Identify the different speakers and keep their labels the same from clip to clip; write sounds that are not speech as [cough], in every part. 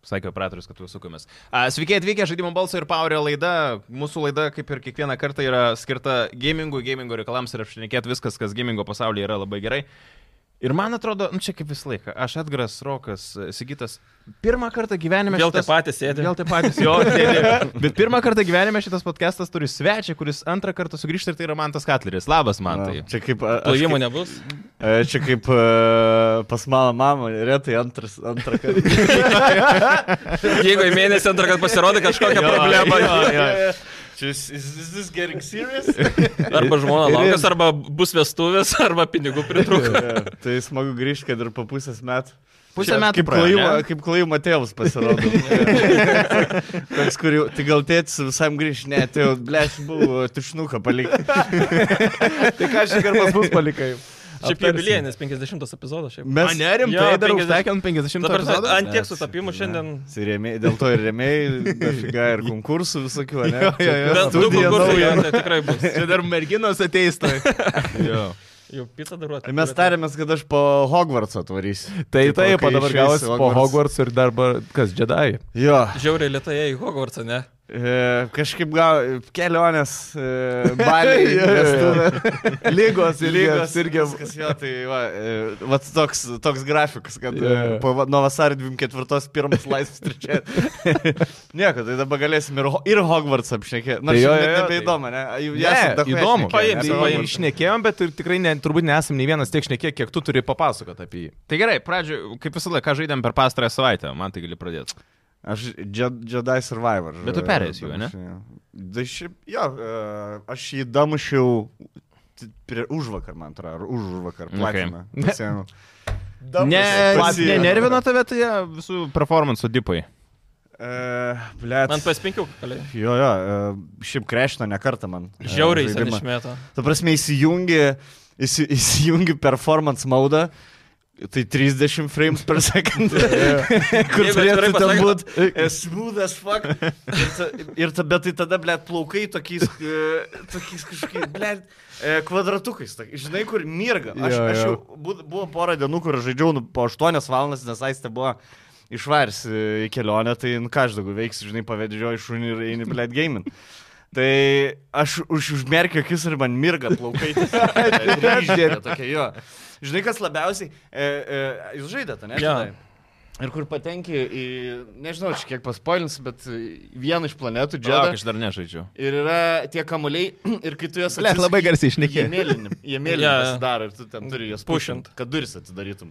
Speaker 1: Sakė operatorius, kad tu sukomės. Sveiki atvykę žaidimo balso ir power laida. Mūsų laida, kaip ir kiekvieną kartą, yra skirta gamingui, gamingo reikalams ir apšnekėti viskas, kas gamingo pasaulyje yra labai gerai. Ir man atrodo, nu čia kaip visą laiką, aš Edgaras Rokas, Sigitas, pirmą kartą gyvenime...
Speaker 2: Vėl tie patys sėdi.
Speaker 1: Vėl tie patys
Speaker 2: [laughs]
Speaker 1: jo sėdi. Bet pirmą kartą gyvenime šitas podcastas turi svečią, kuris antrą kartą sugrįžta ir tai yra Mantas Katleris. Labas, Mantai.
Speaker 3: Čia kaip... a- aš
Speaker 2: Plojimų
Speaker 3: kaip-
Speaker 2: nebus.
Speaker 3: e, Čia kaip e, pas mano mamą, retai antras, antrą kartą.
Speaker 2: [laughs] Jeigu į mėnesį antrą kartą pasirodo kažkokia [laughs]
Speaker 1: [laughs]
Speaker 2: problema.
Speaker 1: Jo, jo, jo.
Speaker 3: Is, is this getting serious?
Speaker 2: Arba žmona
Speaker 3: Ir- ir-
Speaker 2: laukas, arba bus vestuvės, [laughs] arba pinigų pritrūko.
Speaker 3: tai smagu grįžti, kad ir po pusės metų.
Speaker 1: Pusę
Speaker 3: Čia
Speaker 1: metų
Speaker 3: Kaip
Speaker 1: praėjo,
Speaker 3: klajimo,
Speaker 1: ne?
Speaker 3: kaip klajimo tėvas pasirodo.
Speaker 1: [laughs]
Speaker 3: Toks, kuriuo, tai gal tėtis visam grįžti, ne, tai jau, bleš, buvo tušnuką palikti.
Speaker 4: Tai ką šį kartą pas mus palikai?
Speaker 2: Šiaip
Speaker 4: Aptarsim.
Speaker 2: jubiliejinis 50 epizodas. Šiaip.
Speaker 1: Mes nerim,
Speaker 2: Jo,
Speaker 1: tai dar
Speaker 2: 50
Speaker 1: užtekėm 50
Speaker 2: Dabar
Speaker 1: metų.
Speaker 2: ant tiek sutapimų šiandien.
Speaker 3: Rėmė, dėl to ir rėmėjai, dafiga ir konkursų visokių, ne?
Speaker 1: Jo, jo, jo.
Speaker 2: Bet du
Speaker 3: Studija
Speaker 2: konkursai
Speaker 3: nauja.
Speaker 2: jo, tai tikrai bus.
Speaker 1: Čia dar merginos ateis.
Speaker 2: [laughs]
Speaker 1: Tai. Jo.
Speaker 2: Jau pizza daruoti.
Speaker 3: Mes tarėmės, kad aš po Hogwartsą atvarysiu.
Speaker 4: Tai
Speaker 3: Tipo,
Speaker 4: taip, o
Speaker 3: kai
Speaker 4: dabar
Speaker 3: išeis
Speaker 4: gavosi po
Speaker 3: Hogwarts.
Speaker 4: Hogwarts ir darba, kas, Jedi.
Speaker 3: Jo.
Speaker 2: Žiauriai lietai į Hogwartsą, ne?
Speaker 3: E, kažkaip gal kelionės, e,
Speaker 4: [laughs]
Speaker 3: baliai,
Speaker 4: Jo, jo, jo.
Speaker 3: vestuvės,
Speaker 4: Lygos,
Speaker 3: lygos irgi. Viskas jo, tai va, e, vat toks, toks grafikas, kad
Speaker 4: Jo,
Speaker 3: yeah.
Speaker 4: jo.
Speaker 3: po, va- nuo vasario 24 pirmas laisvas trečia.
Speaker 4: [laughs]
Speaker 3: Nieko, tai dabar galėsim ir, Ho- ir Hogwarts apšnekėti. Na, tai
Speaker 4: Tai jo,
Speaker 3: jau
Speaker 4: jo, jo,
Speaker 3: nebeįdomu, ne? Jau esam
Speaker 4: Ne,
Speaker 3: daug
Speaker 4: įdomu.
Speaker 3: šnekėję,
Speaker 2: Paimsim,
Speaker 3: ne?
Speaker 4: Tai
Speaker 2: paimsim.
Speaker 4: Išnekėjom, bet ir tikrai ne, turbūt nesam nei vienas tiek šnekė, kiek tu turi papasakoti apie jį.
Speaker 1: Tai gerai, pradžio, kaip visą laiką, ką žaidėm per pastarąją savaitę, man tai gali pradėti.
Speaker 3: Aš Jed- Jedi Survivor.
Speaker 1: Bet tu perėjęs jau, ne?
Speaker 3: Tai šiaip, jo, e, aš jį damušiau prie užvakar, man atrodo, ar už vakar
Speaker 1: Okay.
Speaker 3: platiną.
Speaker 1: Ne.
Speaker 3: pasiėmiau.
Speaker 1: Ne, ne
Speaker 3: Pasiėmiau.
Speaker 1: nervino tave
Speaker 4: tai,
Speaker 1: tie visų performance'ų dipai.
Speaker 3: E, Blet.
Speaker 2: Man PS5 kalėjai.
Speaker 3: Jo, jo, e, šiaip krešino ne kartą man. e,
Speaker 2: Žiauriai
Speaker 3: žaidimą.
Speaker 2: jis išmėto.
Speaker 3: Tu prasme, įsijungi, įsi, [laughs] įsijungi performance maudą, tai 30 frames per second. [laughs] kur
Speaker 2: Jeigu atvirai
Speaker 3: turėtų ten
Speaker 2: pasakius-
Speaker 3: būti [laughs] e, smooth as fuck. [laughs] Ir, ta, ir ta, bet tai tada, blėt, plaukai tokiais, e, tokiais kažkokiais, blėt, kvadratukais. Tokiais, žinai, kur mirga. Aš,
Speaker 4: Jo,
Speaker 3: aš
Speaker 4: jo.
Speaker 3: jau būd- buvo porą dienų, kur žaidžiau nu, po 8 valandas, nes aistė buvo. Išvars į kelionę, tai nu, ką aš daugiau veiksiu, žinai, pavedžioju šunį ir eini, blėt, gaming. Tai aš už, užmerkiu akis ir man mirga plaukai. Tai Ryždėlė tokia jo. Žinai, kas labiausiai... E, e, jūs žaidėte, ne?
Speaker 2: Jo.
Speaker 3: Žinai. Ir kur patenki į... Nežinau, čia kiek paspoilins, bet į vieną iš planetų
Speaker 1: Džiaugiuosi,
Speaker 3: džiaugiuosi.
Speaker 1: aš dar
Speaker 2: [laughs]
Speaker 1: nežaidžiu.
Speaker 3: Ir yra tie kamuoliai, [clears throat] ir kai tu juos
Speaker 4: Lėt,
Speaker 3: atsisuki-
Speaker 4: labai garsiai
Speaker 3: Jie
Speaker 4: išnekėjai.
Speaker 3: mėlyni, jie mėlyni
Speaker 2: Jo,
Speaker 3: yeah.
Speaker 2: jo.
Speaker 3: pasidaro ir tu ten turi juos
Speaker 2: Pušint.
Speaker 3: pušint, kad duris atidarytum.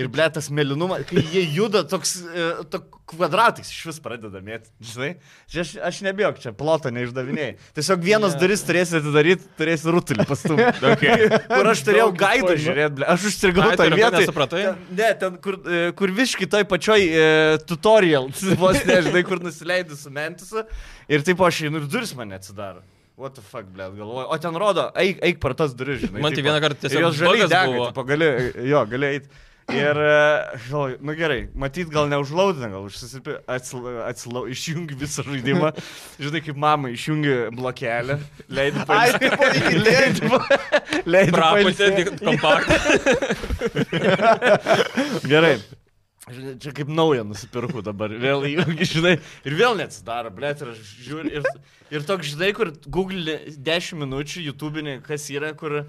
Speaker 3: Ir ble, tas mėlynumas, kai jie juda toks, e, tok kvadratais iš vis pradeda mėtyti, žinai. Čia aš, aš nebijok, čia ploto neišdavinėjai. Tiesiog vienas
Speaker 2: Jo.
Speaker 3: yeah. duris turėsi atidaryti, turėsi rutulį pastumti. okay. Kur aš turėjau gaidą žiūrėti, ble, aš užstrigau
Speaker 2: Ai, tu
Speaker 3: toje
Speaker 2: rimtai
Speaker 3: vietoje.
Speaker 2: nesupratai?
Speaker 3: Ten- Ne, ten, kur, e, kur visiškai toj pačioj e, tutorial, [laughs] vos nežinai, kur nusileidai su mentusu. Ir taip aš einu ir duris man atsidaro. What the fuck, blėt, galvoju. O ten rodo, eik, eik per tas duris, žinai.
Speaker 2: Man tai
Speaker 3: tipo.
Speaker 2: vieną kartą tiesiog
Speaker 3: Ir Jos žaliai
Speaker 2: bagas
Speaker 3: dega,
Speaker 2: buvo.
Speaker 3: tipo, gali, jo, gali eiti. Ir, e, galvoju, nu gerai, matyt, gal neužlaudina, gal užsisipi, atsila, atsila, išjungi visą
Speaker 2: [laughs]
Speaker 3: žaidimą. Žinai, kaip mama, išjungi blokelį, leidai [laughs] pailsėti. Leidai pa- leidi
Speaker 2: Prapusė,
Speaker 3: pailsėt. [laughs]
Speaker 2: kompaktą.
Speaker 3: Gerai. Žinai, Čia kaip naują nusipirku dabar, vėl įjungi, žinai, ir vėl neatsidaro, blė, ir aš žiūriu, ir, ir toks, žinai, kur Google 10 minučių, YouTube'inė, kas yra, kur...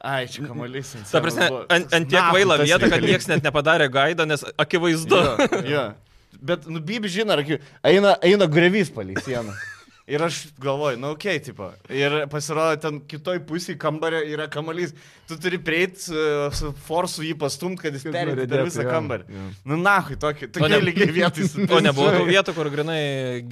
Speaker 3: Ai, čia kamuolys. ant
Speaker 2: Ta
Speaker 3: scenos
Speaker 2: prasme,
Speaker 3: buvo.
Speaker 2: ant ant tiek
Speaker 3: Nachui
Speaker 2: vaila
Speaker 3: tas
Speaker 2: vieta, kad
Speaker 3: reikalinga.
Speaker 2: nieks net nepadarė gaidą, nes akivaizdu.
Speaker 3: Jo, jo. Bet, nu, Bibi žino, ar kaip- eina, eina grevys palei sieną. Ir aš galvoju, na, okei, okay, tipo. Ir pasirodo, ten kitoj pusėje kambario yra kamuolys. Tu turi prieiti su, su forsu jį pastumti, kad jis
Speaker 4: Kad
Speaker 3: perėtų per
Speaker 4: nuridėtų,
Speaker 3: visą
Speaker 4: jo,
Speaker 3: kambarį.
Speaker 4: jo.
Speaker 3: Nu, nahui, tokį.
Speaker 2: O
Speaker 3: Tokia
Speaker 2: ne-
Speaker 3: lygiai
Speaker 2: [laughs]
Speaker 3: vietai su
Speaker 2: O nebuvo tų vietų, kur grinai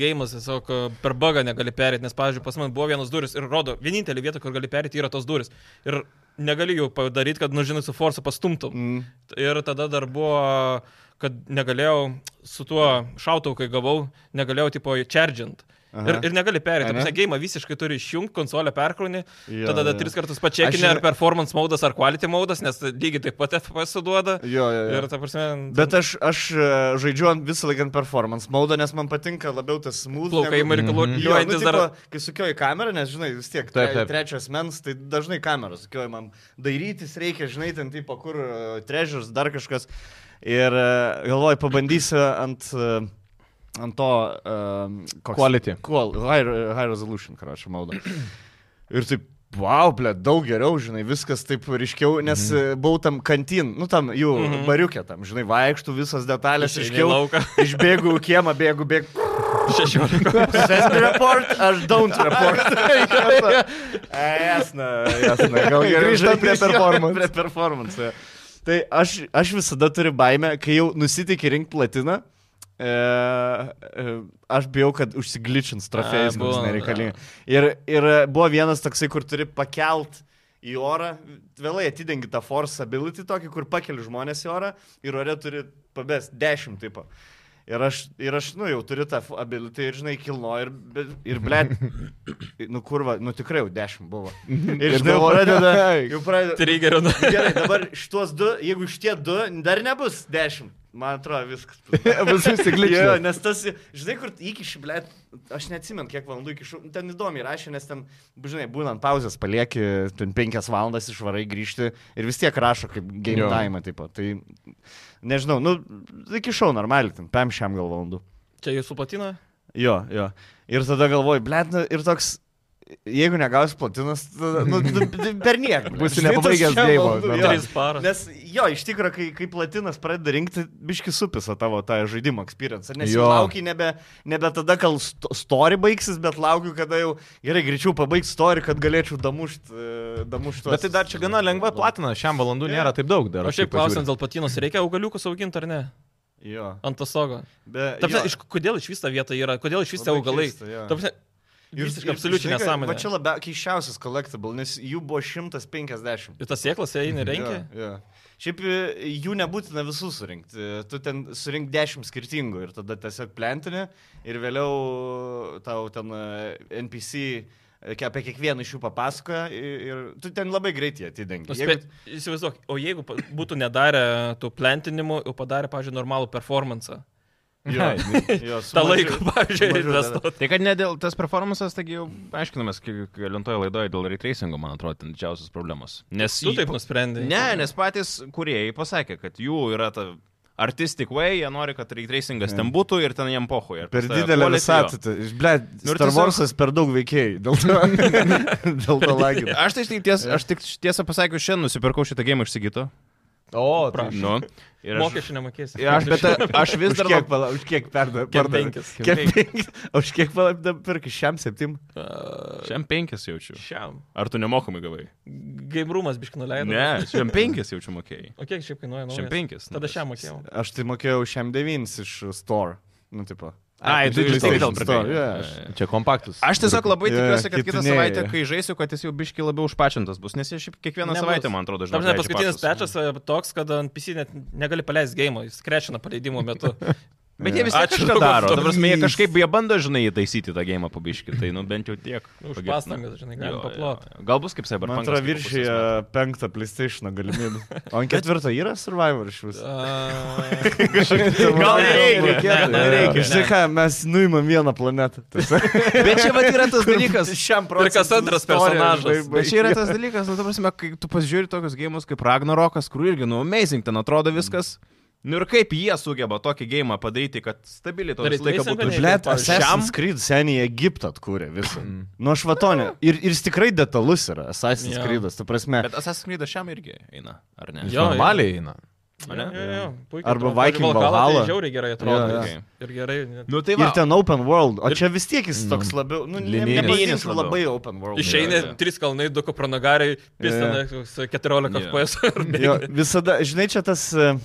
Speaker 2: gėjimas tiesiog e, per bagą negali perėti, nes, pavyzdžiui, pas man buvo vienas duris ir rodo, vienintelė vieta, kur gali perėti, yra tos duris. Ir negali jų padaryti, kad, nu, žinai, su forsu pastumtum.
Speaker 3: Mm.
Speaker 2: Ir tada dar buvo, kad negalėjau su tuo šautuvu, kai gavau, negalėjau tipo čerdžiant. Ir,
Speaker 3: Aha.
Speaker 2: ir negali perėti.
Speaker 3: Ane?
Speaker 2: Visą gėjimą visiškai turi išjungti, konsolę perkrūnį,
Speaker 3: Jo,
Speaker 2: tada tada
Speaker 3: jo.
Speaker 2: tris kartus
Speaker 3: Aš
Speaker 2: pačiakinė,
Speaker 3: ir-
Speaker 2: ar performance modas, ar quality modas, nes lygiai taip pat FPS duoda.
Speaker 3: Jo, jo, jo.
Speaker 2: Ir, ta prasme,
Speaker 3: Bet aš, aš e, žaidžiu ant visą laiką ant performance maudą, nes man patinka labiau tas smooth.
Speaker 2: plaukai
Speaker 3: negu- Jo, nu,
Speaker 2: markiluojantis
Speaker 3: tipo,
Speaker 2: dar.
Speaker 3: kai sukioji kamerą, nes žinai, vis tiek
Speaker 4: Mm. Taip,
Speaker 3: tre-
Speaker 4: taip.
Speaker 3: trečias mens, tai dažnai kamerą sukioji, man dairytis reikia, žinai, ten tipo, kur e, treasures, dar kažkas. Ir e, galvoju, pabandysiu ant, e, ant to... Um,
Speaker 4: Quality.
Speaker 3: Qual, high, high resolution, ką aš maldau. Ir taip, wow, ble, daug geriau, žinai, viskas taip ryškiau, nes mhm. buvau tam kantin, nu tam jų mhm. bariukė, tam, žinai, vaikštų visas detalės
Speaker 2: Išeini į
Speaker 3: ryškiau.
Speaker 2: lauką.
Speaker 3: Išbėgu į kiemą, bėgu, bėgu.
Speaker 2: 16.
Speaker 3: [laughs] Send report, aš don't report. [laughs] Jasna, jasna. Gal geriau
Speaker 4: Grįžtam
Speaker 3: žinai,
Speaker 4: prie performance.
Speaker 3: Prie performance. jo. Tai aš, aš visada turiu baimę, kai jau nusitikė rinkti platiną, e, e, aš bijau, kad užsigličins trofėjus,
Speaker 2: A,
Speaker 3: mums
Speaker 2: būna,
Speaker 3: nereikalinga. Ir, ir e, buvo vienas toksai, kur turi pakelt į orą, vėlai atidengi tą force ability tokį, kur pakeli žmonės į orą ir ore turi pabės 10 tipo. Ir aš, ir aš, nu, jau turiu tą f- ability ir, žinai, kilno ir, be- ir ble, nu, kurva, nu, tikrai jau 10 buvo. Ir, žinai, jau
Speaker 4: galvoju,
Speaker 3: pradeda, jau pradeda,
Speaker 2: Triggerio.
Speaker 3: Gerai, dabar šitos du, jeigu šitie du, dar nebus dešimt. Man atrodo, viskas.
Speaker 1: [laughs]
Speaker 4: Bus
Speaker 3: Jo,
Speaker 4: įsigličia.
Speaker 3: nes tas, žinai, kur iki šiblėt, aš neatsimenu, kiek valandų iki šių, ten įdomiai rašė, nes ten, žinai, būnant pauzės palieki, ten penkias valandas išvarai grįžti ir vis tiek rašo kaip game
Speaker 4: Jo.
Speaker 3: time, tipo. Tai nežinau, nu, iki šau normaliai, ten, pam šiam gal valandų.
Speaker 2: [laughs] Čia jūsų platina?
Speaker 3: Jo, jo. Ir tada galvoju, blėt, nu, ir toks, jeigu negausi platinas, tada, nu, tu- tu per nieką.
Speaker 4: Būsi nepabaigęs tai. gėjimo.
Speaker 3: Jo.
Speaker 2: 3 paras.
Speaker 3: Nes jo, iš tikrųjų, kai, kai platinas pradeda rinkti, biški supisa tavo tą žaidimo experience. Nes jau
Speaker 4: Jo.
Speaker 3: lauki nebe, nebe tada, kol sto- story baigsis, bet laukiu, kada jau gerai greičiau pabaigti story, kad galėčiau damušti. Damušt
Speaker 4: Bet tai dar čia gana lengva platina, šiam valandų nėra taip daug dar.
Speaker 2: O
Speaker 4: aš
Speaker 2: šiaip
Speaker 4: taip pažiūriu. [laughs]
Speaker 2: klausiant dėl platinos, reikia augaliukus auginti ar ne?
Speaker 3: Jo.
Speaker 2: Ant to stogo.
Speaker 3: Be,
Speaker 2: Taip,
Speaker 3: jo.
Speaker 2: iš, kodėl iš vis ta vieta yra, kodėl iš vis tie
Speaker 3: Labai
Speaker 2: augalai?
Speaker 3: keista, jo.
Speaker 2: Taip, visiškai absoliučiai
Speaker 3: žinai, kad
Speaker 2: nesąmonė.
Speaker 3: Va čia labiausiai keiščiausias collectible, nes jų buvo 150.
Speaker 2: Ir tas sėklas eina ir renkia?
Speaker 3: Jo, jo. Šiaip e, jų nebūtina visų surinkti. Tu ten surink dešimt skirtingų ir tada tiesiog plentinį ir vėliau tau ten e, NPC e, ke- apie kiekvieną iš jų papasakoja ir, ir tu ten labai greitai
Speaker 2: Nu,
Speaker 3: atidengi.
Speaker 2: spė- [laughs] Įsivaizduok, o jeigu pa- būtų nedarę tų plentinimų, o padarė, pavyzdžiui, normalų performance.
Speaker 3: jo, jo, su
Speaker 2: Ta
Speaker 3: mažai-
Speaker 2: laiko, pavyzdžiui,
Speaker 3: mažiau
Speaker 2: investuoti.
Speaker 1: Tai kad ne dėl tas performances, taigi jau aiškinamės, kelintoje laidoje dėl retracingo, man atrodo, ten didžiausios problemos. Nes
Speaker 2: Tu taip nusprendai.
Speaker 1: Ne, nes patys kuriejai pasakė, kad jų yra ta artistic way, jie nori, kad retracingas ten būtų ir ten jam pohui.
Speaker 3: Per didelę visatą. Ble,
Speaker 1: Nu ir
Speaker 3: Star
Speaker 1: tiesiog-
Speaker 3: Warsas per daug veikėjai. Dėl to, dėl to lagina.
Speaker 1: [laughs] Aš tai štai ties, aš tik tiesą pasakiau, šiandien nusipirkau šitą gėjimą išsigyto.
Speaker 4: O, tai
Speaker 2: Prašau.
Speaker 1: Nu. Ir aš,
Speaker 2: Mokesčių nemokėsi.
Speaker 1: ir aš, bet a- aš vis
Speaker 3: Už
Speaker 1: dar...
Speaker 3: kiek, pala, už kiek perda, pardavė?
Speaker 2: penkis.
Speaker 3: Kiek penkis. O Už kiek pala, perka šiam septim?
Speaker 1: Šiam penkis jaučiu.
Speaker 2: Šiam.
Speaker 1: Ar tu nemokamai gavai?
Speaker 2: Gaimrumas biškinu leido.
Speaker 1: Ne, šiam penkis jaučiu mokėjai.
Speaker 2: O kiek šiaip kainuoja?
Speaker 1: Šiam
Speaker 2: naujas?
Speaker 1: penkis.
Speaker 2: Tada šiam mokėjau.
Speaker 3: Aš tai mokėjau šiam devynis iš store. Nu, tipo.
Speaker 1: Ai, tu tik
Speaker 3: PlayStation
Speaker 1: dėl
Speaker 3: Store,
Speaker 1: pradėjai.
Speaker 3: jo,
Speaker 1: Ai,
Speaker 3: aš-
Speaker 1: ai.
Speaker 4: Čia kompaktus.
Speaker 1: Aš tiesiog labai
Speaker 3: Jo,
Speaker 1: tikiuosi, kad kitą
Speaker 3: kitinėja.
Speaker 1: savaitę, kai žaisiu, kad jis jau biški labiau užpačintas bus, nes jis šiaip kiekvieną
Speaker 2: Nebus.
Speaker 1: savaitę, man atrodo,
Speaker 2: Tam
Speaker 1: žinau.
Speaker 2: žinai, paskutinis pečas toks, kad ant PC net negali paleisti gėjimo, jis krečina paleidimo metu.
Speaker 1: [laughs] Bet jie vis tiek
Speaker 2: Ačiū
Speaker 1: kažką
Speaker 2: dabar
Speaker 1: daro.
Speaker 2: to-
Speaker 1: Ta prasme, jie kažkaip jie bando, žinai, įtaisyti tą gėjimą pabiški, tai nu bent jau tiek.
Speaker 2: Nu, Už
Speaker 1: Pagirt-
Speaker 2: pastangas, žinai, galim
Speaker 1: Jo,
Speaker 2: paploti.
Speaker 1: jo. Gal bus kaip
Speaker 3: Man
Speaker 1: Cyberpunk.
Speaker 3: atrodo, [laughs] viršyje penktą PlayStation galimybę. O
Speaker 1: [laughs]
Speaker 3: ant ketvirto yra Survivor iš viso.
Speaker 2: A, [laughs]
Speaker 1: tai
Speaker 3: Gal
Speaker 2: nereikia. Ne, nereikia.
Speaker 3: Štai ką, mes nuimam vieną planetą.
Speaker 1: [laughs] Bet čia vat yra tas [laughs] dalykas.
Speaker 3: Šiam
Speaker 2: Ir kas antras personažas.
Speaker 1: Bet čia yra tas dalykas, nu, ta prasme, kai tu pasižiūri tokius gėjimus kaip Ragnarokas, kur irgi, nu, amazing, ten atrodo viskas. Nu ir kaip jie sugeba tokį gėjimą padaryti, kad stabiliai to visą laiką
Speaker 2: Retracing
Speaker 1: tai, būtų.
Speaker 2: ganėtinai.
Speaker 3: Blet,
Speaker 2: Pavyzdžiui,
Speaker 3: Assassin's Creed seniai Egiptą atkūrė visą.
Speaker 1: Mm.
Speaker 3: Nu, aš vatonė. Ir, ir jis tikrai detalus yra Assassin's
Speaker 2: Jo.
Speaker 3: Creed'as, tu prasme.
Speaker 1: Bet Assassin's Creed šiam irgi eina, ar ne?
Speaker 2: Jo, jo.
Speaker 4: Normaliai eina.
Speaker 1: Ar ne?
Speaker 2: jo, jo, puikiai
Speaker 3: Arba
Speaker 2: atrodo. Pavyzdžiui,
Speaker 3: Viking
Speaker 2: Valhalla tai
Speaker 3: Valhalla.
Speaker 2: Žiauriai gerai atrodo.
Speaker 3: Jo,
Speaker 1: jo.
Speaker 2: Ir gerai. net-
Speaker 1: Nu tai
Speaker 3: Ir
Speaker 1: va.
Speaker 3: ten open world, o
Speaker 2: Ir-
Speaker 3: čia vis tiek jis toks labiau, nu,
Speaker 4: Linijinis.
Speaker 3: linijinis
Speaker 1: Mm. labiau.
Speaker 3: labai open world.
Speaker 1: Jo,
Speaker 2: Išeini
Speaker 1: Nu, jo.
Speaker 2: trys kalnai, du kopranagariai,
Speaker 3: Jo.
Speaker 2: pistana, koks 14
Speaker 1: Jo.
Speaker 2: FPS. ir
Speaker 3: Jo,
Speaker 2: bėgi.
Speaker 3: visada, žinai, čia tas e,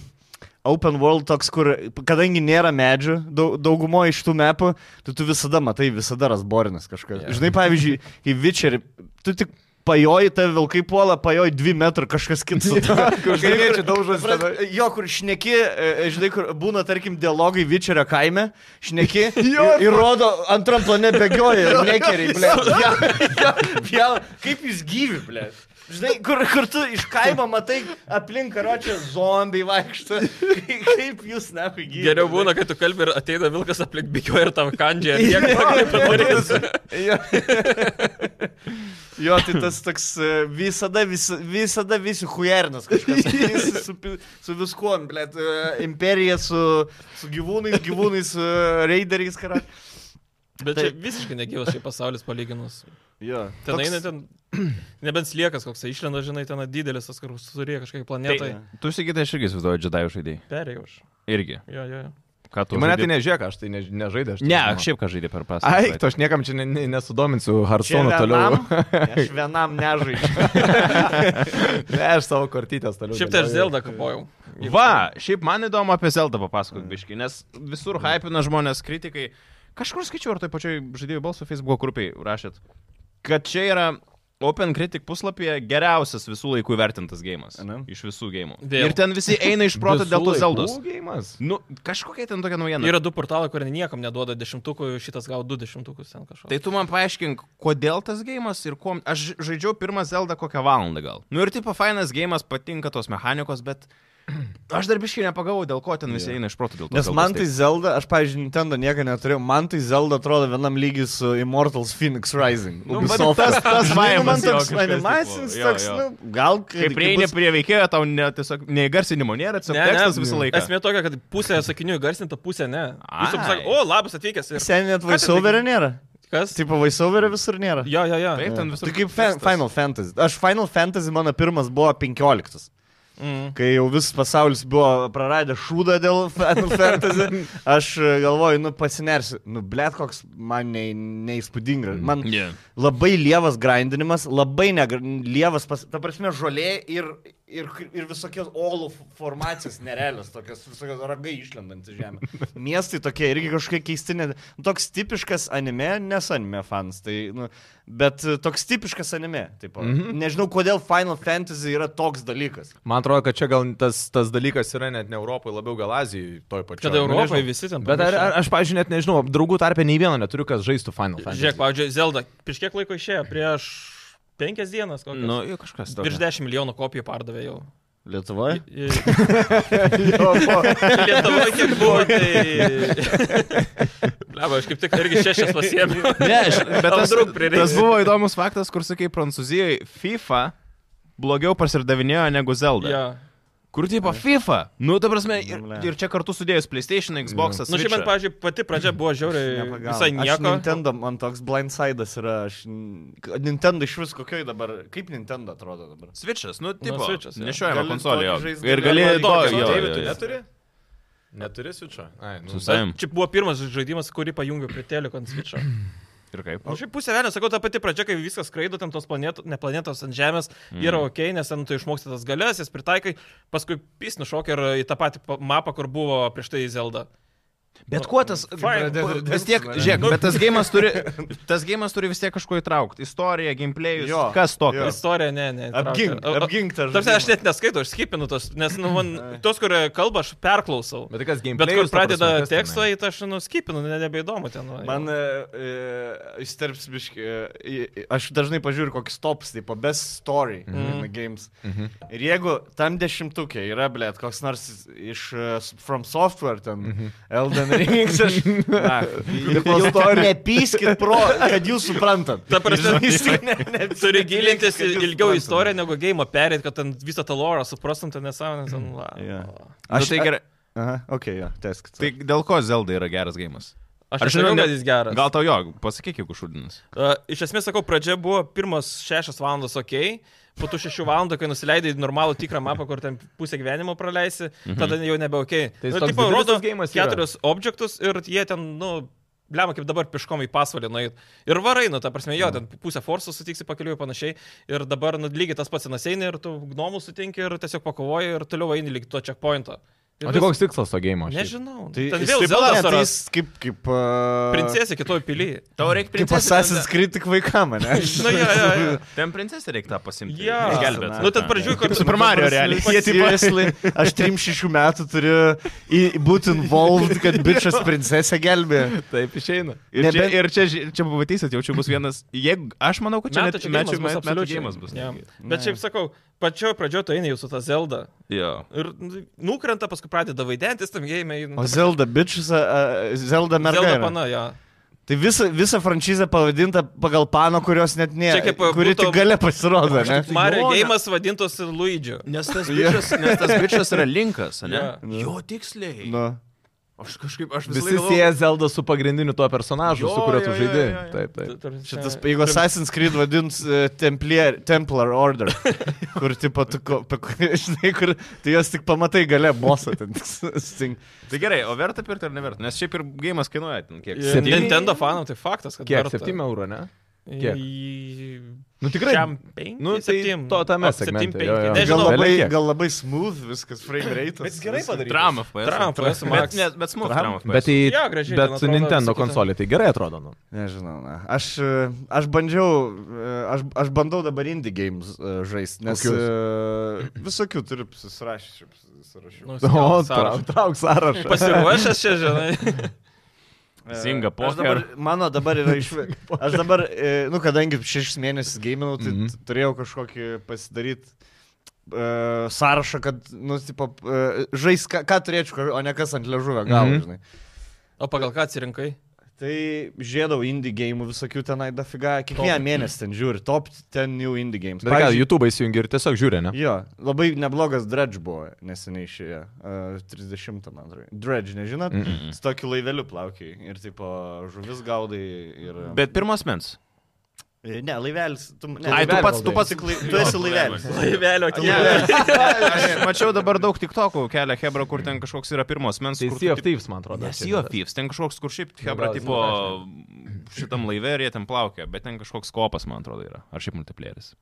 Speaker 3: open world toks, kur, kadangi nėra medžių dau- daugumo iš tų mepų, tai tu visada matai, visada rasborinas kažkas.
Speaker 2: Jo.
Speaker 3: Yeah. Žinai, pavyzdžiui, į Witcherį, tu tik pajoji, ta vilkai puola, pajoji 2 metrų kažkas kitas. Žinai,
Speaker 4: daužas.
Speaker 3: kur- Jo, kur šneki, e, žinai, kur būna, tarkim, dialogai Vičerio kaime, šneki ir, ir rodo antram [laughs] plane bėgioja nekeriai, ble. Ja, ja, ja, kaip jis gyvi, ble. Žinai, kur, kur tu iš kaimo matai aplink karočią zombiai vaikšto. Kaip jūs, na, gyvybė.
Speaker 2: Geriau būna, kai tu kalbi ir ateina vilkas aplink bikioja ir tam kandžia. ir
Speaker 3: [laughs]
Speaker 2: nieko negali padaryt.
Speaker 3: Jo, jo tai tas toks e, visada, vis, visada visi hujernas kažkas. Visi su, pi- su viskuo, blėt, e, imperija su, su gyvūnais, gyvūnais, e, reideriais karo.
Speaker 2: Bet čia
Speaker 3: Taip.
Speaker 2: visiškai negyvas šiaip pasaulis palyginus.
Speaker 3: Jo.
Speaker 2: Ten eina ten, nebent sliekas koks tai išlenda, žinai, ten didelis, tas, kur surė kažkokia planeta.
Speaker 3: Tai-
Speaker 1: Tu sakytai, aš irgi įsivaizduoju Jedi žaidėjai.
Speaker 2: Perėjau aš.
Speaker 1: Irgi.
Speaker 2: Jo, jo. jo.
Speaker 1: Ką tu?
Speaker 4: Į mane tai
Speaker 1: žaidi?
Speaker 4: nežiūrėk, aš tai ne, nežaidė.
Speaker 1: Ne, aš šiaip ką žaidė per pasą.
Speaker 4: Ai, to aš niekam čia ne, ne, nesudominsiu
Speaker 3: Čia
Speaker 4: Harsono toliau. [laughs]
Speaker 3: vienam, aš vienam nežaidžiu.
Speaker 4: Ne, aš savo kortytės toliau.
Speaker 2: Šiaip tai aš
Speaker 4: dėlioju.
Speaker 2: Zelda kapojau.
Speaker 1: Va, šiaip man įdomu apie Zeldą papasakok biškai, nes visur hypina žmonės, kritikai. Kažkur skaičiau, ar tai pačioj žaidėjų balsų Facebook grupiai rašėt, kad čia yra Open Critic puslapyje geriausias visų laikų vertintas gėjimas.
Speaker 3: Ane?
Speaker 1: Iš visų gėjimų.
Speaker 2: Vėl.
Speaker 1: Ir ten visi eina iš proto dėl tos
Speaker 4: [laughs] Visų
Speaker 1: Zeldos.
Speaker 4: laikų geimas?
Speaker 1: Nu, kažkokia ten tokia naujiena.
Speaker 2: Yra du portalai, kurie niekam neduoda dešimtukų, šitas gavo du dešimtukus ten kažkokius.
Speaker 1: Tai tu man paaiškink, kodėl tas gėjimas ir kuo... Aš ž- žaidžiau pirmą Zeldą kokią valandą gal. Nu ir tipo fainas gėjimas, patinka tos mechanikos, bet aš dar biškai nepagavau, dėl ko ten visi
Speaker 4: Jo.
Speaker 1: eina iš proto. dėl tos
Speaker 3: Nes
Speaker 1: Zeldos
Speaker 3: man
Speaker 1: taip.
Speaker 3: tai Zelda, aš, pavyzdžiui, Nintendo nieko neturėjau, man tai Zelda atrodo vienam lygiai su Immortals Phoenix Rising.
Speaker 1: Nu,
Speaker 3: Ubisoft.
Speaker 1: vat tas- tas
Speaker 3: [laughs] Žinai,
Speaker 1: vaibas
Speaker 3: nu, man toks
Speaker 1: jo kažkas
Speaker 3: animacinis,
Speaker 1: tipo, jo,
Speaker 3: toks,
Speaker 1: jo.
Speaker 3: nu, gal
Speaker 1: Kaip prieini
Speaker 3: bus-
Speaker 1: prie veikėjo, tau ne, tiesiog neįgarsinimo nėra, tiesiog ne, tekstas visą laiką.
Speaker 2: Esmė tokia, kad pusė sakinių garsinta, pusė ne. Jūs
Speaker 1: Ai.
Speaker 2: sakote, o, labas atvykęs. Ir...
Speaker 3: Seniai net voiceoverio nėra.
Speaker 2: Kas?
Speaker 3: Tipo voiceoverio visur nėra.
Speaker 2: Jo, jo, jo.
Speaker 1: Taip, ten
Speaker 3: Jo.
Speaker 1: visur.
Speaker 3: Tai kaip fan, Final Fantasy. Aš Final Fantasy mano pirmas buvo 15.
Speaker 2: Mm.
Speaker 3: Kai jau visas pasaulis buvo praradęs šūdą dėl Final
Speaker 1: [laughs]
Speaker 3: Fantasy, aš e, galvoju, nu pasinersiu. Nu, blėt, koks man nei, neįspūdingas. Man
Speaker 1: Yeah.
Speaker 3: labai lievas grindinimas, labai negra- lievas, pas, ta prasme, žolė ir, ir, ir visokios olų formacijos nerealios, tokios visokios ragai išlendant į žemę. Miestai tokie irgi kažkokie keisti, net, toks tipiškas anime, nes anime fans, tai, nu, bet e, toks tipiškas anime. Taip, mm
Speaker 2: Mhm.
Speaker 3: -hmm. Nežinau, kodėl Final Fantasy yra toks dalykas.
Speaker 4: Man atrodo, kad čia gal tas, tas dalykas yra net ne Europoje, labiau gal Azijoje, toj pačioj.
Speaker 2: Čia tai
Speaker 4: Nu,
Speaker 2: Europai
Speaker 4: nežinau.
Speaker 2: visi ten.
Speaker 4: Bet ar, ar, aš, pažiūrėjau, net nežinau, draugų tarpė nei vieno neturiu, kas žaistų Final Fantasy.
Speaker 2: Žiūrėk, pavyzdžiui, Zelda, prieš kiek laiko išėjo? Prieš penkias dienas. kokias?
Speaker 1: Nu, jau kažkas toks.
Speaker 2: Virš 10 milijonų kopijų pardavė jau.
Speaker 3: Lietuvoje?
Speaker 2: [laughs] I- Lietuvoje kiek buvo, tai... Leba, aš kaip tik irgi šešias pasiemiau.
Speaker 1: Ne, aš, [laughs] bet
Speaker 2: Tau
Speaker 1: tas,
Speaker 2: daug prireiks.
Speaker 1: tas buvo įdomus faktas, kur sakai, Prancūzijoje FIFA blogiau parsidavinėjo negu Zelda.
Speaker 2: Ja.
Speaker 1: Kur tipo FIFA? Nu, ta prasme, ir,
Speaker 3: Blemba.
Speaker 1: ir čia kartu sudėjus PlayStation, Xbox,
Speaker 2: Na, Nu, šiaip man, pavyzdžiui, pati pradžia buvo žiauriai Tai visai
Speaker 3: Aš
Speaker 2: nieko.
Speaker 3: Nintendo, man toks blindsidas yra. Aš, n- Nintendo iš vis kokioj dabar, kaip Nintendo atrodo dabar?
Speaker 1: Switch'as, nu, tipo, nu,
Speaker 2: Switch'as, jo.
Speaker 1: nešiojama
Speaker 3: Gali
Speaker 1: konsolė. jo.
Speaker 3: tokį žaist-
Speaker 1: Ir gali
Speaker 3: gali
Speaker 1: to,
Speaker 3: tokį
Speaker 1: jo, jo,
Speaker 3: žaist-
Speaker 4: David, tu
Speaker 1: jo.
Speaker 4: neturi? Neturi sučio? Ai, nu.
Speaker 1: Su savim.
Speaker 2: Čia buvo pirmas žaidimas, kurį pajungiau prie teleko ant switch'o.
Speaker 1: Ir kaip?
Speaker 2: Na, Nu, šiaip pusė velnio, sakau, ta pati pradžia, kai viskas skraido, ten tos planetos, ne planetos ant Žemės, mm. yra ok, nes ten tu išmoksti tas galės, jas pritaikai, paskui pys nušokia ir į tą patį pa- mapą, kur buvo prieš tai Zelda.
Speaker 1: Bet kuo tas...
Speaker 2: Fine.
Speaker 1: Vis tiek, žiūrėk, bet tas gėjimas turi, tas gėjimas turi vis tiek kažko įtraukti. Istoriją, gameplayus,
Speaker 3: Jo,
Speaker 1: kas
Speaker 3: jo.
Speaker 1: tokio.
Speaker 2: Istorija, ne, ne.
Speaker 3: Apgink, apgink tą
Speaker 2: Tarsi,
Speaker 3: žaidimą.
Speaker 2: aš net neskaitau, aš skipinu tos, nes nu, man,
Speaker 3: [laughs]
Speaker 2: tos, kur kalba, aš perklausau.
Speaker 4: Bet tai kas
Speaker 2: Bet
Speaker 4: gameplay?
Speaker 2: kur pradeda tekstą, tai aš nuskipinu, ne, nebeįdomu ten. nu, va,
Speaker 3: Man
Speaker 2: jau.
Speaker 3: įsterps biški, e, e, aš dažnai pažiūriu kokius tops, tai po best story mm. games. Mm -hmm. Ir jeigu tam dešimtukė yra, blėt, koks nors iš e, s- From Software, ten mm -hmm. [laughs] Elden Rings, aš... [laughs] na, Jau to nepyskit pro, kad jūs suprantat.
Speaker 2: Ta
Speaker 3: [laughs]
Speaker 2: prasme,
Speaker 3: Jūs tik ne, ne,
Speaker 2: Turi gilintis
Speaker 3: kad jūs
Speaker 2: ilgiau į
Speaker 3: suprantat.
Speaker 2: istoriją negu gėjimą perėti, kad ten visą tą lorą suprastum, ten nesąmonę. Ten, va, nu,
Speaker 3: Jo.
Speaker 2: va.
Speaker 1: Aš tai gerai.
Speaker 3: Aha, okei, okay, jo, teskit.
Speaker 1: Tai dėl ko Zelda yra geras gėjimas?
Speaker 2: Aš žinau, kad jis geras.
Speaker 1: Gal tau jo, pasakyk, jeigu šūdinas.
Speaker 2: Uh, iš esmės, sakau, pradžia buvo pirmas 6 valandas ok, po tų 6 valandų, kai nusileidai į normalų tikrą mapą, kur ten pusę gyvenimo praleisi, tada jau nebe ok.
Speaker 4: Mhm.
Speaker 2: Nu,
Speaker 4: Tai jis toks didelis tas geimas yra.
Speaker 2: keturis objektus ir jie ten, nu, blema, kaip dabar piškom į pasvalį nueit. Ir varai, nu, ta prasme,
Speaker 4: Mhm.
Speaker 2: jo, ten pusę forsų sutiksi pakeliu ir panašiai. Ir dabar, nu, lygiai tas pats senas eini ir tu gnomų sutinki ir tiesiog pakovoji ir toliau eini lyg to checkpointo.
Speaker 4: O tai koks tikslas to gėjimo?
Speaker 2: Nežinau. Tai
Speaker 3: Tai
Speaker 2: ten
Speaker 3: jis
Speaker 2: vėl
Speaker 3: taip
Speaker 2: Zelda
Speaker 3: ne, tai
Speaker 2: saras.
Speaker 3: jis kaip, kaip... Uh,
Speaker 2: Princesė kitoj pilyje.
Speaker 1: Tau reikia
Speaker 3: Kaip
Speaker 1: princesę.
Speaker 3: Assassin's Creed tik vaikam,
Speaker 2: [laughs]
Speaker 3: ne?
Speaker 2: Na, Nu, jo, jo, jo.
Speaker 1: Ten princesę reikia tą pasimti.
Speaker 2: Jo.
Speaker 1: Išgelbėt.
Speaker 2: Nu, ten pradžioj
Speaker 1: Kaip
Speaker 2: kartu-
Speaker 1: Super Mario realiai.
Speaker 2: Jie taip-
Speaker 3: Seriously, aš 3-6 metų turiu į- būti involved, kad bičias princesę gelbė.
Speaker 4: Taip išeina.
Speaker 1: Ir, čia,
Speaker 3: Nebent-
Speaker 1: ir čia, ži- čia pamatysit, jau čia bus vienas. Jeigu, aš manau, kad čia
Speaker 2: Metų
Speaker 1: net
Speaker 2: čia
Speaker 1: metų
Speaker 2: gėjimas bus absoliučiai.
Speaker 1: gėjimas bus.
Speaker 2: Jo.
Speaker 1: netgi.
Speaker 2: Bet šiaip sakau, pačioj pradžioje tu eini jau su ta Zelda.
Speaker 1: Jo.
Speaker 2: Ir nu, nukrenta, paskui pradeda vaidentis tam gėjimai.
Speaker 3: O Zelda bičias, Zelda
Speaker 2: Zelda
Speaker 3: mergaitė.
Speaker 2: pana, jo.
Speaker 3: Tai visa, visa franšizė pavadinta pagal pano, kurios net nėra.
Speaker 2: Čia kaip, e,
Speaker 3: kuri
Speaker 2: būtų-
Speaker 3: tik gale pasirodo, ne?
Speaker 2: Mario
Speaker 1: Jo, ne-
Speaker 2: gėjimas vadintųsi Luidžio.
Speaker 1: Nes tas bičias, nes tas bičias yra linkas, ne?
Speaker 2: Jo.
Speaker 1: Jo
Speaker 2: tai-
Speaker 1: tiksliai.
Speaker 3: Nu.
Speaker 1: Aš kažkaip, aš visą
Speaker 4: Visi
Speaker 1: laiką
Speaker 4: sieja Zelda su pagrindiniu tuo personažu,
Speaker 1: Jo,
Speaker 4: su kuriuo
Speaker 1: jo,
Speaker 4: tu
Speaker 1: jo,
Speaker 4: žaidi.
Speaker 1: jo, jo.
Speaker 4: Taip,
Speaker 2: Tai
Speaker 4: taip.
Speaker 3: Šitas, jeigu Assassin's Creed vadins e, Templier, Templar
Speaker 2: [laughs]
Speaker 3: Order, kur, tipo, tu, ko, pa, [laughs] žinai, kur, tai jos tik pamatai gale bosą ten. [laughs] sting.
Speaker 1: Tai gerai, o verta pirkti ar neverta? Nes šiaip ir gėjimas kainuoja ten kiek.
Speaker 4: Septyni-
Speaker 2: Nintendo fanam tai faktas, kad
Speaker 4: Kiek?
Speaker 2: verta.
Speaker 4: 7 eurų, ne? kiek?
Speaker 2: Į-
Speaker 4: Nu tikrai.
Speaker 2: Šiam penki,
Speaker 4: Nu, tai
Speaker 2: septym.
Speaker 4: to tame
Speaker 2: O, septym,
Speaker 4: segmente,
Speaker 2: penki,
Speaker 4: jo, jo.
Speaker 3: Gal
Speaker 2: Nežinau,
Speaker 4: Bele
Speaker 3: labai,
Speaker 4: kiek.
Speaker 3: gal labai smooth viskas, frame rate.
Speaker 4: Bet gerai padaryta.
Speaker 1: Trauma FPS.
Speaker 2: Trump, esu
Speaker 1: Bet,
Speaker 2: Max.
Speaker 1: ne, bet smūgis
Speaker 3: Trump.
Speaker 1: Trump.
Speaker 4: Bet, tai- į,
Speaker 2: Jo, gražiai ten
Speaker 4: bet su
Speaker 2: atrodo
Speaker 4: Nintendo
Speaker 2: visa kita.
Speaker 4: konsolė tai gerai atrodo. Nu. [laughs]
Speaker 3: Nežinau, na. Aš, e, aš bandžiau, e, aš, aš bandau dabar indie games žaisti, nes e, visokių turiu susirašyti.
Speaker 2: Nu, jo,
Speaker 4: O, trauk,
Speaker 2: sąrašą.
Speaker 4: trauk sąrašą.
Speaker 2: Pasiruošęs čia, žinai.
Speaker 1: Zinga
Speaker 3: E, Aš dabar,
Speaker 1: poker.
Speaker 3: mano dabar yra iš... Aš dabar, e, nu, kadangi šešis mėnesius gaiminau, tai
Speaker 4: Mhm.
Speaker 3: mm -hmm. turėjau kažkokį pasidaryti e, sąrašą, kad, nu, tipo, e, žais, ką, ką turėčiau, ką- o ne kas ant ležuvio galo, mm
Speaker 4: Mhm.
Speaker 3: -hmm. žinai.
Speaker 2: O pagal ką atsirinkai?
Speaker 3: Tai žiedau indie game visokių tenai dafiga, kiekvieną
Speaker 2: Top.
Speaker 3: mėnesį ten žiūri, top 10 new indie games.
Speaker 4: Bet ką, YouTube įsijungi ir tiesiog žiūri, ne?
Speaker 3: Jo, labai neblogas dredge buvo neseniai išėję. Uh, 30, man atrodo. Dredge, nežinot? Mm
Speaker 4: Mm.
Speaker 3: -mm. Su tokiu laiveliu plaukiai ir tipo žuvis gaudai ir...
Speaker 1: Bet pirmas mens.
Speaker 3: E, Ne, laivelis. Tu, ne,
Speaker 1: Ai, tu pats, tu pats.
Speaker 3: tik lai- tu esi laivelis.
Speaker 2: Laivelio kelias.
Speaker 1: Ne, aš mačiau dabar daug tik tokų kelia Hebra, kur ten kažkoks yra pirmas mens.
Speaker 4: Tai
Speaker 1: kur tu
Speaker 4: Sea of
Speaker 1: taip-
Speaker 4: Thieves, man atrodo.
Speaker 1: Nes
Speaker 4: čia
Speaker 1: jo
Speaker 4: yra.
Speaker 1: Thieves, ten kažkoks, kur šiaip Hebra
Speaker 4: gal-
Speaker 1: tipo šitam laive ir jie ten plaukia, bet ten kažkoks kopas, man atrodo, yra. Ar šiaip multiplėris.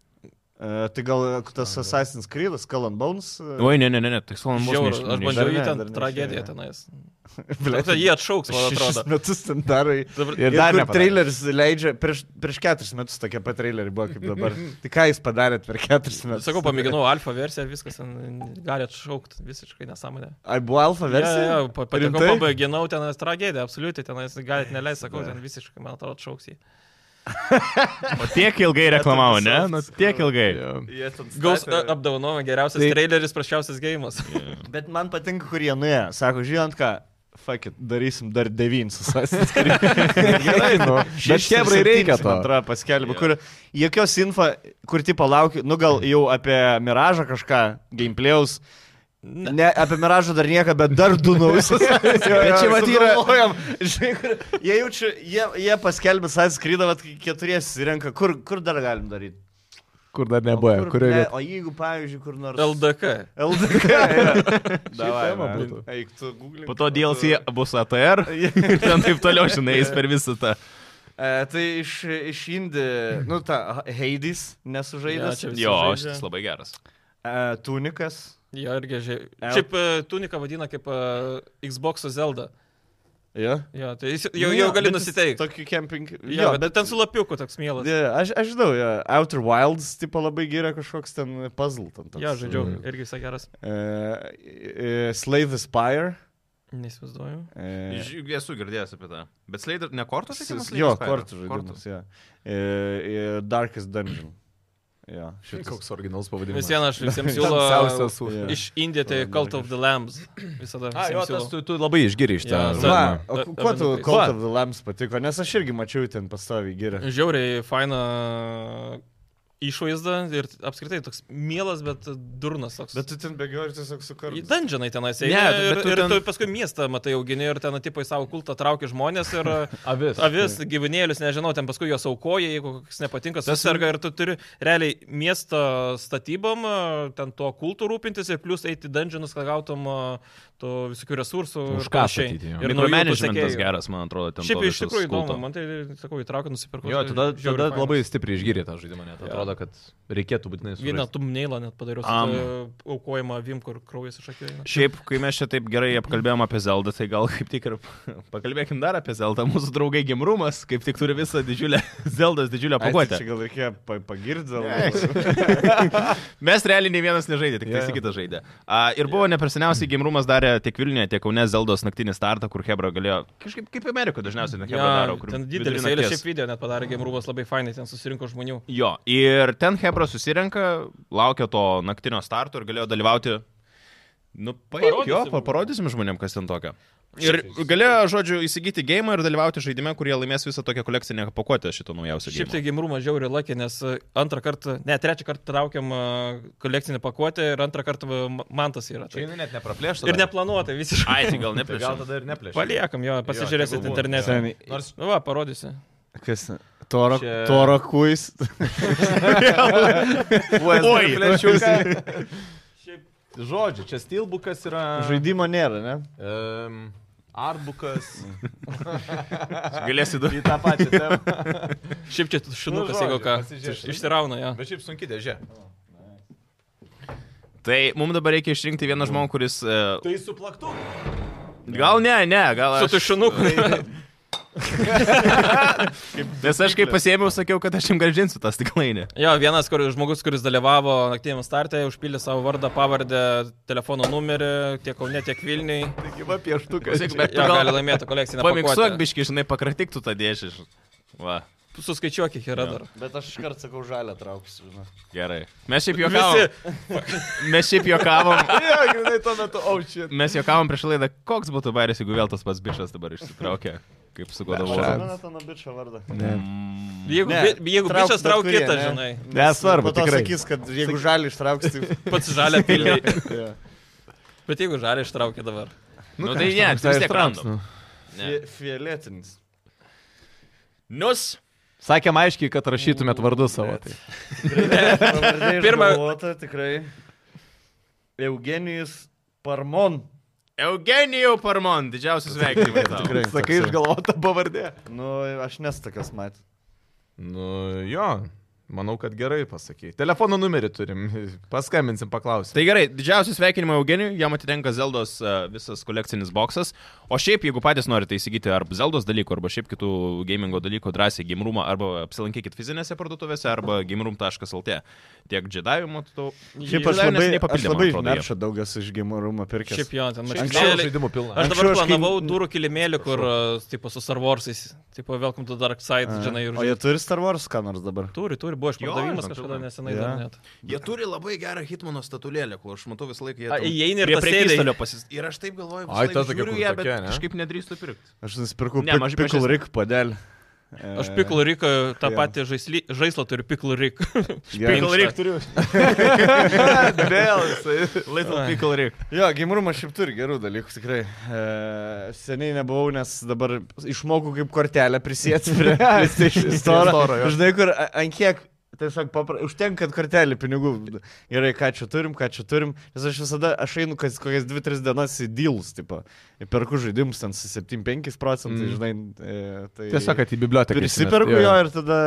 Speaker 3: Uh, tai gal tas Assassin's Creed, Skull and Bones. e,
Speaker 1: Oi, ne, ne, ne, ne, tai Solomon
Speaker 2: Žiauru, aš
Speaker 1: Bones.
Speaker 2: bandžiau
Speaker 3: Dar
Speaker 2: jį
Speaker 3: ne,
Speaker 2: ten
Speaker 3: dar ne,
Speaker 2: tragediją
Speaker 3: išėjo.
Speaker 2: tenais.
Speaker 3: [laughs] Blet,
Speaker 2: Tai jie atšauks,
Speaker 3: [laughs]
Speaker 2: man atrodo.
Speaker 3: šešis metus ten darai.
Speaker 2: Dabar-
Speaker 4: Ir
Speaker 3: Ir
Speaker 4: dar
Speaker 3: dar ne.
Speaker 4: nepadarė.
Speaker 3: Traileris leidžia, prieš, prieš keturis metus tokie pat traileriai buvo kaip dabar. tai ką jūs padarėt per keturis metus?
Speaker 2: Sakau, pamėginau alfa versiją, viskas ten gali atšaukti, visiškai nesąmonė.
Speaker 3: Ai, buvo alfa versija?
Speaker 2: Ja, ja, pa- patekau,
Speaker 3: Rimtai?
Speaker 2: pabaiginau ten tragediją, absoliučiai ten galit neleisti, sakau, ten visiškai, man atrodo, atšauks jį.
Speaker 1: O tiek ilgai reklamavo,
Speaker 2: [laughs]
Speaker 1: ne? Nu, tiek ilgai.
Speaker 2: Gaus a- apdovanojimą geriausias
Speaker 4: Tai-
Speaker 2: traileris, prasčiausias gėjimas.
Speaker 3: [laughs] Bet man patinka, kur jie nuėjo. Sako, žinot ką, fuck it, darysim dar devynis [laughs] Assassin's Creed.
Speaker 4: Gerai, nu. Bet kebrai reikia to.
Speaker 3: Antra paskelbė, kur jokios info, kur tipo laukiu, nu gal jau apie Miražą kažką, gameplayaus. Ne. ne, apie Miražą dar nieką, bet dar du naujus.
Speaker 4: [laughs] Bet čia vat yra-
Speaker 3: Sugalvojom, Žinai, kur, jie jaučia, jie, jie paskelbė Assassin's Creed, vat kai keturiesi renka, kur, kur dar galim daryti.
Speaker 4: Kur dar nebuvo, kurioje
Speaker 3: ne,
Speaker 4: vietoje.
Speaker 3: o jeigu, pavyzdžiui, kur nors...
Speaker 2: LDK.
Speaker 3: [laughs] LDK. jo. Davai,
Speaker 4: tema
Speaker 3: man.
Speaker 4: būtų.
Speaker 3: Eik, tu googlink.
Speaker 1: Po to DLC bus ATR [laughs] ir ten taip toliau, žinai, jis per visą tą.
Speaker 3: [laughs] E, tai iš, iš Indi, nu tą Heidis
Speaker 2: Jo,
Speaker 3: nesužaidęs, ja,
Speaker 2: čia-
Speaker 1: Jo,
Speaker 2: Sužaidžia.
Speaker 1: šitas labai geras.
Speaker 3: e, Tunikas.
Speaker 2: Jo, irgi žiai.
Speaker 3: L-
Speaker 2: Šiaip e, tuniką vadina kaip e, Xbox Zelda.
Speaker 3: Ja.
Speaker 2: Jo, tai jis
Speaker 3: Nu
Speaker 2: jau, jau gali nusiteikti.
Speaker 3: Tokį camping. Jo,
Speaker 2: Jo, bet ten su lapiuku toks mielas.
Speaker 3: Ja, aš, aš žinau, ja, Outer Wilds tipo labai gera kažkoks ten puzzle. Ten toks.
Speaker 2: Jo, žaidžiau, irgi visai geras.
Speaker 3: E, e, Slave Aspire.
Speaker 2: Neįsivaizduoju.
Speaker 3: E,
Speaker 1: Ž- Esu girdėjęs apie tą. Bet Slater, ne kortos, sakykime,
Speaker 3: s- jo, kortų žaidimas. Ja. E, e, Darkest Dungeon. Ja, šitas.
Speaker 4: Koks originalus
Speaker 2: Vis
Speaker 4: pavadinimas.
Speaker 2: viena, aš visiems siūlau.
Speaker 4: Tamsiausias už.
Speaker 3: Jo.
Speaker 2: Iš Indijos tai Cult of the Lambs. Visada.
Speaker 4: A, jo,
Speaker 2: visiems
Speaker 4: tas
Speaker 2: siūlau.
Speaker 4: tu, tu labai išgiri iš
Speaker 2: Jo,
Speaker 4: ten.
Speaker 2: taip.
Speaker 3: Va, o
Speaker 4: žodžiu.
Speaker 2: Da-
Speaker 3: ku-
Speaker 2: da-
Speaker 3: kuo tu
Speaker 2: da-
Speaker 3: Cult of the Lambs patiko, nes aš irgi mačiau ten pastoviai gyrę.
Speaker 2: Žiauriai faina išvaizda ir apskritai toks mielas, bet durnas toks.
Speaker 3: Bet tu ten bėgioji ir tiesiog su
Speaker 2: Į
Speaker 3: kartu.
Speaker 2: dungeonai tenais
Speaker 1: Ne,
Speaker 2: eini. Ne, ir,
Speaker 1: bet tu
Speaker 2: tu ir
Speaker 1: ten-
Speaker 2: tu paskui miestą matai augini ir ten atipai savo kultą traukia žmonės ir
Speaker 4: Avis.
Speaker 2: avis, gyvūnėlius, nežinau, ten paskui juos aukoja, jeigu koks nepatinka, susirga ir tu turi realiai miesto statybom, a, ten tuo kultų rūpintis ir plus eiti į dungeonus, kad gautum a, tų visokių resursų. ir
Speaker 4: Už ką
Speaker 2: panašiai.
Speaker 4: statyti,
Speaker 2: Ir
Speaker 4: jo.
Speaker 2: naujų tų
Speaker 1: Mikromanagementas
Speaker 2: sekėjų.
Speaker 1: geras, man atrodo, ten. to
Speaker 2: Šiaip iš
Speaker 1: visos
Speaker 2: tikrųjų
Speaker 1: kulto.
Speaker 2: įdomu, man tai, sakau, įtraukiu, nusipirkau.
Speaker 4: Jo,
Speaker 2: tai
Speaker 4: tada,
Speaker 2: žiauriai
Speaker 4: tada
Speaker 2: fainas.
Speaker 4: labai stipriai išgyrė tą žaidimą, net atrodo, kad reikėtų būtinai su...
Speaker 2: Vieną tumneilą net padariau,
Speaker 1: Am.
Speaker 2: um. aukojama avim, kur kraujas iš akių. eina.
Speaker 1: Šiaip, kai mes čia taip gerai apkalbėjom apie Zeldą, tai gal kaip tik ir [laughs] pakalbėkim dar apie Zeldą. Mūsų draugai Gimrumas kaip tik turi visą didžiulę [laughs] Zeldos didžiulę
Speaker 2: tai
Speaker 1: pakuotę.
Speaker 3: tai Čia gal reikėjo pa pagirdėl.
Speaker 1: Mes realiai nei vienas nežaidė, tik yeah.
Speaker 4: Jo.
Speaker 1: kitas žaidė. Uh, ir buvo yeah. neperseniausiai Gimrumas darė tiek Vilniuje, tiek Kaune Zeldos naktinį startą, kur Hebra galėjo, kažkaip kaip Amerikoje dažniausiai, ne Hebra ja, daro, kur
Speaker 2: ten
Speaker 1: vidury
Speaker 2: didelis eilė,
Speaker 1: nakties.
Speaker 2: šiaip video net padarė, Gemrūvas labai fainai, ten susirinko žmonių.
Speaker 1: Jo, ir ten Hebra susirenka, laukia to naktinio starto ir galėjo dalyvauti. Nu, paimk jo,
Speaker 2: Parodysim. tai-
Speaker 1: pa- parodysim žmonėm, kas ten tokio. Ir galėjo, žodžiu, įsigyti gėjimą ir dalyvauti žaidime, kurie laimės visą tokią kolekcinę pakuotę šito naujausio
Speaker 2: Šiaip
Speaker 1: žaidimo.
Speaker 2: tai Gemrūmas žiauri lakė, nes e, antrą kartą, ne, trečią kartą traukiam e, kolekcinę pakuotę ir antrą kartą e, ma- mantas yra.
Speaker 4: Čia
Speaker 2: Tai.
Speaker 4: jinai net nepraplėšta.
Speaker 2: Ir neplanuotai visiškai.
Speaker 1: Ai, tai gal
Speaker 4: Tai gal
Speaker 1: neplėšau.
Speaker 4: tada ir neplėšta.
Speaker 2: [laughs] Paliekam jo, pasižiūrėsit
Speaker 4: tegul būna.
Speaker 2: internete.
Speaker 3: Seniai.
Speaker 4: Nors
Speaker 2: Nu va, parodysiu.
Speaker 3: Kas? Toro,
Speaker 4: Čia-
Speaker 3: toro kuis.
Speaker 1: Oi.
Speaker 4: plėšiausi. Žodžiu, čia stilbukas yra...
Speaker 3: [laughs] Žaidimo nėra, ne?
Speaker 4: Um, arbukas.
Speaker 1: Galėsi du.
Speaker 4: Į tą pačią temą.
Speaker 2: Šiaip čia
Speaker 3: Nu,
Speaker 2: šinukas,
Speaker 4: žodžiu,
Speaker 2: jeigu ką.
Speaker 4: pasižiūrėsim.
Speaker 2: Išsirauna, jo.
Speaker 4: Bet šiaip sunki dėžė.
Speaker 1: Tai mums dabar reikia išrinkti vieną žmogų,
Speaker 2: Mm.
Speaker 1: kuris... e,
Speaker 4: Tai su plaktu.
Speaker 1: Gal ne, ne, gal
Speaker 2: Su
Speaker 1: aš.
Speaker 2: tušinuku.
Speaker 1: Nes aš kaip pasėmiau, sakiau, kad aš jam gražinsiu tą stiklainį.
Speaker 2: [laughs] Jo, vienas kur, žmogus, kuris dalyvavo naktiniam startė, užpildė savo vardą, pavardę, telefono numerį, tiek Kaune, tiek Vilniui.
Speaker 4: Gyva pieštukas.
Speaker 1: Klausyk, bet
Speaker 2: Bet
Speaker 1: tu
Speaker 2: jo, gali
Speaker 1: gal
Speaker 2: laimėti kolekcinę.
Speaker 1: pamiksuok
Speaker 2: pakuotę.
Speaker 1: biški, žinai, pakratiktų tą dėžę. Va,
Speaker 2: Suskaičiuok, kiek yra dar.
Speaker 3: Bet aš iškart sakau žalę trauksiu. [laughs]
Speaker 1: gerai. Mes šiaip juokavom. Mes šiaip juokavom.
Speaker 4: Jo, grinai tuo metu
Speaker 3: oh,
Speaker 4: aučia.
Speaker 1: Mes juokavom prieš laidą, koks būtų baris, jeigu vėl tas pats bišas dabar išsitraukė. Kaip su godavu.
Speaker 3: Jonatano bičio vardą.
Speaker 4: Mm.
Speaker 2: Jeigu,
Speaker 3: Ne,
Speaker 2: bi- jeigu
Speaker 3: trauk
Speaker 2: bičias
Speaker 3: bet
Speaker 2: trauk
Speaker 3: kurį,
Speaker 2: kitą,
Speaker 3: ne?
Speaker 2: žinai.
Speaker 3: Po
Speaker 4: Nesvarbu,
Speaker 3: to
Speaker 4: tikrai.
Speaker 3: sakys, kad jeigu žalį ištrauks, [laughs] tai...
Speaker 2: Pats žalia pilnai.
Speaker 3: Jo.
Speaker 2: Bet jeigu žalia ištraukė dabar.
Speaker 1: Nu tai ne, tai vis tiek randam.
Speaker 3: Fie- Fioletinis.
Speaker 1: Nus.
Speaker 4: Sakėm aiškiai, kad rašytumėt vardus savo. Tai.
Speaker 2: Pirma-
Speaker 3: Pirmą. Tikrai. Eugenijus Parmon.
Speaker 1: Eugenijų Parmon,
Speaker 2: [laughs]
Speaker 1: didžiausias sveikinimai. tau.
Speaker 3: Tikrai.
Speaker 4: Sakai
Speaker 3: toksai.
Speaker 4: išgalvota pavardė.
Speaker 3: Nu, aš nesakas mat.
Speaker 4: Nu jo, manau, kad gerai pasakai. Telefono numerį turim. Paskambinsim, paklausim.
Speaker 1: Tai gerai, didžiausias sveikinimai Eugenijui, jam atitenka Zeldos e, visas kolekcinis boksas. O šiaip, jeigu patys norite įsigyti arba Zeldos dalykų, arba šiaip kitų gamingo dalykų, drąsiai gimrumą, arba apsilankykit fizinėse parduotuvėse, arba gimrum.lt. Tiek džedavimo, tu...
Speaker 3: Šiaip aš labai, aš labai iš
Speaker 1: žinau.
Speaker 3: Neršo daugas iš gimorumą pirkęs.
Speaker 2: Šiaip jo, ten
Speaker 4: Anksčiau
Speaker 2: mašinėlė.
Speaker 4: žaidimų pilna.
Speaker 2: Aš dabar
Speaker 3: Anksčiau aš kai-
Speaker 2: planavau durų kilimėlį, kur, uh, tipo, su Star Warsais, tipo, Welcome to Dark Side,
Speaker 3: A,
Speaker 2: žinai, ir...
Speaker 3: O jie turi Star Wars ką nors dabar?
Speaker 2: Turi, turi, buvo
Speaker 1: Jo,
Speaker 2: išpardavimas
Speaker 1: žinau,
Speaker 2: kažkada
Speaker 1: pilna.
Speaker 2: nesenai
Speaker 3: Jo.
Speaker 2: dar net.
Speaker 1: Jie turi labai gerą Hitmano statulėlę, kur aš matau visą laiką.
Speaker 2: A,
Speaker 1: ten
Speaker 2: įeini ir
Speaker 1: prie
Speaker 2: tas
Speaker 1: prekystalio pasis... Ir aš taip galvoju, visą
Speaker 4: Ai,
Speaker 1: laiką
Speaker 4: ta tokia,
Speaker 1: žiūriu
Speaker 4: kur
Speaker 1: ją, bet
Speaker 4: tokia, ne?
Speaker 1: kažkaip nedrįstu pirkti.
Speaker 3: Aš nusipirkau
Speaker 1: Ne,
Speaker 3: ne,
Speaker 1: maž-
Speaker 3: pik, pikul
Speaker 1: mažesnė.
Speaker 3: rik padelį.
Speaker 2: Aš Pikul Riką tą
Speaker 3: jo.
Speaker 2: patį žaislį- žaislą turiu Pikul
Speaker 3: [laughs]
Speaker 2: Riką.
Speaker 3: Pikul
Speaker 2: Rik
Speaker 3: [laughs] turiu.
Speaker 4: Vėl jisai.
Speaker 1: Little
Speaker 2: Ai.
Speaker 1: Pickle Rick.
Speaker 3: Jo, gimrumas šiaip turi gerų dalykų, tikrai. E, seniai nebuvau, nes dabar išmokau kaip kortelę prisėti
Speaker 4: [laughs]
Speaker 3: prie PlayStation Store.
Speaker 4: Storo, jo.
Speaker 3: Žinai, kur a- ant kiek, tiesiog papra... užtenka, kad kortelį pinigų. Gerai, ką čia turim, ką čia turim. Nes aš visada, aš einu kas kokias 2-3 dienas į deals, tipo, į perku žaidimus ten su 7-5 procentai,
Speaker 4: Mm.
Speaker 3: mm. žinai. E, tai...
Speaker 4: Tiesiog, kad į biblioteką.
Speaker 3: Prisiperku
Speaker 4: išsimest.
Speaker 3: jo ir tada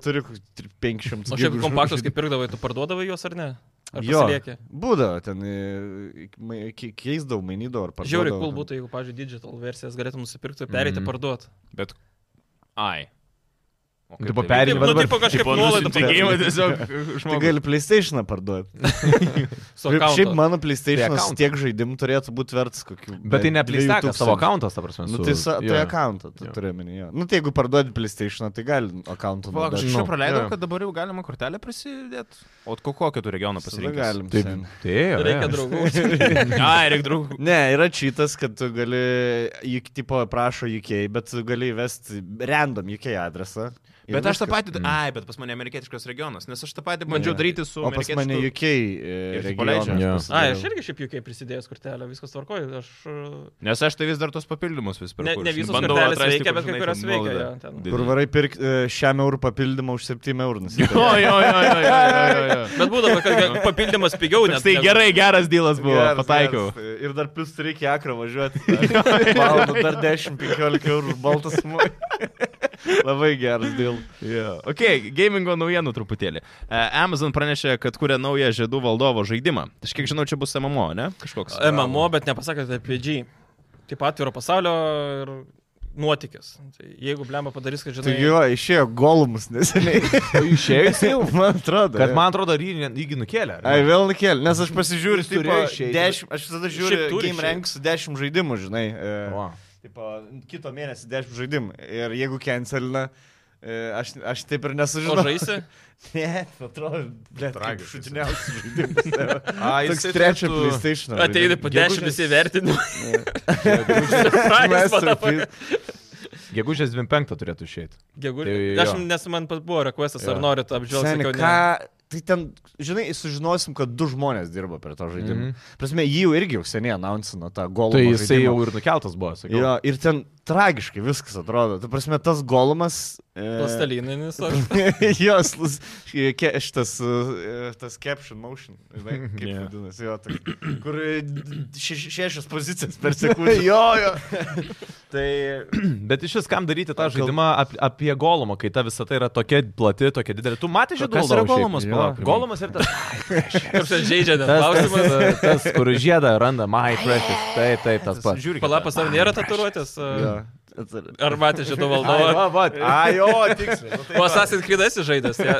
Speaker 3: turiu kokių tri- 500.
Speaker 2: O šiaip
Speaker 3: gigų
Speaker 2: kompaktus,
Speaker 3: žaidimų.
Speaker 2: kaip pirkdavai, tu parduodavai juos ar ne? Ar
Speaker 3: Jo,
Speaker 2: pasiliekė?
Speaker 3: būdavo ten, e, mai- ke- keisdavau, mainydavau ar parduodavau.
Speaker 2: Žiauriai, kul
Speaker 3: ten.
Speaker 2: būtų, jeigu, pavyzdžiui, digital versijas galėtum nusipirkti, pereiti,
Speaker 4: Mhm.
Speaker 2: parduoti.
Speaker 1: Bet... Ai. O
Speaker 4: Tipo,
Speaker 1: tai
Speaker 4: perimi
Speaker 1: veikia?
Speaker 4: va
Speaker 2: Nu,
Speaker 4: dabar-
Speaker 2: tipo, kažkaip
Speaker 1: Tipo,
Speaker 2: nuolaidą
Speaker 1: nusiunti gėjimą
Speaker 2: padaryti.
Speaker 3: [laughs]
Speaker 1: tiesiog
Speaker 3: Tai
Speaker 1: žmogus.
Speaker 3: gali PlayStation'ą parduoti.
Speaker 2: Su
Speaker 3: Šiaip
Speaker 2: akauntu.
Speaker 3: mano
Speaker 4: Prie
Speaker 3: PlayStation'as
Speaker 4: accounto.
Speaker 3: tiek žaidimų turėtų būti vertas kokių.
Speaker 4: Bet tai ne
Speaker 3: dviejų
Speaker 4: plėstakas savo
Speaker 3: tūkstančių.
Speaker 4: akantas, ta prasme.
Speaker 3: Nu,
Speaker 4: su-
Speaker 3: tai, sa, tai
Speaker 4: jo.
Speaker 3: akantą tu
Speaker 4: Jo.
Speaker 3: turi minėjo. Nu, tai jeigu parduodi PlayStation'ą, tai gali akantą.
Speaker 1: Palauk, aš čia praleidau,
Speaker 4: Jo.
Speaker 1: kad dabar jau galima kortelę prisidėti. O ko- kokio tu regiono pasirinkti?
Speaker 3: Galim.
Speaker 4: Taip,
Speaker 3: sen. Nu,
Speaker 4: tai ėjo,
Speaker 2: Reikia
Speaker 4: ėjo. [laughs]
Speaker 2: draugų. [laughs]
Speaker 1: Ai, reikia draugų.
Speaker 3: Ne, yra čytas, kad tu gali, juk tipo prašo UK, bet tu gali įvesti random UK adresą.
Speaker 1: Bet aš tą
Speaker 3: viskas. Mm.
Speaker 1: patį, ai, bet pas mane amerikietiškas regionas, nes aš tą patį bandžiau
Speaker 3: Jo.
Speaker 1: daryti su...
Speaker 3: O pas mane
Speaker 1: amerikietišku-
Speaker 3: UK e,
Speaker 1: Ir paleidžia.
Speaker 3: regionas.
Speaker 4: Jo.
Speaker 2: A, aš
Speaker 3: pasidariau.
Speaker 2: irgi šiaip UK prisidėjęs kortelę, viskas tvarkoju, aš... e,
Speaker 1: Nes aš tai vis dar tos papildymus vis perku.
Speaker 2: Ne- ne
Speaker 1: žinai,
Speaker 2: visos
Speaker 1: bandau
Speaker 2: kortelės
Speaker 1: atrasti,
Speaker 2: veikia,
Speaker 1: kur,
Speaker 2: bet kai
Speaker 1: žinai,
Speaker 2: kurios
Speaker 1: ten
Speaker 2: veikia,
Speaker 1: naudą
Speaker 2: jo, ten.
Speaker 1: didinti.
Speaker 3: Kur varai pirkti šiam eurų papildymą už 7 eurų. nusipirkt.
Speaker 1: Jo, [laughs] jo, jo, jo, jo, jo, jo.
Speaker 2: Bet būdavo, kad [laughs] ga- papildymas pigiau, nes...
Speaker 1: Toks tai gerai, geras dylas buvo,
Speaker 3: Geras,
Speaker 1: pataikiau.
Speaker 3: geras. Ir dar plus reikia akrą važiuoti. Valandą dar 10-15 eurų baltas. mu- Labai geras dėl.
Speaker 1: Yeah. Ok, gamingo naujienų truputėlį. E, Amazon pranešė, kad kuria naują žiedų valdovo žaidimą. Aš kiek žinau, čia bus MMO, ne? Kažkoks.
Speaker 2: MMO, bet nepasakė tai apie G. Taip pat atviro pasaulio ir nuotykis. Tai jeigu blemba padarys, kad
Speaker 3: Tai
Speaker 2: žinai...
Speaker 3: jo, išėjo golumus neseniai. [laughs]
Speaker 4: Išėjus jau.
Speaker 3: Man atrodo.
Speaker 4: Kad
Speaker 3: Tai jo.
Speaker 4: man atrodo, ar jį, ne- jį nukėlė. ar
Speaker 3: Ai,
Speaker 4: ne?
Speaker 3: vėl nukel, nes aš pasižiūriu,
Speaker 4: Jis
Speaker 3: tipo,
Speaker 4: turėjo išeiti.
Speaker 3: dešimt, aš visada
Speaker 2: Šiaip
Speaker 3: žiūriu,
Speaker 2: turi
Speaker 3: game
Speaker 2: išeiti.
Speaker 3: rank su 10 žaidimų, žinai. E,
Speaker 4: O.
Speaker 3: tipo, kito mėnesį 10 žaidimų. Ir jeigu cancelina, e, aš, aš taip ir nesužinau.
Speaker 2: O žaisi?
Speaker 3: Ne, atrodo, bet
Speaker 4: Tragiškas.
Speaker 3: šutiniausias žaidimas. tai
Speaker 4: A,
Speaker 3: Toks
Speaker 4: jisai
Speaker 3: trečio
Speaker 4: turėtų-
Speaker 3: PlayStation.
Speaker 2: Ateini po
Speaker 4: [laughs] Gegužės-
Speaker 2: 10 visi vertinimai.
Speaker 4: [laughs]
Speaker 2: Price, motherfucker.
Speaker 3: Masterpiece.
Speaker 4: Gegužės 25 turėtų išeiti.
Speaker 2: Gegužė.
Speaker 4: Tai jo.
Speaker 2: Aš nes man pat buvo requestas, ar
Speaker 4: Jo.
Speaker 2: norit apžvelgti.
Speaker 3: Seni,
Speaker 2: sakiau, ne.
Speaker 3: ką, tai ten, žinai, sužinosim, kad du žmonės dirba prie to žaidimo.
Speaker 4: Mhm.
Speaker 3: Prasme, jį jau irgi jau seniai announcino tą golą.
Speaker 4: Tai jisai jau ir nukeltas buvo, sakiau.
Speaker 3: Jo, ir ten tragiškai viskas atrodo. Tu prasme, tas e, golumas.
Speaker 2: Plastelininis. ar-
Speaker 4: [laughs]
Speaker 3: [laughs] Jos, šitas, e, tas caption motion, žinai, kaip
Speaker 1: Jo.
Speaker 3: yeah. vadinasi, jo, tai, kur e, še, šešias pozicijas per sekundę. [laughs] jo, jo. tai
Speaker 4: Bet iš vis kam daryti tą
Speaker 3: Ar kal-
Speaker 4: žaidimą ap, apie Golomą, kai ta visata yra tokia plati, tokia didelė. Tu matai žaidimą?
Speaker 1: kas yra Golomas, palauk, primink.
Speaker 4: Golomas ir tas.
Speaker 2: Kaip ten žaidžia, ne?
Speaker 4: Tas, tas,
Speaker 2: Klausimas.
Speaker 4: tas, [laughs] tas, kur žiedą randa, my precious. Taip, taip, tas pats.
Speaker 1: Žiūrėk.
Speaker 2: Palapas, ar nėra tatuiruotės?
Speaker 3: jo.
Speaker 2: Ar matė
Speaker 4: [laughs]
Speaker 2: šito
Speaker 4: Ai,
Speaker 2: valdovo?
Speaker 4: va, va. Ai, jo, Tai tiksliai.
Speaker 2: O Assassin's Creed esi žaidęs.
Speaker 4: [laughs]
Speaker 2: ja.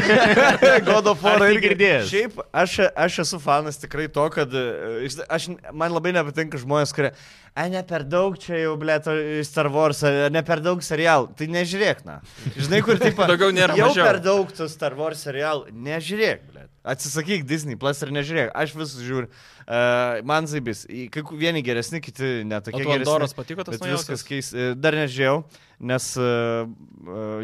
Speaker 3: [laughs] God of
Speaker 1: Ar
Speaker 3: War
Speaker 1: tai
Speaker 3: irgi-
Speaker 1: girdėjęs?
Speaker 3: Šiaip aš, aš esu fanas tikrai to, kad e, iš- aš, man labai nepatinka žmonės, kurie, ai ne per daug čia jau, blė, Star Wars, ar ne per daug serialų, tai nežiūrėk, na. Žinai, kur taip pat.
Speaker 2: [laughs] Daugiau nėra
Speaker 3: Jau
Speaker 2: mažiau.
Speaker 3: per daug tų Star Wars serialų, nežiūrėk, blė. Atsisakyk Disney Plus ir nežiūrėk, aš visus žiūriu. Uh, man zaibis, į- kai ku- vieni geresni, kiti
Speaker 2: O
Speaker 3: netokie
Speaker 2: tu
Speaker 3: geresni.
Speaker 2: Andoros patiko tas
Speaker 3: Bet
Speaker 2: naujausias?
Speaker 3: viskas keis. e, Dar nežiūrėjau, nes uh,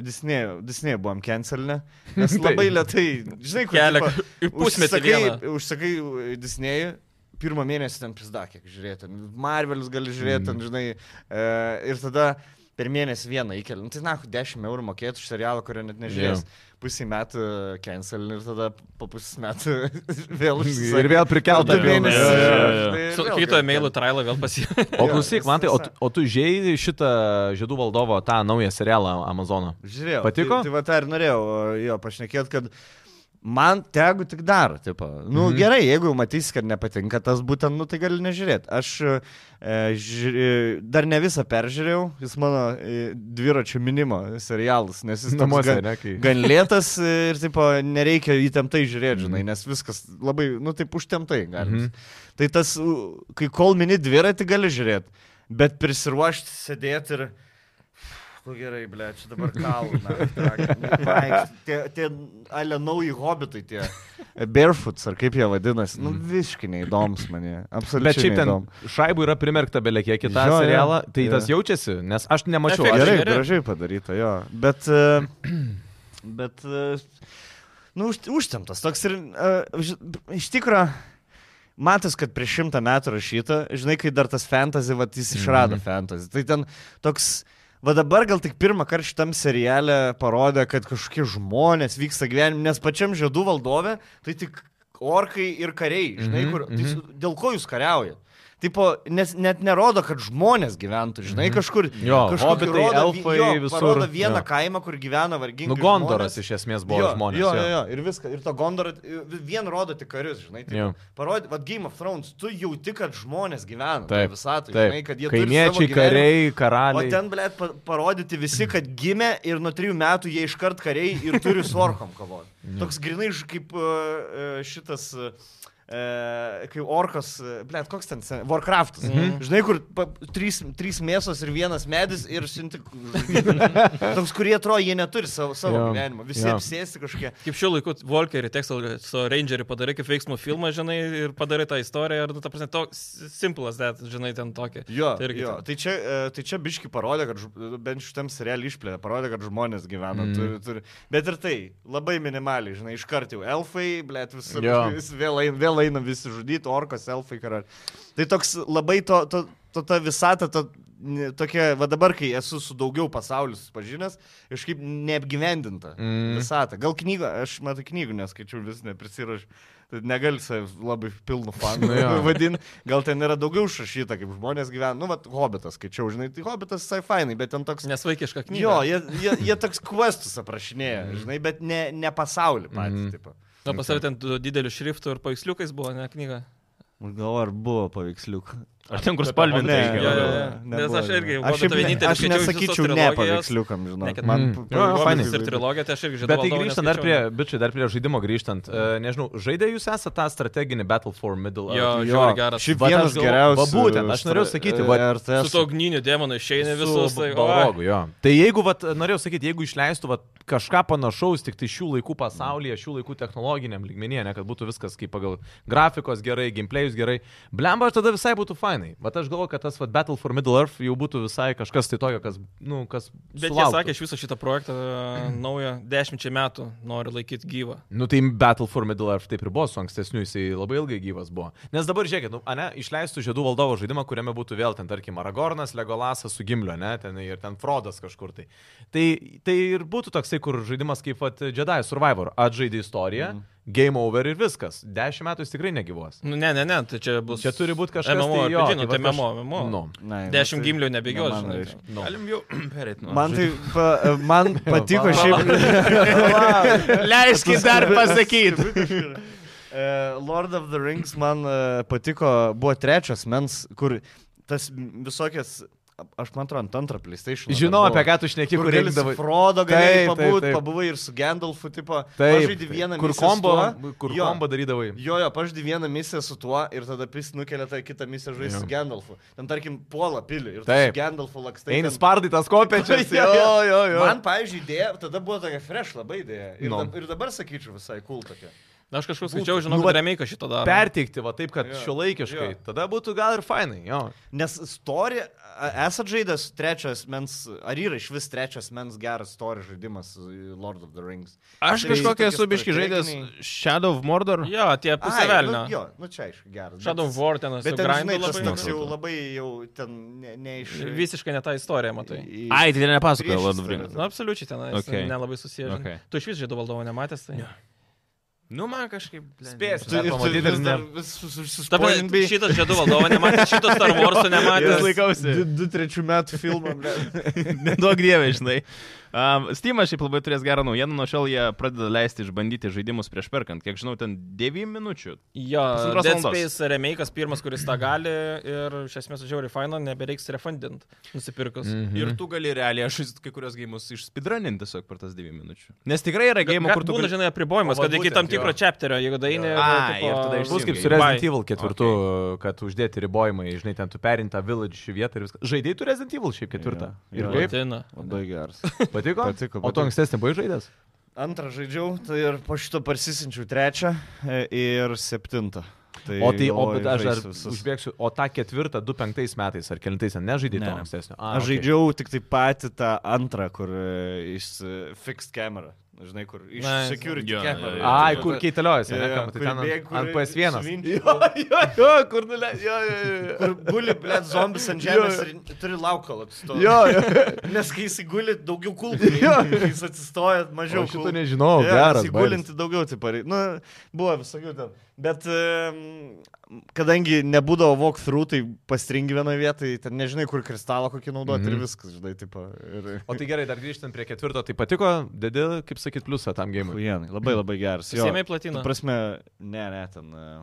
Speaker 3: Disney, Disney buvom cancelinę.
Speaker 2: [laughs]
Speaker 3: Nes
Speaker 4: Taip.
Speaker 3: labai lietai, žinai, kur
Speaker 2: Kelia
Speaker 3: tipo,
Speaker 2: į pusmetį
Speaker 3: užsisakai-
Speaker 2: vieną.
Speaker 3: Užsakai e, Disney. Pirmą mėnesį ten pizdak, kiek žiūrėti. Marvelis gali žiūrėti,
Speaker 2: Mm.
Speaker 3: ten, žinai. E, ir tada per mėnesį vieną įkeliam. Tai, na, 10 eurų mokėtų už serialą, kurio net nežiūrės. Yeah. Pusį metų cancel ir tada po pusės metų [laughs]
Speaker 2: [laughs]
Speaker 3: vėl užsisakai.
Speaker 4: [laughs] Ir vėl prikelta.
Speaker 3: du
Speaker 1: vėl,
Speaker 3: mėnesius.
Speaker 1: jo, jo, jo, jo.
Speaker 3: žinai,
Speaker 2: Su
Speaker 3: Tai vėl
Speaker 2: kito
Speaker 3: gali-
Speaker 2: emailų trailą vėl pasiėmė.
Speaker 4: O
Speaker 3: Jo,
Speaker 4: klausyk,
Speaker 3: vis-
Speaker 4: man tai, o,
Speaker 3: visa.
Speaker 4: tu- o tu žiai šitą žiedų valdovo tą naują serialą Amazoną.
Speaker 3: Žiūrėjau.
Speaker 4: Patiko?
Speaker 3: Tai, tai va tą ir norėjau e, jo pašnekėti, kad man tegu tik daro, tipo. Nu
Speaker 4: Mhm.
Speaker 3: mm. gerai, jeigu jau matysi, kad nepatinka tas būtent, nu tai gali nežiūrėti. Aš e, žiūri, dar ne visą peržiūrėjau, jis mano e, dviračio minimo serialas, nes jis toks
Speaker 4: Namuose,
Speaker 3: gan,
Speaker 4: ne, kai-
Speaker 3: gan lėtas e, ir tipo nereikia įtemptai žiūrėti,
Speaker 4: Mhm.
Speaker 3: žinai, nes viskas labai, nu taip užtemptai galima. Mm. Tai tas, u, kai kol mini dviratį gali žiūrėti, bet prisiruošti, sėdėti ir... Nu gerai, ble, čia dabar [laughs] kalna. Vaikšt- Tie, tie ale nauji hobitai, tie barefoots, ar kaip jie vadinasi, nu visiškai neįdomus man.
Speaker 4: Bet
Speaker 3: Absoliučiai.
Speaker 4: šiaip ten
Speaker 3: neįdomu.
Speaker 4: šaibų yra primerkta belekiek į tą
Speaker 3: Jo, jo,
Speaker 4: serialą, tai
Speaker 3: jo.
Speaker 4: tas jaučiasi, nes aš nemačiau.
Speaker 2: Efektas.
Speaker 4: Aš,
Speaker 3: Gerai,
Speaker 2: Gerai.
Speaker 3: gražiai padaryta, jo. Bet... e, [clears throat] Bet... e, Nu, už- užtemptas toks ir... e, ž- Iš tikrųjų... Matas, kad prieš šimtą metų rašyta, žinai, kai dar tas fantasy, va, jis išrado
Speaker 4: Mhm.
Speaker 3: fantasy. Tai ten toks, va dabar gal tik pirmą kartą šitam seriale parodė, kad kažkokie žmonės vyksta gyvenime, nes pačiam žiedų valdove, tai tik orkai ir kariai, žinai,
Speaker 4: Mhm,
Speaker 3: kur, tai su- dėl ko jūs kariaujat. Tipo, nes net nerodo, kad žmonės gyventų, žinai, kažkur.
Speaker 4: Mhm. Jo,
Speaker 3: kažkur
Speaker 4: hobitai, elfai
Speaker 3: jo,
Speaker 4: visur,
Speaker 3: Parodo vieną
Speaker 4: jo.
Speaker 3: kaimą, kur gyvena vargingi.
Speaker 4: nu, Gondoras
Speaker 3: žmonės.
Speaker 4: iš esmės buvo žmonės.
Speaker 3: Jo,
Speaker 4: jo.
Speaker 3: jo, jo, ir viską. Ir to Gondorą vien rodo tik karius, žinai. Tai
Speaker 4: Jo.
Speaker 3: parodė, vad Game of Thrones, tu jauti, kad žmonės gyvena
Speaker 4: Taip,
Speaker 3: visą tai,
Speaker 4: taip.
Speaker 3: žinai, kad jie turi savo
Speaker 4: Kaimiečiai,
Speaker 3: gyvenimą.
Speaker 4: kariai,
Speaker 3: O
Speaker 4: karaliai.
Speaker 3: ten, ble, parodyti visi, kad gimė ir nuo trijų metų jie iškart kariai ir turi su orkom kovoti. Toks grinai ž- kaip e, e, šitas e, e, kai orkos, blėt, koks ten, sen- Warcraftas. Mhm. Žinai, kur pa, trys, trys mėsos ir vienas medis ir siunti.
Speaker 4: [laughs]
Speaker 3: Toks, kurie atrodo, jie neturi savo, savo
Speaker 4: Jo.
Speaker 3: gyvenimo. Visi
Speaker 4: Jo.
Speaker 3: apsėsti kažkokie.
Speaker 2: [laughs] Kaip šiuo laiku Walkerį, Texel su Rangeriu padarai kaip veiksmo filmą, žinai, ir padarai tą istoriją, ir, nu, ta prasme, toks simplas, net, žinai, ten tokia.
Speaker 3: Jo,
Speaker 2: Tai irgi
Speaker 3: jo.
Speaker 2: ten.
Speaker 3: Tai, čia, e, tai čia biški parodė, kad žm- bent šitam serialui išplėtė, parodė, kad žmonės gyvena.
Speaker 4: Mm.
Speaker 3: Mm. Turi, turi. Bet ir tai, labai minimaliai, žinai, iš karto jau elfai, blėt, vis,
Speaker 4: Jo.
Speaker 3: vis vėl, eina, vėl eina visi žudyti, orkas, elfai, karar. Tai toks labai to, to, to ta visata, to, ne- tokia, va dabar, kai esu su daugiau pasauliu susipažinęs, kažkaip neapgyvendinta
Speaker 4: Mm.
Speaker 3: mm. visata. Gal knygą, aš matau knygų, neskaičiu, vis neprisirašiau. Tai negali savęs labai pilnu fanu
Speaker 4: Nu jo.
Speaker 3: vadin, gal ten yra daugiau užrašyta, kaip žmonės gyvena. Nu, vat, hobitas, skaičiau, žinai, tai hobitas visai fainai, bet ten toks...
Speaker 2: Nesvaikiška knyga.
Speaker 3: Jo, jie, jie, [laughs] jie toks questus aprašinėja, žinai, bet ne, ne pasaulį patį.
Speaker 4: Mhm.
Speaker 3: Mm.
Speaker 2: Na, pas tave ten du- dideliu šriftu ir paveiksliukais buvo, ne knyga.
Speaker 3: Gal ar buvo paveiksliukas?
Speaker 1: Aš ten, kur
Speaker 2: Bet-
Speaker 1: spalvinta.
Speaker 2: Ne,
Speaker 1: reikia
Speaker 2: jo,
Speaker 1: labiau.
Speaker 2: jo, jo. Nes aš irgi Hobitą
Speaker 3: aš, šiaip ne-
Speaker 2: vienintelį
Speaker 3: aš
Speaker 2: skaičiau iš visos
Speaker 3: nesakyčiau ne
Speaker 2: trilogijos.
Speaker 3: paveiksliukam, žinai.
Speaker 2: Nekad-
Speaker 4: Mm. Jo, jo, fainai.
Speaker 2: Ir trilogija, tai aš irgi žinau.
Speaker 4: Bet tai grįžtant dar prie, bičiai, dar prie žaidimo grįžtant. E, nežinau, žaidė jūs esate tą strateginį Battle for Middle Earth?
Speaker 2: Jo,
Speaker 3: Jo,
Speaker 2: žiauri geras.
Speaker 3: šiaip
Speaker 4: Vat aš
Speaker 3: vienas
Speaker 4: galvo-
Speaker 3: geriausias.
Speaker 4: va būtent, aš norėjau sakyti, va,
Speaker 2: Su to ugniniu demonu išeina visus. Tai, oi.
Speaker 4: Balogu, jo. Tai jeigu, vat, norėjau sakyti, jeigu išleistų vat, kažką panašaus tik tai šių laikų pasaulyje, šių laikų technologiniam lygmenyje, ne kad būtų viskas kaip pagal grafikos gerai, gameplayus gerai, blemba, aš tada visai būtų fainai. Bet aš galvoju, kad tas vat, Battle for Middle Earth jau būtų visai kažkas tai tokio, kas, nu, kas...
Speaker 2: Bet jie
Speaker 4: sulauktų.
Speaker 2: sakė, iš viso šitą projektą e, naują dešimčiai metų nori laikyti gyvą.
Speaker 4: Nu tai Battle for Middle Earth taip ir buvo su ankstesniu, jisai labai ilgai gyvas buvo. Nes dabar žiūrėkit, nu, ane, išleistų žiedų valdovo žaidimą, kuriame būtų vėl ten, tarkim, Aragornas, Legolasas su Gimliu, ne, ten ir ten Frodas kažkur tai. Tai, tai ir būtų toksai, kur žaidimas kaip vat, Jedi Survivor, atžaidė istoriją, mm. game over ir viskas. Dešimt metų jis tikrai negyvos.
Speaker 2: Nu, ne, ne, ne, tai čia bus.
Speaker 4: Čia turi būti kažkas
Speaker 2: MMO,
Speaker 4: tai, jo,
Speaker 2: žinot, tai
Speaker 4: vat aš-
Speaker 2: MMO, MMO.
Speaker 4: Nu.
Speaker 2: Dešimt gimlių nebėgios,
Speaker 3: tai ne
Speaker 2: žinai.
Speaker 3: mano
Speaker 2: tai.
Speaker 3: reiškia.
Speaker 4: Nu.
Speaker 1: Galim jau [clears throat] perėti nuo.
Speaker 2: [laughs]
Speaker 3: Man tai pa, [laughs] man patiko [laughs] šiaip.
Speaker 1: Leiskit
Speaker 4: [laughs]
Speaker 1: dar pasakyti.
Speaker 3: [laughs] E, Lord of the Rings man e, patiko, buvo trečias mens, kur tas visokias, aš man atrodo, ant antrą PlayStation.
Speaker 4: Žinau, apie ką tu šneki,
Speaker 3: Kur
Speaker 4: kur
Speaker 3: gali
Speaker 4: reikdavo.
Speaker 3: su Frodo galėjai
Speaker 4: Taip, taip,
Speaker 3: pabūt,
Speaker 4: taip.
Speaker 3: pabuvai ir su Gandalfu, tipo,
Speaker 4: Taip,
Speaker 3: pažaidi vieną
Speaker 4: kur
Speaker 3: misiją su
Speaker 4: kombo,
Speaker 3: tuo.
Speaker 4: kur
Speaker 3: Jo.
Speaker 4: kombo darydavai.
Speaker 3: Jo, jo, pažaidi vieną misiją su tuo ir tada pis nukelia tą kitą misiją žaisti su Gandalfu. Ten tarkim, puola pilį ir tu su
Speaker 4: Taip.
Speaker 3: Gandalfu lakstai.
Speaker 4: Eini
Speaker 3: ten-
Speaker 4: spardai tas
Speaker 3: [laughs]
Speaker 4: kopečias. jo, jo, jo.
Speaker 3: Man, pavyzdžiui, idėja, tada buvo tokia fresh labai idėja. Ir,
Speaker 4: Nu.
Speaker 3: no. dab, ir dabar sakyčiau visai cool tokia.
Speaker 2: Na, aš kažkur skaičiau, žinau,
Speaker 4: Nu,
Speaker 2: kad
Speaker 4: vat
Speaker 2: remeiką šito daro.
Speaker 4: perteikti, va taip, kad
Speaker 3: Jo,
Speaker 4: šio laikiškai.
Speaker 3: jo.
Speaker 4: Tada būtų gal ir fainai, jo.
Speaker 3: Nes story, a- esat žaidęs trečias mens, ar yra iš vis trečias mens geras story žaidimas e, Lord of the Rings?
Speaker 1: Aš
Speaker 3: Tai
Speaker 1: kažkokią
Speaker 3: tokie
Speaker 1: esu biški žaidęs
Speaker 3: strateginiai-
Speaker 1: Shadow of Mordor.
Speaker 2: Jo, tie pusė
Speaker 3: Ai,
Speaker 2: velnio.
Speaker 3: Nu, jo, nu čia aišku, geras. bet-
Speaker 2: Shadow War ten
Speaker 3: Bet ten, žinai,
Speaker 2: atsigrindu
Speaker 3: tas
Speaker 2: labai.
Speaker 3: toks jau labai jau ten ne, ne iš...
Speaker 2: Visiškai ne tą istoriją, matai.
Speaker 3: į-
Speaker 1: Ai, tai nepasakoju,
Speaker 3: Priešistorė.
Speaker 1: Lord of the Rings.
Speaker 2: Na, absoliučiai ten okay.
Speaker 1: Okay.
Speaker 2: nelabai susijęs. Okay.
Speaker 1: Okay.
Speaker 2: Tu iš vis žaidų valdovo nematęs, tai...
Speaker 1: Nu, man kažkaip. blen,
Speaker 4: Spėsiu.
Speaker 3: Tu, ir tu
Speaker 4: Pamatyti
Speaker 3: vis
Speaker 4: ir
Speaker 3: dar
Speaker 4: ne.
Speaker 3: vis
Speaker 2: Ta prasme,
Speaker 3: užsispaulinti.
Speaker 2: Šitas žaidų valdovo nematęs, šitas Star
Speaker 4: [laughs]
Speaker 2: Wars'o nematęs.
Speaker 1: laikausi.
Speaker 3: Du trečių metų filmą. ble.
Speaker 1: Nedaug dievė, žinai. Um, Steam šiaip labai turės gerą naujieną, nuo šiol jie pradeda leisti išbandyti žaidimus prieš perkant. Kiek žinau, ten 9 minučių.
Speaker 2: Jo,
Speaker 1: Pusantros
Speaker 2: Dead
Speaker 1: valandos.
Speaker 2: Space remake'as pirmas, kuris tą gali ir iš esmės žiauri faino, nebereiks refundint nusipirkus. Mm.
Speaker 1: Ir tu gali realiai, aš kai kurios gėjimus išspidraninti tiesiog per tas 9 minučių. Nes tikrai yra gėjimų, kur tu...
Speaker 2: būna,
Speaker 1: gali-
Speaker 2: žinai, apribojimas,
Speaker 4: O,
Speaker 2: kad
Speaker 4: vat
Speaker 2: iki
Speaker 4: būtent,
Speaker 2: tam tikro
Speaker 4: jo.
Speaker 2: čepterio, jeigu daini...
Speaker 1: Jo.
Speaker 2: va,
Speaker 1: Ai,
Speaker 2: tipo,
Speaker 1: ir tada išsijungi.
Speaker 4: Bus kaip
Speaker 1: Sunkiai.
Speaker 4: su Resident
Speaker 2: Bye.
Speaker 4: Evil ketvirtu, kad uždėti ribojimai, žinai, ten tu perintą village vietą ir viską. Žaidėjai tu Resident Evil šiaip ketvirtą.
Speaker 3: Jo,
Speaker 4: Ir
Speaker 3: jo.
Speaker 4: kaip?
Speaker 2: Rutina.
Speaker 3: Labai geras.
Speaker 4: Patiko?
Speaker 3: Patiko,
Speaker 4: O tu
Speaker 3: patiko.
Speaker 4: ankstesnį buvai žaidęs?
Speaker 3: Antrą žaidžiau, tai ir po šito parsisinčiau trečią e, ir septintą.
Speaker 4: O tai, o
Speaker 3: galvoju,
Speaker 4: bet aš dar
Speaker 3: žaisiu visus.
Speaker 4: užbėgsiu, o tą ketvirtą, du penktais metais ar kelintais, ten nežaidėjai to ankstesnio. A,
Speaker 3: Aš
Speaker 4: okei.
Speaker 3: žaidžiau tik tai patį tą antrą, kur e, iš e, fixed camera. Žinai, kur iš
Speaker 2: Nice.
Speaker 3: security
Speaker 1: Jo, jo,
Speaker 3: camera.
Speaker 1: jo.
Speaker 4: Ai, kur keitaliojasi,
Speaker 3: Jo,
Speaker 4: ne?
Speaker 3: jo,
Speaker 4: kam, tai
Speaker 3: kur
Speaker 4: ten ant-
Speaker 3: bėgi, kur
Speaker 4: Ant PS1.
Speaker 3: suvinčiai.
Speaker 4: jo, jo, kur
Speaker 3: nu
Speaker 4: nuleidžiu. Jo, jo, jo, jo.
Speaker 3: Kur guli, ble, zombis ant žemės ir turi laukalą atsistoti.
Speaker 4: Jo, jo.
Speaker 3: Nes kai jis įguli, daugiau kulkų. Kai jis atsistoja, mažiau
Speaker 4: O šito
Speaker 3: kulkų.
Speaker 4: nežinojau,
Speaker 3: Jo,
Speaker 4: geras,
Speaker 3: Įgulinti daugiau, tai pareik. Nu, buvo visokių ten. Bet em, kadangi nebūdavo walkthrough, tai pastringi vienoje vietoje, ten nežinai, kur kristalą kokį naudoti
Speaker 4: Mhm.
Speaker 3: ir viskas, žinai, tipo. Ir...
Speaker 4: O tai gerai, dar grįžtant prie ketvirto, tai patiko, dedi, kaip sakyt, pliusą tam gėjimui.
Speaker 3: Huijenai, labai labai geras. Jo,
Speaker 2: Pasiėmė platiną.
Speaker 3: ta prasme, ne, ne, ten, e,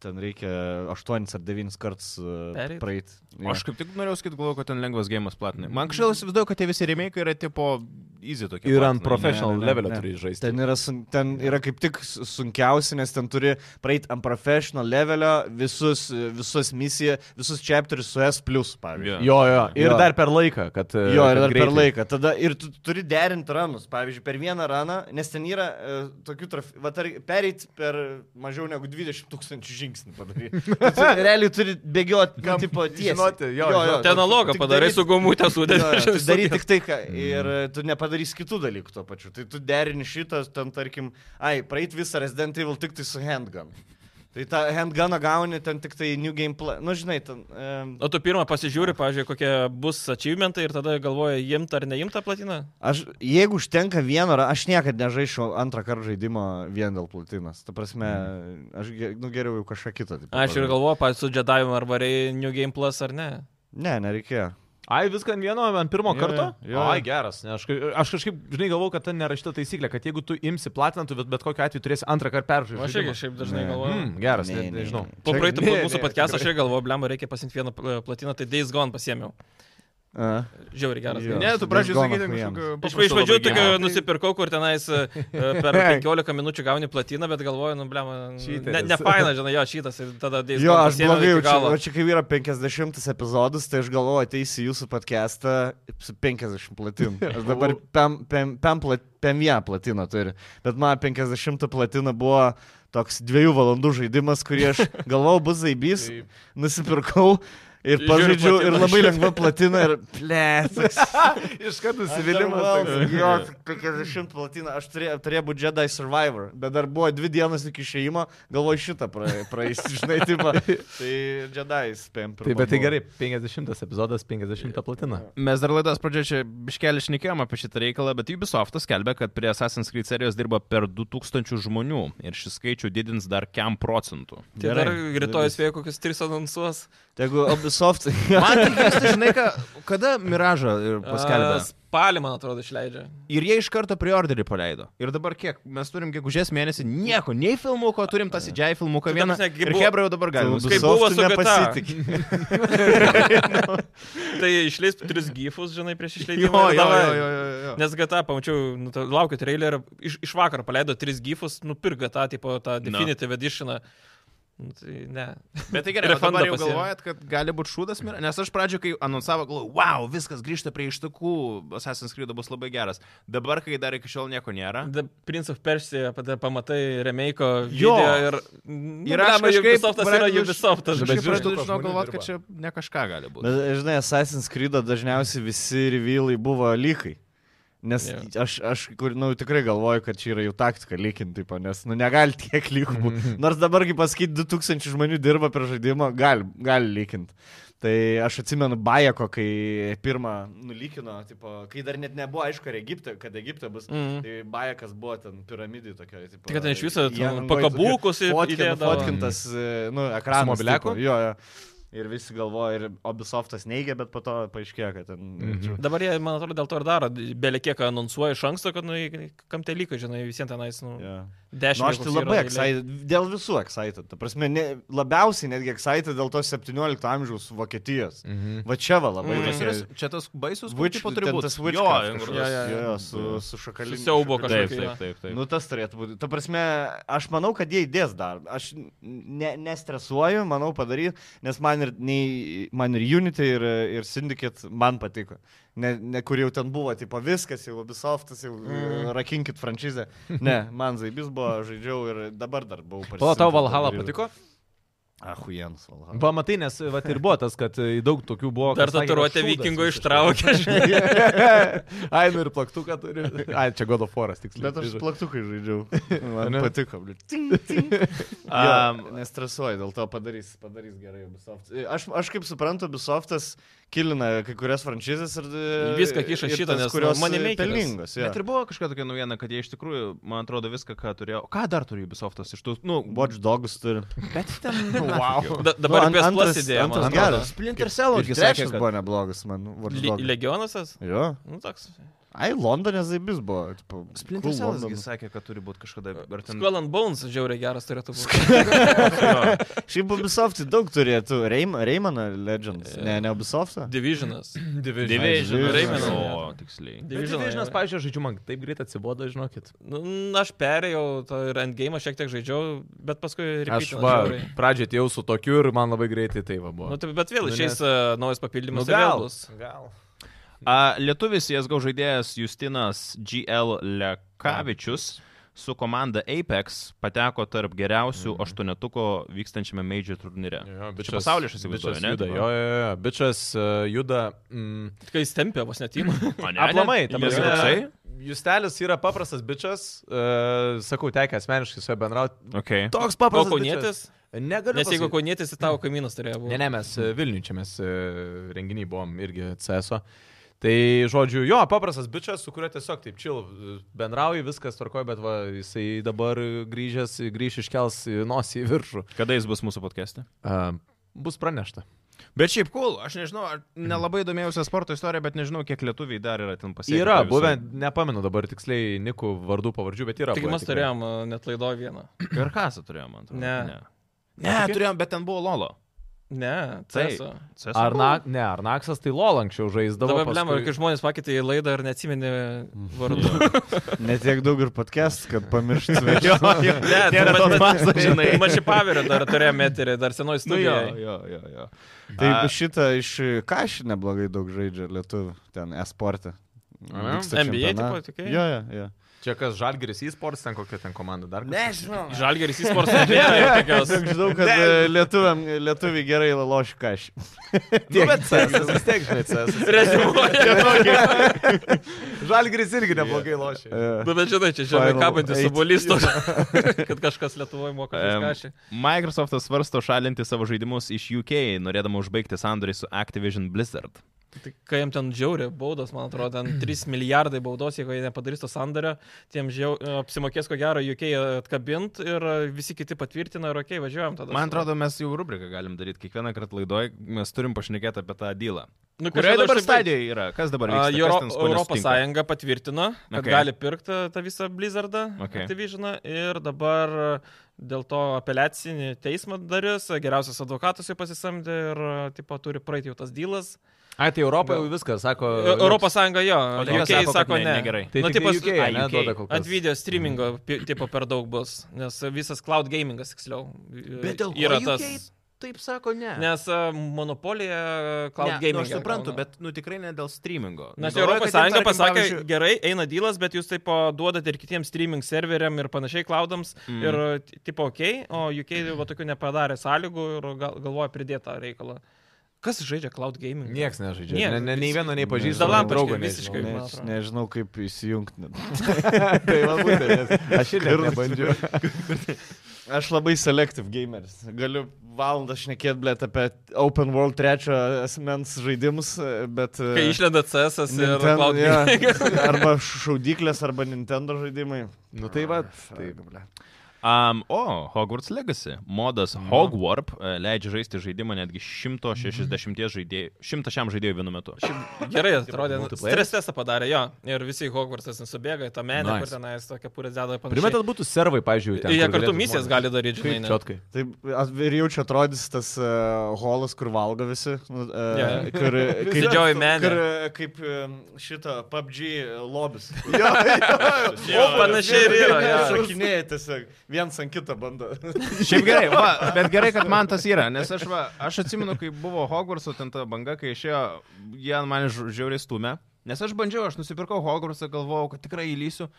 Speaker 3: ten reikia 8 ar 9 kartus e,
Speaker 2: Pereit?
Speaker 3: praeiti.
Speaker 1: Mhm. Aš kaip tik norėjau sakyti, galvoju, kad ten lengvas gėjimas platinai. Man kažkaip įsivaizduoju, kad tie visi remake yra tipo easy tokie.
Speaker 4: Ir ant
Speaker 1: platinai,
Speaker 4: professional
Speaker 3: ne, ne,
Speaker 4: levelio
Speaker 3: ne.
Speaker 4: turi žaisti.
Speaker 3: Ten yra, sun, ten yra kaip tik su- sunkiausia, nes ten turi praeiti ant professional levelio visus, visus misiją, visus chapterius su S, pavyzdžiui.
Speaker 1: Jo.
Speaker 4: Jo, jo. Ir
Speaker 3: Jo.
Speaker 4: dar per laiką, kad... e,
Speaker 3: Jo, ir
Speaker 4: kad
Speaker 3: dar per
Speaker 4: greitai.
Speaker 3: laiką. Tada ir tu turi derinti ranus. Pavyzdžiui, per vieną raną, nes ten yra uh, tokių, traf... va, tar... pereiti per mažiau negu 20 tūkstančių žingsnių
Speaker 4: [laughs]
Speaker 3: padaryti. Tu realiai turi bėgioti,
Speaker 4: Kam-
Speaker 3: ką tipo tiesiai.
Speaker 4: žinoti, jo, žinoti.
Speaker 2: Ten analogą
Speaker 3: tik
Speaker 2: padarai
Speaker 3: daryt-
Speaker 2: su gomutė [laughs] sudėti.
Speaker 3: Darai tik tai, ką.
Speaker 4: Mm.
Speaker 3: Ir e, tu nepadarysi kitų dalykų tuo pačiu. Tai tu derini šitą, ten tarkim, ai, praeit visą Resident Evil tik tai su handgun. Tai tą handguną gauni ten tik tai New Game Play. Nu, žinai, ten... Um,
Speaker 2: O tu pirmą pasižiūri, pažiūrėjau, kokie bus achievementai ir tada galvoji, imt ar neimt tą platiną?
Speaker 3: Aš, jeigu užtenka vieno, ra- aš niekada nežaisiu antrą kartą žaidimo vien dėl platinas. Ta prasme,
Speaker 1: Mhm.
Speaker 3: aš ge- nu, geriau jau kažką kitą.
Speaker 2: Aš ir
Speaker 3: tipo, padarysiu.
Speaker 2: galvoju, pats su džedavimu ar varai New Game Plus ar ne.
Speaker 3: Ne, nereikėjo.
Speaker 4: Ai, viską ant vieno, ant pirmo
Speaker 3: Jo,
Speaker 4: karto?
Speaker 3: jo, jo.
Speaker 4: Ai, geras. Ne, aš, kai- aš kažkaip, žinai, galvau, kad ten nerašyta taisyklė, kad jeigu tu imsi platinantų, bet, bet kokiu atveju turėsi antrą kartą peržiūrėti.
Speaker 2: Aš irgi šiaip dažnai
Speaker 3: Ne.
Speaker 2: galvoju.
Speaker 4: Mm, geras,
Speaker 3: Ne,
Speaker 4: ne,
Speaker 3: ne, ne.
Speaker 4: nežinau.
Speaker 2: Po
Speaker 3: Čia-
Speaker 2: praeitų
Speaker 3: ne,
Speaker 2: mūsų
Speaker 3: ne,
Speaker 2: podcast'o aš irgi galvoju, blem, reikia pasimti vieną e, platiną, tai Days Gone pasiemiau.
Speaker 3: A.
Speaker 2: Žiauriai geras.
Speaker 3: Jo.
Speaker 2: Ne,
Speaker 1: Ne, tu pradžiui
Speaker 3: Gone
Speaker 1: sakyti
Speaker 3: Achuienas.
Speaker 1: kažkokio...
Speaker 2: Iš,
Speaker 1: paprasto
Speaker 2: iš pradžių
Speaker 1: labai
Speaker 2: tik
Speaker 1: gimo.
Speaker 2: e, nusipirkau, kur tenais e, e, per 15 minučių gauni platiną, bet galvoju, nu, blem, ne,
Speaker 4: Cheateris.
Speaker 2: ne faina, žinai, jo, šitas ir tada Days
Speaker 3: Jo,
Speaker 2: Gone.
Speaker 3: aš
Speaker 2: pasiėmiau iki
Speaker 3: blogai jaučiu.
Speaker 2: galo.
Speaker 3: O čia kai yra 50 epizodas, tai aš galvoju, ateisi į jūsų podcastą su 50
Speaker 2: [laughs]
Speaker 3: platinų. Aš dabar pem, pem, pem, plat, pem ją platiną turiu. Bet man 50 platina buvo toks dviejų valandų žaidimas, kurį
Speaker 2: [laughs]
Speaker 3: aš galvojau bus zaibys,
Speaker 4: Taip.
Speaker 3: nusipirkau. Ir
Speaker 2: Žiūriu
Speaker 3: pažaidžiau ir
Speaker 2: platiną.
Speaker 3: labai lengva platina ir plėtas.
Speaker 4: Iš karto
Speaker 3: Jo, 50 platina. Aš turėjau, turėjau būti Jedi Survivor, bet dar buvo dvi dienos iki išėjimo, galvoju šitą prae- praeis, žinai, taip. va. Tai Jedi spėm.
Speaker 4: Taip, bet tai gerai, 50 epizodas, 50 platina.
Speaker 1: Mes dar laidos pradžioje čia biškelį šnekėjom apie šitą reikalą, bet Ubisoftas skelbia, kad prie Assassin's Creed serijos dirba per 2000 žmonių ir šį skaičių didins dar kiam procentų.
Speaker 2: Tai dar rytoj spėjau kokius tris anonsuos.
Speaker 3: Jeigu Ubisoft.
Speaker 1: Man tik keista, žinai, ką, kada Miražą ir
Speaker 2: A,
Speaker 1: paskelbė.
Speaker 2: Spalį, man atrodo, išleidžia.
Speaker 1: Ir jie iš karto preorderį paleido. Ir dabar kiek? Mes turim gegužės mėnesį nieko, nei filmuko, turim tą CGI filmuką
Speaker 2: Tu ta
Speaker 1: vieną.
Speaker 2: prasme, gi
Speaker 1: Ir
Speaker 2: buvo-
Speaker 1: Hebra jau dabar galima.
Speaker 2: Kaip buvo su GTA.
Speaker 3: nepasitikė.
Speaker 2: Tai išleis tris gifus, žinai, prieš
Speaker 1: Jo,
Speaker 2: išleidimą.
Speaker 1: jo,
Speaker 2: ir
Speaker 1: jo,
Speaker 2: davai.
Speaker 1: jo, jo, jo.
Speaker 2: Nes GTA, pamačiau, nu, ta, laukiu trailerio, iš, iš vakaro paleido tris gifus, nu, nupirk GTA, tipo tą Definitive Editioną. Nu, tai ne.
Speaker 1: Bet tai gerai, o
Speaker 2: Refundą
Speaker 1: dabar jau
Speaker 2: pasiėmė.
Speaker 1: galvojat, kad gali būti šūdas, Mira? nes aš pradžioje, kai anonsavo, galvojau, wow, viskas grįžta prie ištakų, Assassin's Creed bus labai geras. Dabar, kai dar iki šiol nieko nėra.
Speaker 2: The Prince of Persia, pada pamatai remake
Speaker 1: Jo.
Speaker 2: ir... Nu,
Speaker 1: Ir aš
Speaker 2: blemba,
Speaker 1: kažkaip
Speaker 2: Ubisoftas yra
Speaker 1: pradedu-
Speaker 2: Ubisoftas,
Speaker 1: Aš
Speaker 4: bet
Speaker 2: bet
Speaker 1: jau
Speaker 4: žiūrėk,
Speaker 1: pradedu
Speaker 4: kiek
Speaker 1: žinau
Speaker 4: žmonių
Speaker 1: galvot,
Speaker 4: dirba.
Speaker 1: kad čia ne kažką gali būti.
Speaker 3: Bet žinai, Assassin's Creed dažniausiai visi revilai buvo lygai. Nes
Speaker 2: Jo.
Speaker 3: aš, aš kur, nu, tikrai galvoju, kad čia yra jų taktika lyginti, nes nu, negali tiek lygų.
Speaker 2: Mhm.
Speaker 3: Nors dabar, kaip pasakyti, 2000 žmonių dirba prie žaidimo, gali, gali lyginti. Tai aš atsimenu Bajako, kai pirmą nulykino, tipo, kai dar net nebuvo aišku, ar Egipte, kad Egipte bus.
Speaker 2: Mhm.
Speaker 3: Tai Bajakas buvo ten piramidai tokia. Tipo,
Speaker 2: Tai kad ten iš viso ten
Speaker 3: jangoj
Speaker 2: pakabukus į-
Speaker 3: fotkin-
Speaker 2: įdėdavo.
Speaker 3: Fotkintas, e, nu, ekranas.
Speaker 4: Su mobiliaku?
Speaker 3: tipo, Jo, jo. Ir visi galvoja, ir Ubisoftas neigia, bet po to paaiškėjo, kad ten... Mhm.
Speaker 2: Dabar jie, man atrodo, dėl to ir daro. Beliekiek anonsuoja iš anksto, kad, nu, į- kam tai lygo, žinai, visiems tenais, nu,
Speaker 3: Yeah.
Speaker 2: dešimt.
Speaker 3: Nu, aš tai labai excited, dėl visų excited. Ta prasme, ne, labiausiai netgi excited dėl to 17 amžiaus Vokietijos.
Speaker 4: Mhm.
Speaker 3: Va čia va labai.
Speaker 2: Mm.
Speaker 1: Kas yra,
Speaker 3: tokia-
Speaker 1: čia tas baisus, kur
Speaker 3: Witch-
Speaker 1: tipo turi
Speaker 3: ten
Speaker 1: būti.
Speaker 3: tas witch
Speaker 1: Jo,
Speaker 3: craft
Speaker 1: kur
Speaker 3: kažkoks.
Speaker 2: Ja, ja,
Speaker 1: tas-
Speaker 2: ja.
Speaker 3: Jo, jo, su, su šakaliniu.
Speaker 2: Su siaubo
Speaker 3: šakaliniu.
Speaker 1: Taip,
Speaker 2: Taip, taip,
Speaker 1: taip, taip, taip.
Speaker 3: Nu, tas turėtų būti. Ta prasme, aš manau, kad jie įdės dar. Aš ne, nestresuoju, manau padarys, nes man ir, nei, man ir Unity, ir, ir Syndicate man patiko. Ne, ne kur jau ten buvo, tipo viskas, jau Ubisoftas, jau mm. rakinkit franšizę. Ne, man Zaibis buvo, žaidžiau ir dabar dar buvau pasitikęs.
Speaker 4: Pala, tau Valhalla patiko?
Speaker 3: Ahujens
Speaker 4: [laughs]
Speaker 3: Valhalla.
Speaker 4: Pamatai, nes vat, ir buvo tas, kad e, daug tokių buvo.
Speaker 2: Dar
Speaker 4: kas sakė, kad
Speaker 2: tatuiruotę
Speaker 4: šūdas
Speaker 2: vikingo
Speaker 4: visiškai.
Speaker 2: ištraukė, žinai.
Speaker 4: Ai, nu ir plaktuką turi. Ai, čia God of War'as tiksliai.
Speaker 3: Bet aš plaktukai žaidžiau. [laughs] Man
Speaker 4: Ane?
Speaker 3: patiko, bliu. Ting, ting. Um,
Speaker 1: Am,
Speaker 3: Nestresuoju, dėl to padarys, padarys gerai Ubisoft. Aš, aš kaip suprantu, Ubisoftas kilina kai kurias franšizės ir... e,
Speaker 2: Viską kiša
Speaker 3: ir
Speaker 2: šitą,
Speaker 3: tas,
Speaker 2: nes, nu,
Speaker 3: kurios
Speaker 2: money makeris.
Speaker 3: pelningos. jo.
Speaker 1: Bet ir buvo kažkokia tokia naujiena, kad jie iš tikrųjų, man atrodo, viską, ką turėjo. Ką dar turi Ubisoftas iš tų, nu,
Speaker 3: Watch Dogs turi.
Speaker 1: bet ten...
Speaker 3: [laughs] Wow.
Speaker 2: Da, dabar
Speaker 3: an-
Speaker 2: nu, PS Plus
Speaker 3: antras-
Speaker 2: idėja. man
Speaker 3: antras
Speaker 2: atrodo.
Speaker 3: geras.
Speaker 1: Splinter Cell,
Speaker 3: Irgi
Speaker 1: irgi sakė,
Speaker 3: trečias
Speaker 1: kad
Speaker 3: buvo neblogas man. Watch
Speaker 2: Li-
Speaker 3: Dogs.
Speaker 2: Legionasas?
Speaker 3: Jo.
Speaker 2: Nu, toks.
Speaker 3: Ai, Londone zaibis buvo. tipo,
Speaker 1: Splinter
Speaker 3: cool
Speaker 1: Cellas
Speaker 3: Londonas.
Speaker 1: sakė, kad turi būti kažkada. Ar ten...
Speaker 2: Skull and Bones žiauriai geras tai turėtų būti.
Speaker 3: Šiaip Ubisoft daug turėtų. Reim, Reimaną Legends. Ne, ne Ubisoftą.
Speaker 2: [laughs] [laughs] Divisionas.
Speaker 1: Division.
Speaker 3: Division.
Speaker 1: Rayman.
Speaker 2: Division.
Speaker 1: O, tiksliai.
Speaker 2: Divisioną,
Speaker 4: Divisionas,
Speaker 2: jo.
Speaker 4: pavyzdžiui, žaidžiu man taip greit atsibodo, žinokit.
Speaker 2: Nu, aš perėjau tą ir endgame šiek tiek žaidžiau, bet paskui
Speaker 4: Aš
Speaker 2: repeatinau
Speaker 4: va,
Speaker 2: žiauriai.
Speaker 4: pradžioje atėjau su tokiu ir man labai greitai tai va buvo.
Speaker 2: Nu, taip, bet vėl
Speaker 4: Nu,
Speaker 2: išeis
Speaker 4: nes- Nu,
Speaker 2: uh, naujas papildymas. ir vėl bus.
Speaker 4: gal.
Speaker 1: A, lietuvis CSGO žaidėjas Justinas GL Lekavičius su komanda Apex pateko tarp geriausių aštuonetuko vykstančiame Major turnyre.
Speaker 4: Jo,
Speaker 1: Čia pasaulis, aš įsivaizduoju,
Speaker 4: bičas
Speaker 1: ne?
Speaker 4: Juda, jo, jo, jo, bičas uh, juda. Mm,
Speaker 2: Kai jis tempė vos
Speaker 4: [laughs]
Speaker 2: netimą.
Speaker 1: O ne,
Speaker 4: Aplamai,
Speaker 1: ne,
Speaker 4: tam
Speaker 1: jis toksai.
Speaker 4: Justelis yra paprastas bičias, uh, sakau, tekia asmeniškai su juo bendrauti.
Speaker 1: Okay.
Speaker 4: Toks
Speaker 2: O
Speaker 4: paprastas.
Speaker 2: kaunietis?
Speaker 4: bičas. Negaliu.
Speaker 2: Nes jeigu
Speaker 4: pasakyt.
Speaker 2: kaunietis, tai tavo kaimynas turėjo
Speaker 4: Ne,
Speaker 2: būti.
Speaker 4: ne, mes e, Vilniuje čia mes e, renginiai buvom irgi CSO. Tai, žodžiu, jo, paprastas bičias, su kuriuo tiesiog taip čil bendrauji, viskas tvarkoja, bet va, jisai dabar e, grįžęs, grįž iškels e, nosį į viršų.
Speaker 1: Kada jis bus mūsų podcast'e?
Speaker 4: Uh, bus pranešta.
Speaker 1: Bet šiaip cool, aš nežinau, ar- nelabai domėjausi sporto istoriją, bet nežinau, kiek lietuviai dar yra ten pasiekę. tą
Speaker 4: Yra
Speaker 1: visą-
Speaker 4: buvę, nepamenu dabar tiksliai Nikų vardų pavardžių, bet yra.
Speaker 2: Tik
Speaker 4: buvę
Speaker 2: mes
Speaker 4: tikrai.
Speaker 2: turėjom a, net laido vieną.
Speaker 1: Ir kasą turėjom, man atrodo.
Speaker 2: Ne.
Speaker 1: Ne, ne turėjom, bet ten buvo Lolo.
Speaker 2: Ne, tai
Speaker 1: Taip.
Speaker 2: CSO.
Speaker 1: CS:GO
Speaker 4: Ar,
Speaker 1: buvo?
Speaker 4: na, ne, ar Naksas tai LOL anksčiau žaisdavo.
Speaker 2: Dabar problema,
Speaker 4: paskui-
Speaker 2: kai žmonės pakeitė į laidą ir neatsimeni
Speaker 4: [laughs]
Speaker 2: vardų.
Speaker 3: Netiek daug ir podcast, kad
Speaker 2: [laughs]
Speaker 3: pamirštume. jo, jo.
Speaker 2: Ne, tai
Speaker 1: Nėra tos masos, žinai.
Speaker 2: Man šį pavirą dar turėjome eterį, dar senoji
Speaker 1: Nu, jo,
Speaker 2: studija.
Speaker 1: jo, jo, jo.
Speaker 3: Taip,
Speaker 1: A-
Speaker 3: Tai šitą iš Kašį neblogai daug žaidžia lietuvių ten esportą.
Speaker 4: Ane?
Speaker 2: NBA tipo, tokie?
Speaker 4: tai?
Speaker 3: Jo, jo,
Speaker 4: [laughs]
Speaker 3: jo.
Speaker 4: Čia kas Žalgiris e-sports, ten kokia ten komanda dar. kažkas?
Speaker 3: Nežinau.
Speaker 2: Žalgeris įsportas
Speaker 4: Tai
Speaker 2: nebėra
Speaker 3: [laughs]
Speaker 2: tokios.
Speaker 3: Žinau, kad e, lietuviam, lietuviai gerai loš Kašį.
Speaker 4: Nu, bet CS vis tiek, žinai,
Speaker 3: [laughs]
Speaker 4: CS.
Speaker 2: Rezimuoja.
Speaker 4: Žalgiris irgi neblogai lošia.
Speaker 3: E,
Speaker 2: Nu, bet žinai, čia žemai
Speaker 3: Final
Speaker 2: kabantis
Speaker 3: eight.
Speaker 2: subulisto, [laughs] kad kažkas Lietuvoje moka
Speaker 1: Em,
Speaker 2: kažką.
Speaker 1: Microsoftas svarsto šalinti savo žaidimus iš UK, norėdama užbaigti sandorį su Activision Blizzard.
Speaker 2: Tai kai jam ten žiauri baudos, man atrodo, ten 3 milijardai baudos, jeigu jie nepadarys to sandario, tiem žiau, e, apsimokės ko gero UK atkabint ir visi kiti patvirtina ir ok, važiuojam tada.
Speaker 1: Man atrodo, mes jau rubriką galim daryti. Kiekvieną kartą laidoj mes turim pašnekėti apie tą dylą.
Speaker 2: nu,
Speaker 1: Kurioje
Speaker 2: kažkada
Speaker 1: dabar
Speaker 2: aš taip-
Speaker 1: stadijoje yra? Kas dabar
Speaker 2: A,
Speaker 1: vyksta?
Speaker 2: Euro,
Speaker 1: Kas ten su kuo
Speaker 2: Europos
Speaker 1: nesutinka?
Speaker 2: Sąjunga patvirtino, kad
Speaker 1: Okay.
Speaker 2: okay. gali pirkti tą visą Blizzardą,
Speaker 1: Okay.
Speaker 2: okay. Activisioną ir dabar e, dėl to apeliacinį teismą darys, geriausias advokatas jau pasisamdė ir e, taip pat turi praeiti jau tas dylas. E,
Speaker 4: Ai, tai Europoje jau viskas, sako.
Speaker 2: Europos Sąjunga jo,
Speaker 1: O
Speaker 2: UK sako, sako ne.
Speaker 1: Negerai.
Speaker 4: Tai
Speaker 2: Nu,
Speaker 4: nu, taip,
Speaker 2: tipo,
Speaker 4: UK,
Speaker 1: ai,
Speaker 4: ne,
Speaker 1: UK.
Speaker 4: duoda kol kas.
Speaker 2: Ant video streamingo pi- tipo per daug bus, nes visas cloud gamingas, tiksliau,
Speaker 4: Bet dėl ko
Speaker 2: yra
Speaker 4: UK
Speaker 2: tas.
Speaker 4: Taip sako, ne.
Speaker 2: Nes a, monopolija e, cloud
Speaker 1: Ne, nu,
Speaker 2: gaming.
Speaker 1: aš suprantu, bet nu, tikrai ne dėl streamingo.
Speaker 2: Nes
Speaker 1: Galvoju,
Speaker 2: Europos
Speaker 1: kad jiem,
Speaker 2: Sąjunga
Speaker 1: tarkim,
Speaker 2: pasakė,
Speaker 1: pavyzdžiui-
Speaker 2: gerai, eina dylas, bet jūs taip duodate ir kitiems streaming serveriam ir panašiai klaudams
Speaker 1: Mm.
Speaker 2: mm. ir t- tipo ok, o UK va tokių nepadarė sąlygų ir gal, galvoja pridėti tą reikalą. Kas žaidžia cloud gaming?
Speaker 4: Niekas nežaidžia.
Speaker 2: Nieks.
Speaker 4: Ne, ne, nei vieno, nei
Speaker 2: Dalam
Speaker 4: pažįstamo nei draugo.
Speaker 2: kažkaip visiškai.
Speaker 3: Ne,
Speaker 2: man atrodo.
Speaker 3: nežinau, kaip
Speaker 4: [laughs]
Speaker 3: įsijungti.
Speaker 4: tai man būtent. nes Aš irgi ir nebandžiau.
Speaker 3: [laughs] Aš labai selective gameris. Galiu valandą šnekėti, blėt, apie Open World trečio asmens žaidimus, bet... e,
Speaker 2: Kai išlenda CS ir
Speaker 3: Ninten-
Speaker 2: cloud [laughs]
Speaker 3: jo,
Speaker 2: gaming.
Speaker 3: [laughs] arba šaudyklės, arba Nintendo žaidimai.
Speaker 4: Nu tai va, tai
Speaker 1: Um, o, Hogwarts Legacy. Modas
Speaker 2: Mhm.
Speaker 1: Hogwarp e, leidžia žaisti žaidimą netgi 160 žaidėjų, 100 šiam žaidėjų vienu metu.
Speaker 2: Gerai, atrodė, nu,
Speaker 4: multiplayeris?
Speaker 2: stres testą padarė, jo. Ir visi į Hogwartsas subėga, į tą menę,
Speaker 4: Nice.
Speaker 2: kur tenais tokia purė deda ir panašiai.
Speaker 4: Primetat būtų servai, pažiūrėjau, ten.
Speaker 2: Jie
Speaker 4: kur
Speaker 2: kartu
Speaker 4: galėtų
Speaker 2: misijas
Speaker 4: žmonės-
Speaker 2: gali daryti, žinai.
Speaker 4: Kaip
Speaker 2: ne?
Speaker 4: čiotkai.
Speaker 3: Taip, as- ir jau čia atrodys tas uh, holas, kur valgo visi.
Speaker 2: Jo,
Speaker 3: Uh, yeah.
Speaker 2: jo. [laughs]
Speaker 3: kur, e, kaip,
Speaker 2: Didžioji menė.
Speaker 3: Kur, e, kaip e, šito PUBG
Speaker 2: [laughs]
Speaker 3: lobis.
Speaker 2: O, panašiai ir yra. jo.
Speaker 3: Šakinėjai tiesiog. Vienas ant kito bando.
Speaker 1: Šiaip gerai, va, bet gerai, kad man tas yra, nes aš, va, aš atsimenu, kai buvo Hogwartso ten ta banga, kai išėjo, jie ant mane žiau- žiauriai stumė, nes aš bandžiau, aš nusipirkau Hogwartsą, galvojau, kad tikrai įlysiu,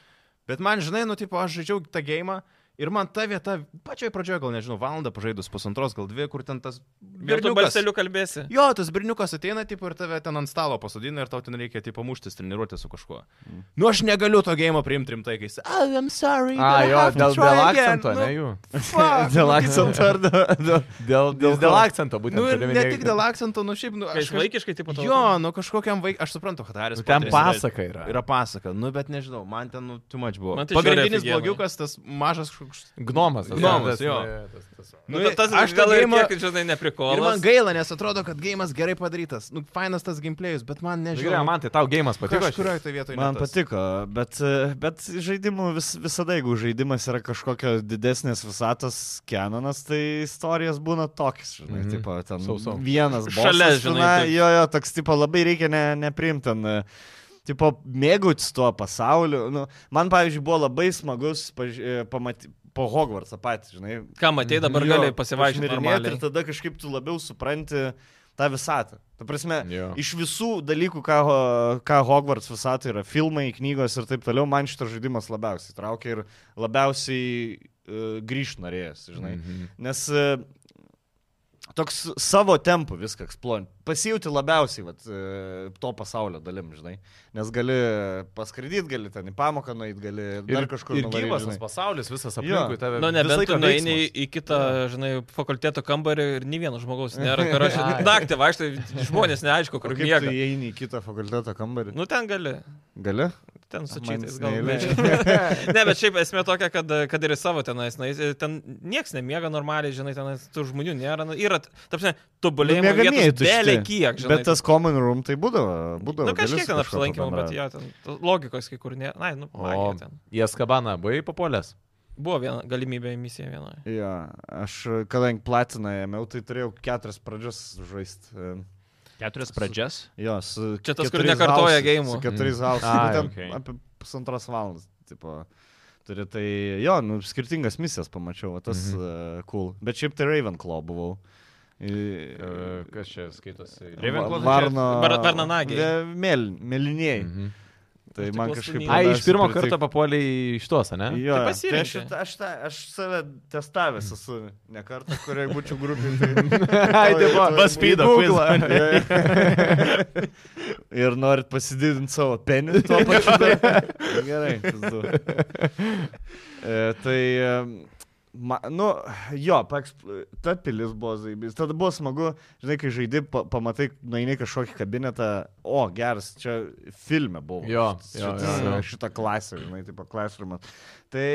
Speaker 1: bet man, žinai, nu, tipo, aš žaidžiau tą gėjimą. Ir man ta vieta, pačioj pradžioje, gal nežinau, valandą pažaidus, pusantros, gal dvi, kur ten tas...
Speaker 2: Ir tu
Speaker 1: berniukas-
Speaker 2: balseliu kalbėsi.
Speaker 1: Jo, tas berniukas ateina, tipo, ir tave ten ant stalo pasodina ir tau ten reikia, tipo, muštis treniruotę su kažkuo. Mm. Nu, aš negaliu to gėjimo priimti rimtai, kai jis... Oh, I'm sorry.
Speaker 4: A,
Speaker 1: gonna
Speaker 4: jo,
Speaker 1: have to
Speaker 4: dėl,
Speaker 1: try
Speaker 4: dėl
Speaker 1: again." Nu,
Speaker 4: akcento, ne jų. [laughs]
Speaker 1: Fuck.
Speaker 3: nu. [laughs] Dėl akcento ar dėl... dėl-
Speaker 4: Dėl, dėl, dėl akcento būtent.
Speaker 1: Nu, ir
Speaker 4: turiu
Speaker 1: ne
Speaker 4: minėti.
Speaker 1: tik dėl akcento, nu, šiaip, nu,
Speaker 2: Iš
Speaker 1: aš... kaž-
Speaker 2: vaikiškai, tipo, to.
Speaker 1: Jo, nu kažkokiam vaikui, aš suprantu, kad Haris.
Speaker 4: Nu, Ten
Speaker 1: Poteris
Speaker 4: pasaka yra.
Speaker 1: Yra pasaka, nu bet nežinau, man ten, nu, too much buvo.
Speaker 2: Man tai žiauriai
Speaker 1: Pagrindinis
Speaker 2: aфигенно.
Speaker 1: blogiukas, tas mažas kažkoks kažkoks.
Speaker 4: Gnomas. tas-
Speaker 1: Gnomas,
Speaker 4: tas-
Speaker 1: jo.
Speaker 4: ne, tas- tas-
Speaker 2: Nu,
Speaker 1: Nu,
Speaker 2: ta- tas
Speaker 1: aš
Speaker 2: aš gal
Speaker 1: tą
Speaker 2: ir
Speaker 1: geimą-
Speaker 2: kiek, žinai, neprikolas.
Speaker 1: Ir man gaila, nes atrodo, kad gėjimas gerai padarytas. Nu, fainas tas gameplayus, bet man
Speaker 4: Nu,
Speaker 1: nežiūrėjau.
Speaker 4: Žiūrėjau, man tai tau gėjimas patiko. aš-
Speaker 1: Kažkurioje tai vietoje.
Speaker 3: Man patiko, bet, e, bet žaidimų vis, visada, jeigu žaidimas yra kažkokio didesnės visatos kenonas, tai istorijas būna toks, žinai,
Speaker 4: Mhm.
Speaker 3: mm. tipo, ten
Speaker 4: Sau, sau.
Speaker 3: vienas
Speaker 2: Šalia,
Speaker 3: bosas,
Speaker 2: žinai,
Speaker 3: na,
Speaker 2: taip.
Speaker 3: Jo, jo, toks, tipo, labai reikia ne, nepriimti ten. e, Tipo, mėgautis tuo pasauliu. Nu, man, pavyzdžiui, buvo labai smagus paž... e, pamaty... po Hogwartsą patį, žinai.
Speaker 2: Ką matei, dabar
Speaker 3: Jo,
Speaker 2: gali pasivaikščioti
Speaker 3: pašmirinėt
Speaker 2: normaliai.
Speaker 3: Ir tada kažkaip tu labiau supranti tą visatą. Ta prasme,
Speaker 4: Jo.
Speaker 3: Iš visų dalykų, ką, ho- ką Hogwarts visata yra, filmai, knygos ir taip toliau, man šitas žaidimas labiausiai traukia ir labiausiai uh, grįžt norėjęs, žinai. Mm.
Speaker 4: Mhm.
Speaker 3: Nes uh, toks savo tempu viską eksploruojant, pasijauti labiausiai vat, uh, to pasaulio dalim, žinai. Nes gali paskraidyti, gali ten į pamoką nueiti, gali dar
Speaker 4: Ir,
Speaker 3: kažkur
Speaker 4: ir
Speaker 3: nuvaryt,
Speaker 4: gyvas
Speaker 3: žinai.
Speaker 4: tas pasaulis, visas
Speaker 3: Jo.
Speaker 4: aplinkui tave.
Speaker 2: Nu,
Speaker 4: visą
Speaker 2: nebent
Speaker 4: laiką
Speaker 2: tu nueini
Speaker 4: veiksmas.
Speaker 2: į kitą, žinai, fakulteto kambarį ir nei vieno žmogaus nėra,
Speaker 3: [laughs]
Speaker 2: kur aš naktį vaikštai, žmonės neaišku, kur
Speaker 3: Kur kaip tu
Speaker 2: miega.
Speaker 3: įeini į kitą fakulteto kambarį?
Speaker 2: Nu, ten gali.
Speaker 3: Gali?
Speaker 2: Ten
Speaker 3: Ah, man jis
Speaker 2: sučytis gal.
Speaker 3: neįleidžia.
Speaker 2: nežinau. [laughs] ne, bet šiaip esmė tokia, kad, kad ir į savo tenais, na, jis- ten niekas nemiega normaliai, žinai, ten tų žmonių nėra. Na, yra, tapsi, tobulėjimo
Speaker 3: Nu, miegamieji
Speaker 2: vietos
Speaker 3: tušti.
Speaker 2: belė kiek, žinai.
Speaker 3: Bet tas common room tai būdavo.
Speaker 2: Na,
Speaker 3: būdavo
Speaker 2: kažkiek ten
Speaker 3: gali su kažkuo
Speaker 2: apsilankymų, bet
Speaker 3: pabendraut.
Speaker 2: jo, ten to- logikos kai kur nėra. Na, nu,
Speaker 4: O
Speaker 2: magija ten.
Speaker 4: į Eskabaną buvai papuolęs.
Speaker 2: Buvo viena galimybė misija vienoje.
Speaker 3: Jo, aš e, kadangi platiną ėmiau, tai turėjau keturias pradžias žaisti.
Speaker 1: Keturias pradžias.
Speaker 3: Jo, su
Speaker 2: Čia tas, kur
Speaker 3: keturiais
Speaker 2: nekartoja
Speaker 3: hausais-
Speaker 2: geimų.
Speaker 3: Su keturiais
Speaker 4: Mm.
Speaker 3: hausais.
Speaker 4: Ai,
Speaker 3: Mm. Ten
Speaker 4: okei.
Speaker 3: okay. apie pusantros valandos. Tipo, turi tai, jo, nu, skirtingas misijas pamačiau, va, tas
Speaker 4: Mhm.
Speaker 3: mm -hmm. uh, cool. Bet šiaip tai Ravenclaw buvau.
Speaker 4: E, Kas čia skaitosi?
Speaker 1: Ravenclaw tai čia-
Speaker 3: Varno.
Speaker 2: Var- varnanagiai.
Speaker 3: Ve- Mėl, mėlyniai. Mm -hmm.
Speaker 4: Mhm.
Speaker 3: Tai
Speaker 2: Aš
Speaker 3: man
Speaker 2: tik
Speaker 3: kažkaip...
Speaker 2: klausimyną.
Speaker 4: Ai,
Speaker 3: labiausiai
Speaker 4: iš pirmo
Speaker 3: pritiko.
Speaker 4: karto papuoliai iš tuos, ne? Mm.
Speaker 3: Jo,
Speaker 2: Tai
Speaker 3: jo.
Speaker 2: pasirenki.
Speaker 3: aš, šitą- aš, tą- aš save testavęs esu ne kartą,
Speaker 4: [laughs]
Speaker 3: kuriai būčiau grupė. Tai...
Speaker 4: Ai, tai va, BuzzFeed'o
Speaker 3: [laughs]
Speaker 4: quiz. [laughs]
Speaker 3: quiz. Ir norit pasididinti savo penį tuo pačiu. dar?
Speaker 4: [laughs]
Speaker 3: Gerai. pizdu. E, tai, e, ma, nu, jo, paeksp- ta pilis buvo zaibys. Tada buvo smagu, žinai, kai žaidži, pa, pamatai, nueini į kažkokį kabinetą, o, geras, čia filme buvo.
Speaker 4: Jo,
Speaker 3: Šit-
Speaker 4: jo,
Speaker 3: šitas,
Speaker 4: jo, jo.
Speaker 3: e, šitą klasę, žinai, tipo klasrumas. Tai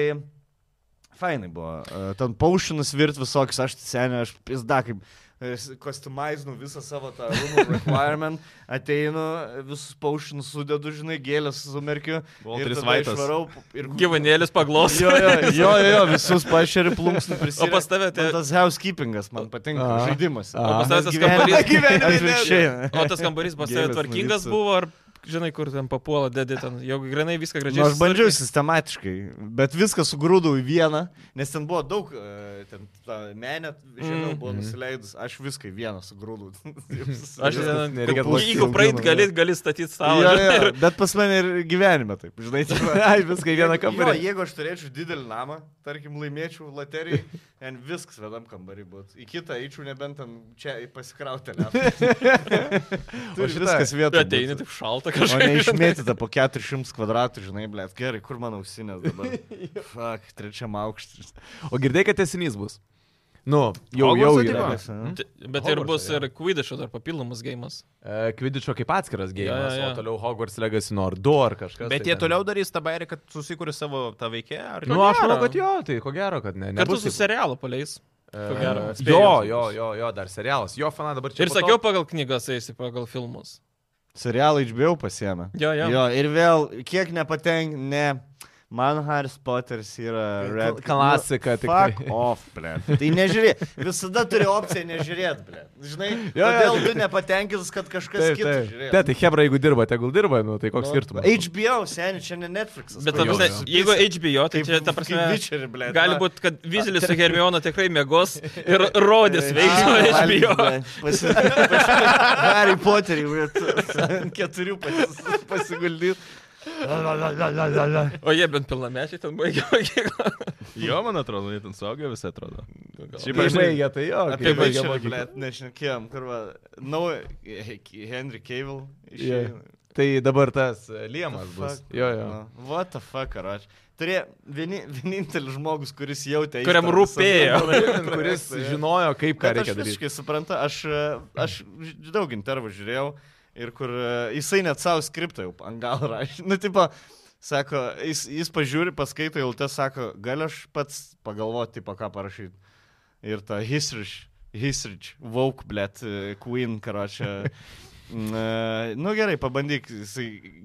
Speaker 3: fainai buvo. E, Ten paušinus virt visokius, aš seniai, aš pizda, kaip e, s- kostiumaizinu visą savo tą
Speaker 2: [laughs]
Speaker 3: room requirement, ateinu, visus paušinus sudedu, žinai, gėlės sumerkiu.
Speaker 1: Walteris
Speaker 3: tada
Speaker 1: White'as.
Speaker 3: išvarau Ir
Speaker 2: Gyvanėlis paglos.
Speaker 3: Jo, jo, jo, jo, visus pašeri plumsnį prisimenu.
Speaker 2: pas tave tie-
Speaker 3: tas housekeepingas man patinka
Speaker 4: A.
Speaker 3: žaidimas.
Speaker 4: O pas
Speaker 2: tave tas kambarys-
Speaker 3: gyvenimas.
Speaker 2: O tas kambarys pas tave
Speaker 3: Gėlės
Speaker 2: tvarkingas
Speaker 3: nuvysta.
Speaker 2: buvo, ar žinai, kur ten papuola, dedi ten, jau grinai viską gražiai.
Speaker 3: Nu, aš bandžiau
Speaker 2: susitvarkė?
Speaker 3: sistematiškai, bet viską sugrūdau į vieną, nes ten buvo daug, e, ten ta menė, žinau,
Speaker 2: Mm.
Speaker 3: buvo
Speaker 4: Mhm.
Speaker 3: nusileidus, aš viską į vieną sugrūdau. [laughs]
Speaker 2: Aš ten, jeigu-
Speaker 4: Nereikia atlaikyti
Speaker 2: jeigu praeit, gali, gali statyti stalą.
Speaker 3: nu, Jo,
Speaker 2: žinai, [laughs]
Speaker 3: jo,
Speaker 2: ir-
Speaker 3: bet pas mane ir gyvenime taip, žinai, tai
Speaker 4: Ai, viską į vieną
Speaker 3: Jo,
Speaker 4: kambarį.
Speaker 3: jeigu aš turėčiau didelį namą, tarkim, laimėčiau [laughs] loteriją, ten viskas vienam kambarį būtų. Į kitą eičiau nebent ten čia [laughs] pasikrauti.
Speaker 4: O
Speaker 3: Turi
Speaker 4: šitą-
Speaker 3: viskas
Speaker 2: Tu
Speaker 3: vietoje.
Speaker 2: ateini taip šalta
Speaker 3: O ne
Speaker 2: kažkaip.
Speaker 3: išmėtyta po 400 kvadratų, žinai, blėt. Gerai, kur mano ausinės dabar?
Speaker 4: [laughs]
Speaker 3: Fak, trečiam aukštas.
Speaker 4: O girdėjai, kad tesinys bus. Nu, jau, jau
Speaker 1: Hogwartso
Speaker 4: yra.
Speaker 1: tipo?
Speaker 3: hm?
Speaker 2: Bet ir bus
Speaker 4: Hogwartsą,
Speaker 2: ir Quidditch'o dar papildomas gėjimas.
Speaker 4: E, Kvidičio kaip atskiras gėjimas,
Speaker 2: jo, jo.
Speaker 4: o toliau Hogwarts Legacy Nord 2 ar kažkas.
Speaker 1: Bet
Speaker 4: tai
Speaker 1: jie
Speaker 4: ten.
Speaker 1: toliau darys tą bairį, kad susikūrė savo tą veikę. Ar...
Speaker 4: Nu, aš manau,
Speaker 2: gero.
Speaker 4: kad jo, tai ko gero, kad ne.
Speaker 2: Kartu
Speaker 4: nebus
Speaker 2: su
Speaker 4: taip-
Speaker 2: serialu paleis.
Speaker 4: E,
Speaker 2: ko gero.
Speaker 4: Jo,
Speaker 2: Spėju.
Speaker 4: jo, jo, jo, dar serialas. Jo fana dabar čia.
Speaker 2: Ir
Speaker 4: po to-
Speaker 2: sakiau, pagal knygas eisi, pagal filmus.
Speaker 3: Serialą išbėjau pasiemę.
Speaker 2: Jo, jo.
Speaker 3: Jo, ir vėl, kiek nepatenk, ne. Man Haris Potteris yra Red
Speaker 4: klasika
Speaker 3: nu,
Speaker 4: tiktai.
Speaker 3: Fuck off, ble. Tai nežiūrėk. Visada turi opciją nežiūrėti, ble. Žinai,
Speaker 4: Jo, jo.
Speaker 3: kodėl tu nepatenkintas, kad kažkas
Speaker 4: Taip,
Speaker 3: kitas
Speaker 4: taip.
Speaker 3: žiūrėjo.
Speaker 4: Ne, tai Hebra, jeigu dirba, tegul dirba, nu, tai koks skirtumas.
Speaker 3: HBO, seniai, čia ne Netflixas.
Speaker 2: Bet, ta
Speaker 4: Jo,
Speaker 2: prasme,
Speaker 4: jo.
Speaker 2: jeigu HBO, tai čia, ta prasme,
Speaker 3: Witcher, ble.
Speaker 2: gali būti, kad Vizilis
Speaker 4: [laughs]
Speaker 2: su Hermiona tikrai mėgos ir rodys veiksmą HBO.
Speaker 3: Harry Potterį, ant keturių pasi- pasiguldyti.
Speaker 2: O jie bent pilnamečiai ten [laughs] baigė mokyklą.
Speaker 1: Jo, man atrodo, jie ten saugiai visi atrodo. Šiaip
Speaker 4: Kai
Speaker 1: aš žinai,
Speaker 4: baigė, tai jo. kai
Speaker 2: Apie
Speaker 4: baigė
Speaker 2: Witcherį,
Speaker 4: mokyklą.
Speaker 3: Blet, nešnekėjom, kur va. Nau, Henry Cavill.
Speaker 4: Jo.
Speaker 3: išėjo.
Speaker 4: Tai dabar tas e, Liemas bus.
Speaker 3: Fuck.
Speaker 4: Jo,
Speaker 3: [laughs]
Speaker 4: jo.
Speaker 3: Nu, What the fuck, ar aš? Turėjo vieni, vienintelis žmogus, kuris jautė.
Speaker 2: Kuriam
Speaker 3: įtampą
Speaker 2: rūpėjo.
Speaker 3: visame
Speaker 4: Kuris
Speaker 3: projekte, jo.
Speaker 4: žinojo, kaip ką
Speaker 3: Bet
Speaker 4: reikia
Speaker 3: aš
Speaker 4: daryti.
Speaker 3: visiškai suprantu, aš, e, aš ž- daug intervų žiūrėjau ir kur e, jisai net savo skriptą jau ant gal rašė. Nu, tipo, Sako, jis, jis pažiūri, paskaito eilutę, sako, gal aš pats pagalvoti, tipo, ką parašyti. Ir ta hisrič, hisrič, vauk, blėt, e, queen, karočią. Na nu gerai, pabandyk, jis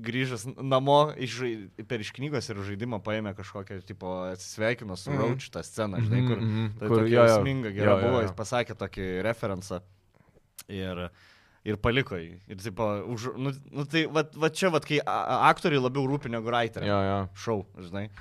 Speaker 3: grįžęs namo iš, žai- per iš knygos ir žaidimą paėmė kažkokią, tipo, atsisveikino su
Speaker 2: Mhm.
Speaker 3: Rauč tą sceną, žinai, kur,
Speaker 4: Mhm, mhm.
Speaker 3: tai
Speaker 4: Kur-
Speaker 3: kur
Speaker 4: jo,
Speaker 3: tokia
Speaker 4: jo.
Speaker 3: jausminga,
Speaker 4: Jo,
Speaker 3: gera
Speaker 4: jo,
Speaker 3: buvo,
Speaker 4: jo.
Speaker 3: jis pasakė tokį referencą ir, ir paliko jį. Ir, tipo, už, nu, nu, tai va, va čia, va, kai a- a- aktoriai labiau rūpi negu writeriai.
Speaker 4: Jo, jo.
Speaker 3: Šau, žinai.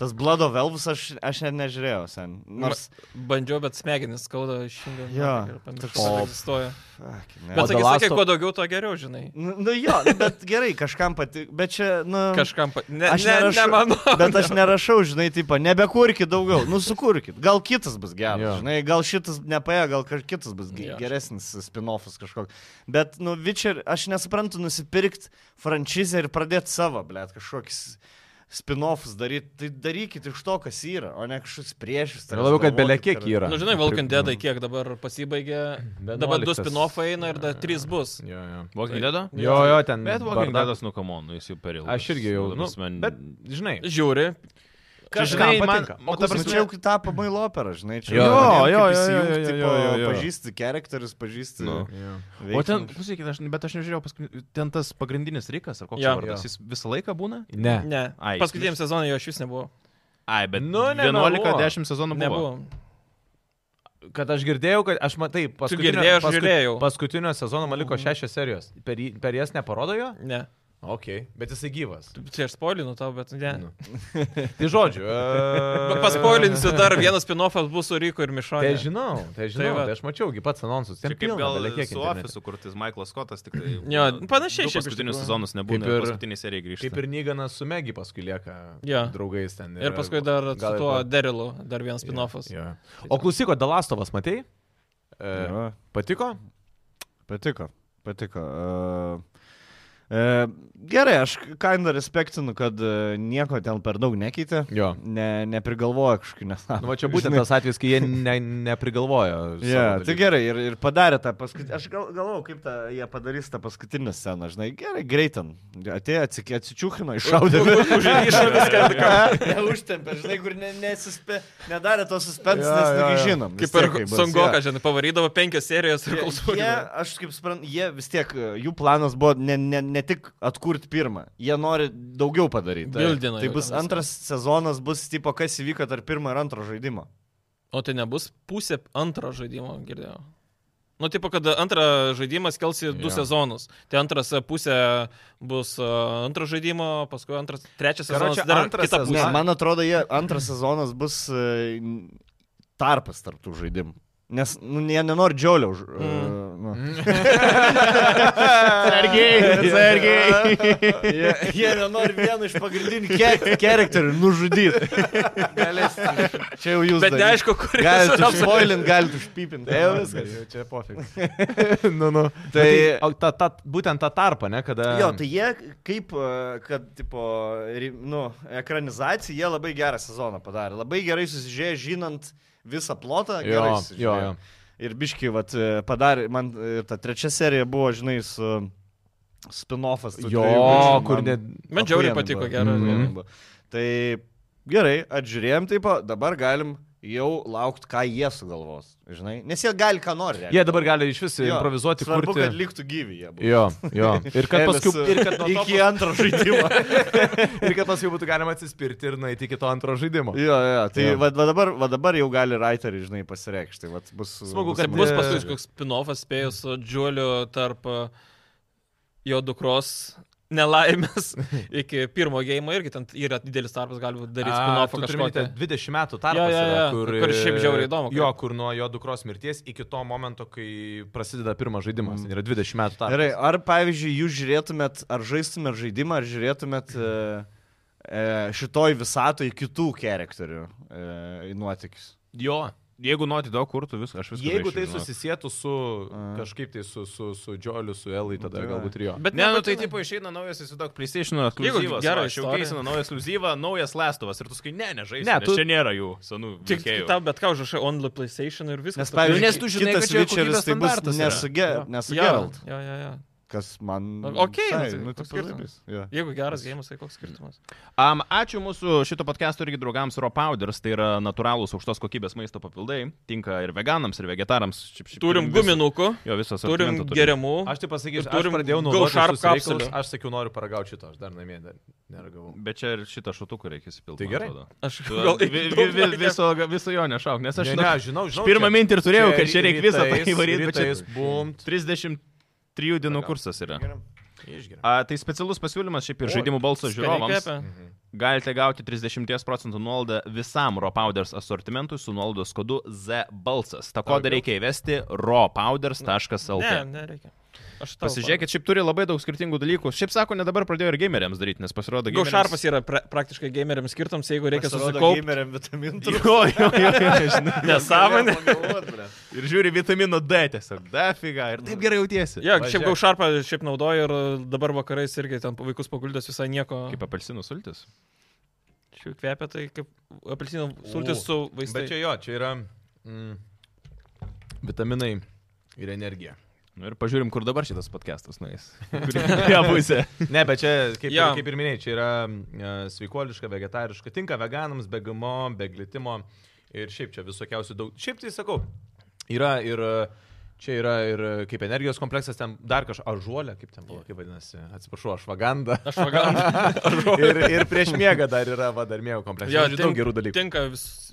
Speaker 3: Tas Blood of Elves aš, aš net nežiūrėjau sen. Nors...
Speaker 2: Bandžiau, bet smegenis skauda šiandien.
Speaker 3: Jo.
Speaker 2: pamiršau,
Speaker 3: O-
Speaker 2: kad egzistuoja.
Speaker 3: Fuck, ne.
Speaker 2: Bet
Speaker 4: O The
Speaker 2: sakė,
Speaker 4: Last
Speaker 2: sakė,
Speaker 4: of-
Speaker 2: kuo daugiau, to geriau, žinai.
Speaker 3: Nu, nu jo, bet gerai, kažkam patiko, bet čia, nu...
Speaker 2: Kažkam... Pa... Ne,
Speaker 3: Aš
Speaker 2: ne,
Speaker 3: nerašau,
Speaker 2: ne manau.
Speaker 3: [laughs] bet aš nerašau, žinai, tipo, nebekurkit daugiau, nu sukurkit, gal kitas bus geras,
Speaker 4: Jo.
Speaker 3: yeah. žinai, gal šitas nepaėjo, gal kaž- kitas bus ge
Speaker 2: Jo.
Speaker 3: geresnis spin-offas kažkoks. Bet, nu, Witcher, aš nesuprantu, nusipirkti franšizę ir pradėti savo, blėt, kažkoks spin-offs daryti, tai darykit iš to, kas yra, o ne kažkoks priešis.
Speaker 4: Ir labiau, kad belekiek yra.
Speaker 2: Na, Nu, žinai, Valking
Speaker 4: nu.
Speaker 2: Deadai kiek dabar pasibaigė. Dabar du spin-offai eina ir dar trys bus.
Speaker 4: Jo, jo.
Speaker 1: Walking Dead?
Speaker 4: Jo, jo, ten.
Speaker 1: Bet Walking
Speaker 4: barda-
Speaker 1: Dead'as, nu, kamon, jis jau per ilgai.
Speaker 4: Mm, Aš irgi jau. Nu, bet, žinai.
Speaker 2: Žiūri.
Speaker 1: Kažkam
Speaker 4: žinai, man-
Speaker 1: patinka.
Speaker 4: o
Speaker 1: O ta
Speaker 4: ta
Speaker 3: Dabar
Speaker 1: prasme,
Speaker 3: čia jau tapo bailo opera, žinai, čia
Speaker 4: Jo.
Speaker 3: jau,
Speaker 1: Jo, jo, jo, jo,
Speaker 3: įsijungti,
Speaker 1: jo,
Speaker 3: tipo,
Speaker 1: jo, jo.
Speaker 3: pažįsti charakterius, pažįsti.
Speaker 1: Nu. O ten, pusėkit, aš, bet aš nežiūrėjau, paskutinį- ten tas pagrindinis Rikas, ar koks
Speaker 2: Jo.
Speaker 1: jo vardas,
Speaker 4: Jo.
Speaker 1: jis visą laiką būna?
Speaker 4: Ne.
Speaker 2: Ne.
Speaker 1: Ai,
Speaker 2: Paskutiniam sezonui jo iš vis nebuvo.
Speaker 1: Ai, bet
Speaker 4: Nu,
Speaker 1: nu,
Speaker 4: ne,
Speaker 1: 11-10
Speaker 4: Nu,
Speaker 1: sezonų buvo.
Speaker 2: Nebuvo.
Speaker 4: Kad aš girdėjau, kad aš matai,
Speaker 2: girdėjai,
Speaker 4: paskutinio,
Speaker 2: aš žiūrėjau.
Speaker 4: paskutinio sezono man
Speaker 3: Mhm.
Speaker 4: liko šešios serijos. Per, jį- per jas neparodo jo?
Speaker 2: Ne.
Speaker 4: Ok, bet jisai gyvas.
Speaker 2: Tai aš spoilinu tau, bet ne.
Speaker 4: Nu. Tai žodžiu.
Speaker 2: Pa-
Speaker 4: e,
Speaker 2: Paspoilinsiu dar vienas spin-offas bus su Ryko ir
Speaker 4: [laughs] Tai
Speaker 2: Mišonė.
Speaker 4: žinau, tai žinau,
Speaker 2: va.
Speaker 4: tai aš mačiau, gi pats anonsus. Ten
Speaker 1: Čia kaip
Speaker 4: pilna
Speaker 1: gal
Speaker 4: belekiek
Speaker 1: su
Speaker 4: internete.
Speaker 1: Office, kur tas Michaelas Scottas tik tai...
Speaker 2: Jo, panašiai
Speaker 1: du
Speaker 2: šiaip iš
Speaker 1: paskutinius
Speaker 2: tikrųjų.
Speaker 1: sezonus nebūna,
Speaker 4: Kaip
Speaker 1: ir
Speaker 4: ir-
Speaker 1: paskutinė serija grįžta.
Speaker 4: Kaip ir Nyganas su Megi paskui lieka
Speaker 2: Jo.
Speaker 4: draugais ten.
Speaker 2: Ir paskui dar su
Speaker 4: gal ir
Speaker 2: tuo
Speaker 4: po-
Speaker 2: Derilu dar vienas spin-offas.
Speaker 4: Jo. O klausyko, Dalastovas, matei? E,
Speaker 3: Jo.
Speaker 4: patiko?
Speaker 3: Patiko, patiko. E, e, gerai, aš kinda respektinu, kad e, nieko ten per daug nekeitė.
Speaker 4: Jo.
Speaker 3: Ne, neprigalvoja kažkokių nesąmonių.
Speaker 4: Nu, va čia būtent tas atvejis, kai jie ne,
Speaker 3: [laughs]
Speaker 4: neprigalvojo. savo
Speaker 3: Yeah, tai
Speaker 4: dalykų.
Speaker 3: gerai, ir, ir padarė tą paskutinę. Aš gal, galvojau, kaip tą, jie padarys tą paskutinę sceną, žinai, gerai, greitin. Atėjo, atsikė- atsičiūchino,
Speaker 4: [laughs]
Speaker 3: iššaudė. Užrašė viską, [laughs] ką užtempė, žinai, kur ne, nesuspe, nedarė to suspens,
Speaker 4: Jo,
Speaker 3: nes
Speaker 4: jo, jo.
Speaker 3: taigi žinom. vis
Speaker 2: Kaip ir
Speaker 3: tiek kaip bus, jo.
Speaker 2: Songoka, žinai, pavarydavo penkias serijas ir kol
Speaker 3: Jie, jie,
Speaker 2: sugrįžo.
Speaker 3: aš kaip suprantu, jie vis tiek, e, jų planas buvo ne, ne, ne tik atkurti pirmą, jie nori daugiau padaryti.
Speaker 2: Bildina
Speaker 3: tai
Speaker 2: jau
Speaker 3: bus
Speaker 2: ten viską.
Speaker 3: antras sezonas, bus tipo, kas įvyko tarp pirmo ir antro žaidimo.
Speaker 2: O tai nebus pusė antro žaidimo, girdėjau. Nu, tipo, kad antrą žaidimą skelsi du
Speaker 4: Jo.
Speaker 2: sezonus. Tai antras e, pusė bus e, antro žaidimo, paskui antras, trečias
Speaker 4: Karoče,
Speaker 2: sezonas, dar
Speaker 4: antras
Speaker 2: kita
Speaker 4: sezonas-
Speaker 2: pusė.
Speaker 3: Ne, man atrodo, jie antras sezonas bus e, n- tarpas tarptų žaidimų. Nes nu, jie nenori džiauliau. Mm. Nu. [laughs]
Speaker 1: [laughs]
Speaker 3: Sergei, Sergei. jie, jie nenori vieną iš pagrindinių ke- charakterių nužudyti. Čia jau jūs.
Speaker 2: Bet
Speaker 3: darykit.
Speaker 2: neaišku, kur
Speaker 3: Galite užpoilint, galite užpipinti.
Speaker 4: Tai jau viskas, jau čia pofiks. nu, nu. Tai
Speaker 3: Tai-
Speaker 4: o, ta, ta, būtent tą tarpą, ne, kada...
Speaker 3: Jo, tai jie kaip, e, kad, tipo, ri- nu, ekranizacija, jie labai gerą sezoną padarė. Labai gerai susižiūrėjo, žinant visą plotą.
Speaker 4: Jo,
Speaker 3: gerai
Speaker 4: jo,
Speaker 3: susižiūrėjo.
Speaker 4: jo.
Speaker 3: Ir biški, vat, e, padarė, man e, ir ta trečia serija buvo, žinai, su spin-offas. tų
Speaker 4: Jo,
Speaker 3: dviejų bičių,
Speaker 4: kur net... Mhm.
Speaker 2: Man žiauriai patiko,
Speaker 3: achujienai buvo, Mm.
Speaker 2: gerai.
Speaker 3: achujienai buvo. Tai gerai, atžiūrėjom, taip, dabar galim jau laukti, ką jie sugalvos. Žinai, nes jie gali, ką nori. realiai.
Speaker 4: Jie dabar gali iš vis
Speaker 3: Jo,
Speaker 4: improvizuoti,
Speaker 3: Svarbu,
Speaker 4: kurti...
Speaker 3: kad liktų gyvi jie. būtų.
Speaker 4: Jo, [laughs] jo. Ir
Speaker 3: [laughs]
Speaker 4: kad
Speaker 3: Elis,
Speaker 4: paskui... Ir kad, nuo to
Speaker 3: iki antro žaidimo.
Speaker 4: ir kad paskui būtų galima atsispirti ir nueiti iki to antro žaidimo.
Speaker 3: [laughs] Jo, jo, tai
Speaker 4: Jo.
Speaker 3: jo. Va, va, dabar, va dabar jau gali writerį, žinai, pasireikšti. Va, bus,
Speaker 4: Smagu, kad
Speaker 2: Kad
Speaker 4: Ne.
Speaker 2: bus paskui koks spin-offas spėjus su Džiuliu tarp e, jo dukros nelaimės
Speaker 3: [laughs]
Speaker 2: iki pirmo gėjimo irgi ten yra didelis tarpas, galbūt daryti spin-offą kažkokį.
Speaker 4: 20 metų tarpas,
Speaker 2: Jo, jo,
Speaker 4: yra,
Speaker 2: jo,
Speaker 4: Kur,
Speaker 2: kur šiaip žiauriai įdomu,
Speaker 4: Jo,
Speaker 2: kaip-
Speaker 4: kur nuo jo dukros mirties iki to momento, kai prasideda pirmas žaidimas. Yra 20 metų tarpas.
Speaker 3: Gerai, ar pavyzdžiui, jūs žiūrėtumėt, ar žaistumėt žaidimą, ar žiūrėtumėt e, e, šitoj visatoj kitų charakterių e, nuotikius?
Speaker 4: Jo.
Speaker 1: Jeigu nori daug kurtų, vis, aš viską.
Speaker 4: Jeigu
Speaker 1: žaisčiau,
Speaker 4: tai
Speaker 1: žinok.
Speaker 4: susisėtų su
Speaker 3: A.
Speaker 4: kažkaip tai su, su, su Džioliu, su Elai, tada
Speaker 3: Tai va.
Speaker 4: galbūt ir jo.
Speaker 2: Bet
Speaker 1: Ne, nu tai
Speaker 2: nebūtinai.
Speaker 1: tipo išeina naujas įsidok PlayStation
Speaker 2: Jeigu
Speaker 1: ekskluzivas.
Speaker 2: gera
Speaker 1: Gerai, aš jau
Speaker 2: istorija.
Speaker 1: keisinu naują ekskluzivą, naujas Lestovas ir tu sakai, ne, nežaisi.
Speaker 4: Ne,
Speaker 1: Ne,
Speaker 4: tu-
Speaker 1: tu... čia nėra jų senų
Speaker 2: Tik
Speaker 1: veikėjų.
Speaker 2: tau bet ką užrašai only PlayStation ir viskas.
Speaker 3: Nes, pavyzdžiui,
Speaker 1: nes tu žinai,
Speaker 3: kitas
Speaker 1: kad čia
Speaker 3: Witcheris
Speaker 1: kokybės
Speaker 3: tai bus
Speaker 1: standartas yra.
Speaker 3: nesuge,
Speaker 2: Jo.
Speaker 3: nesugeralt.
Speaker 2: Jo, jo, jo.
Speaker 3: kas man...
Speaker 2: O- okei, nu
Speaker 3: visai,
Speaker 2: tai
Speaker 3: nu,
Speaker 2: koks
Speaker 3: tik
Speaker 2: skirtumas?
Speaker 3: pavyzdys. Jo.
Speaker 2: Jeigu geras gėjimas, tai koks skirtumas?
Speaker 1: Um, ačiū mūsų šito podcast'o irgi draugams Ropowders, tai yra natūralūs aukštos kokybės maisto papildai, tinka ir veganams, ir vegetarams. Šiaip- šiaip
Speaker 2: Turim
Speaker 1: vis-
Speaker 2: guminukų,
Speaker 1: Jo, visas
Speaker 2: turim geriamų.
Speaker 4: Aš tai pasakysiu,
Speaker 2: Ir
Speaker 4: aš
Speaker 2: turim
Speaker 4: pradėjau
Speaker 2: Go
Speaker 4: nuo
Speaker 2: Sharp
Speaker 4: šarp kapsulės.
Speaker 2: kapsulių.
Speaker 4: Aš sakiau, noriu paragauti šito, aš dar namie dar neragavau.
Speaker 1: Bet čia ir šitą šutuką reikia įsipilti.
Speaker 4: Tai gerai.
Speaker 2: Aš
Speaker 1: Gal,
Speaker 2: gal
Speaker 1: vi, vi, vi, viso, viso jo nešauk, nes aš
Speaker 4: ne,
Speaker 1: žinau,
Speaker 4: ne, žinau, žinau.
Speaker 1: Pirmą mintį ir turėjau, kad čia reikia visą tai
Speaker 4: rytais-
Speaker 1: įvaryti, bet
Speaker 4: rytais
Speaker 1: čia
Speaker 4: bumt.
Speaker 1: 33 dienų kursas yra.
Speaker 4: Išgeria.
Speaker 1: A, tai specialus pasiūlymas šiaip ir
Speaker 2: Oi,
Speaker 1: žaidimų balso žiūrovams.
Speaker 2: žiūrovams.
Speaker 1: Galite gauti 30 procentų nuolaidą visam RoPowders asortimentui su nuolaidos kodu ZBalsas. Ta kodą reikia įvesti
Speaker 2: Ne,
Speaker 1: ropowders.lt.
Speaker 2: nereikia. Aš tau
Speaker 1: Pasižiūrėkit, šiaip turi labai daug skirtingų dalykų. Šiaip sako, ne dabar pradėjo ir gameriams daryti, nes pasirodo,
Speaker 2: parodysiu. Go Sharpas yra pra praktiškai gameriams skirtams, jeigu reikia susikaupti.
Speaker 3: gameriam vitaminų.
Speaker 1: Jo, jo, jo, jo, žinai.
Speaker 2: [laughs] Nesąmonė.
Speaker 1: Ir žiūri vitamino D tiesiog. Da figa. Ir taip gerai jautiesi.
Speaker 2: Jo,
Speaker 4: Važiuok.
Speaker 2: šiaip Go Sharpą šiaip naudoju ir dabar vakarais irgi ten vaikus paguldęs visai nieko.
Speaker 1: Kaip apelsinų sultis.
Speaker 2: Šiaip kvepia tai kaip apelsinų
Speaker 4: O,
Speaker 2: sultis su
Speaker 4: Bet čia
Speaker 2: vaistais.
Speaker 4: jo, čia yra mm, vitaminai ir energija.
Speaker 1: Nu ir pažiūrim, kur dabar šitas podcastas nueis. Ja, pusė.
Speaker 4: Ne, bet čia, kaip,
Speaker 2: Jo.
Speaker 4: yeah. kaip ir minėjai, čia yra uh, sveikuoliška, vegetariška, tinka veganams, be gamo, be glitimo ir šiaip čia visokiausių daug. Šiaip tai sakau, yra ir e, čia yra ir e, kaip energijos kompleksas, ten dar kažkas, ažuolė, kaip ten buvo, kaip vadinasi, atsiprašau, aš vaganda.
Speaker 2: Aš [laughs] vaganu.
Speaker 4: ir, ir prieš miegą dar yra, va, dar mėgo kompleksas.
Speaker 2: Jo,
Speaker 4: Tai Žodžiu, daug gerų dalykų.
Speaker 2: Tinka vis-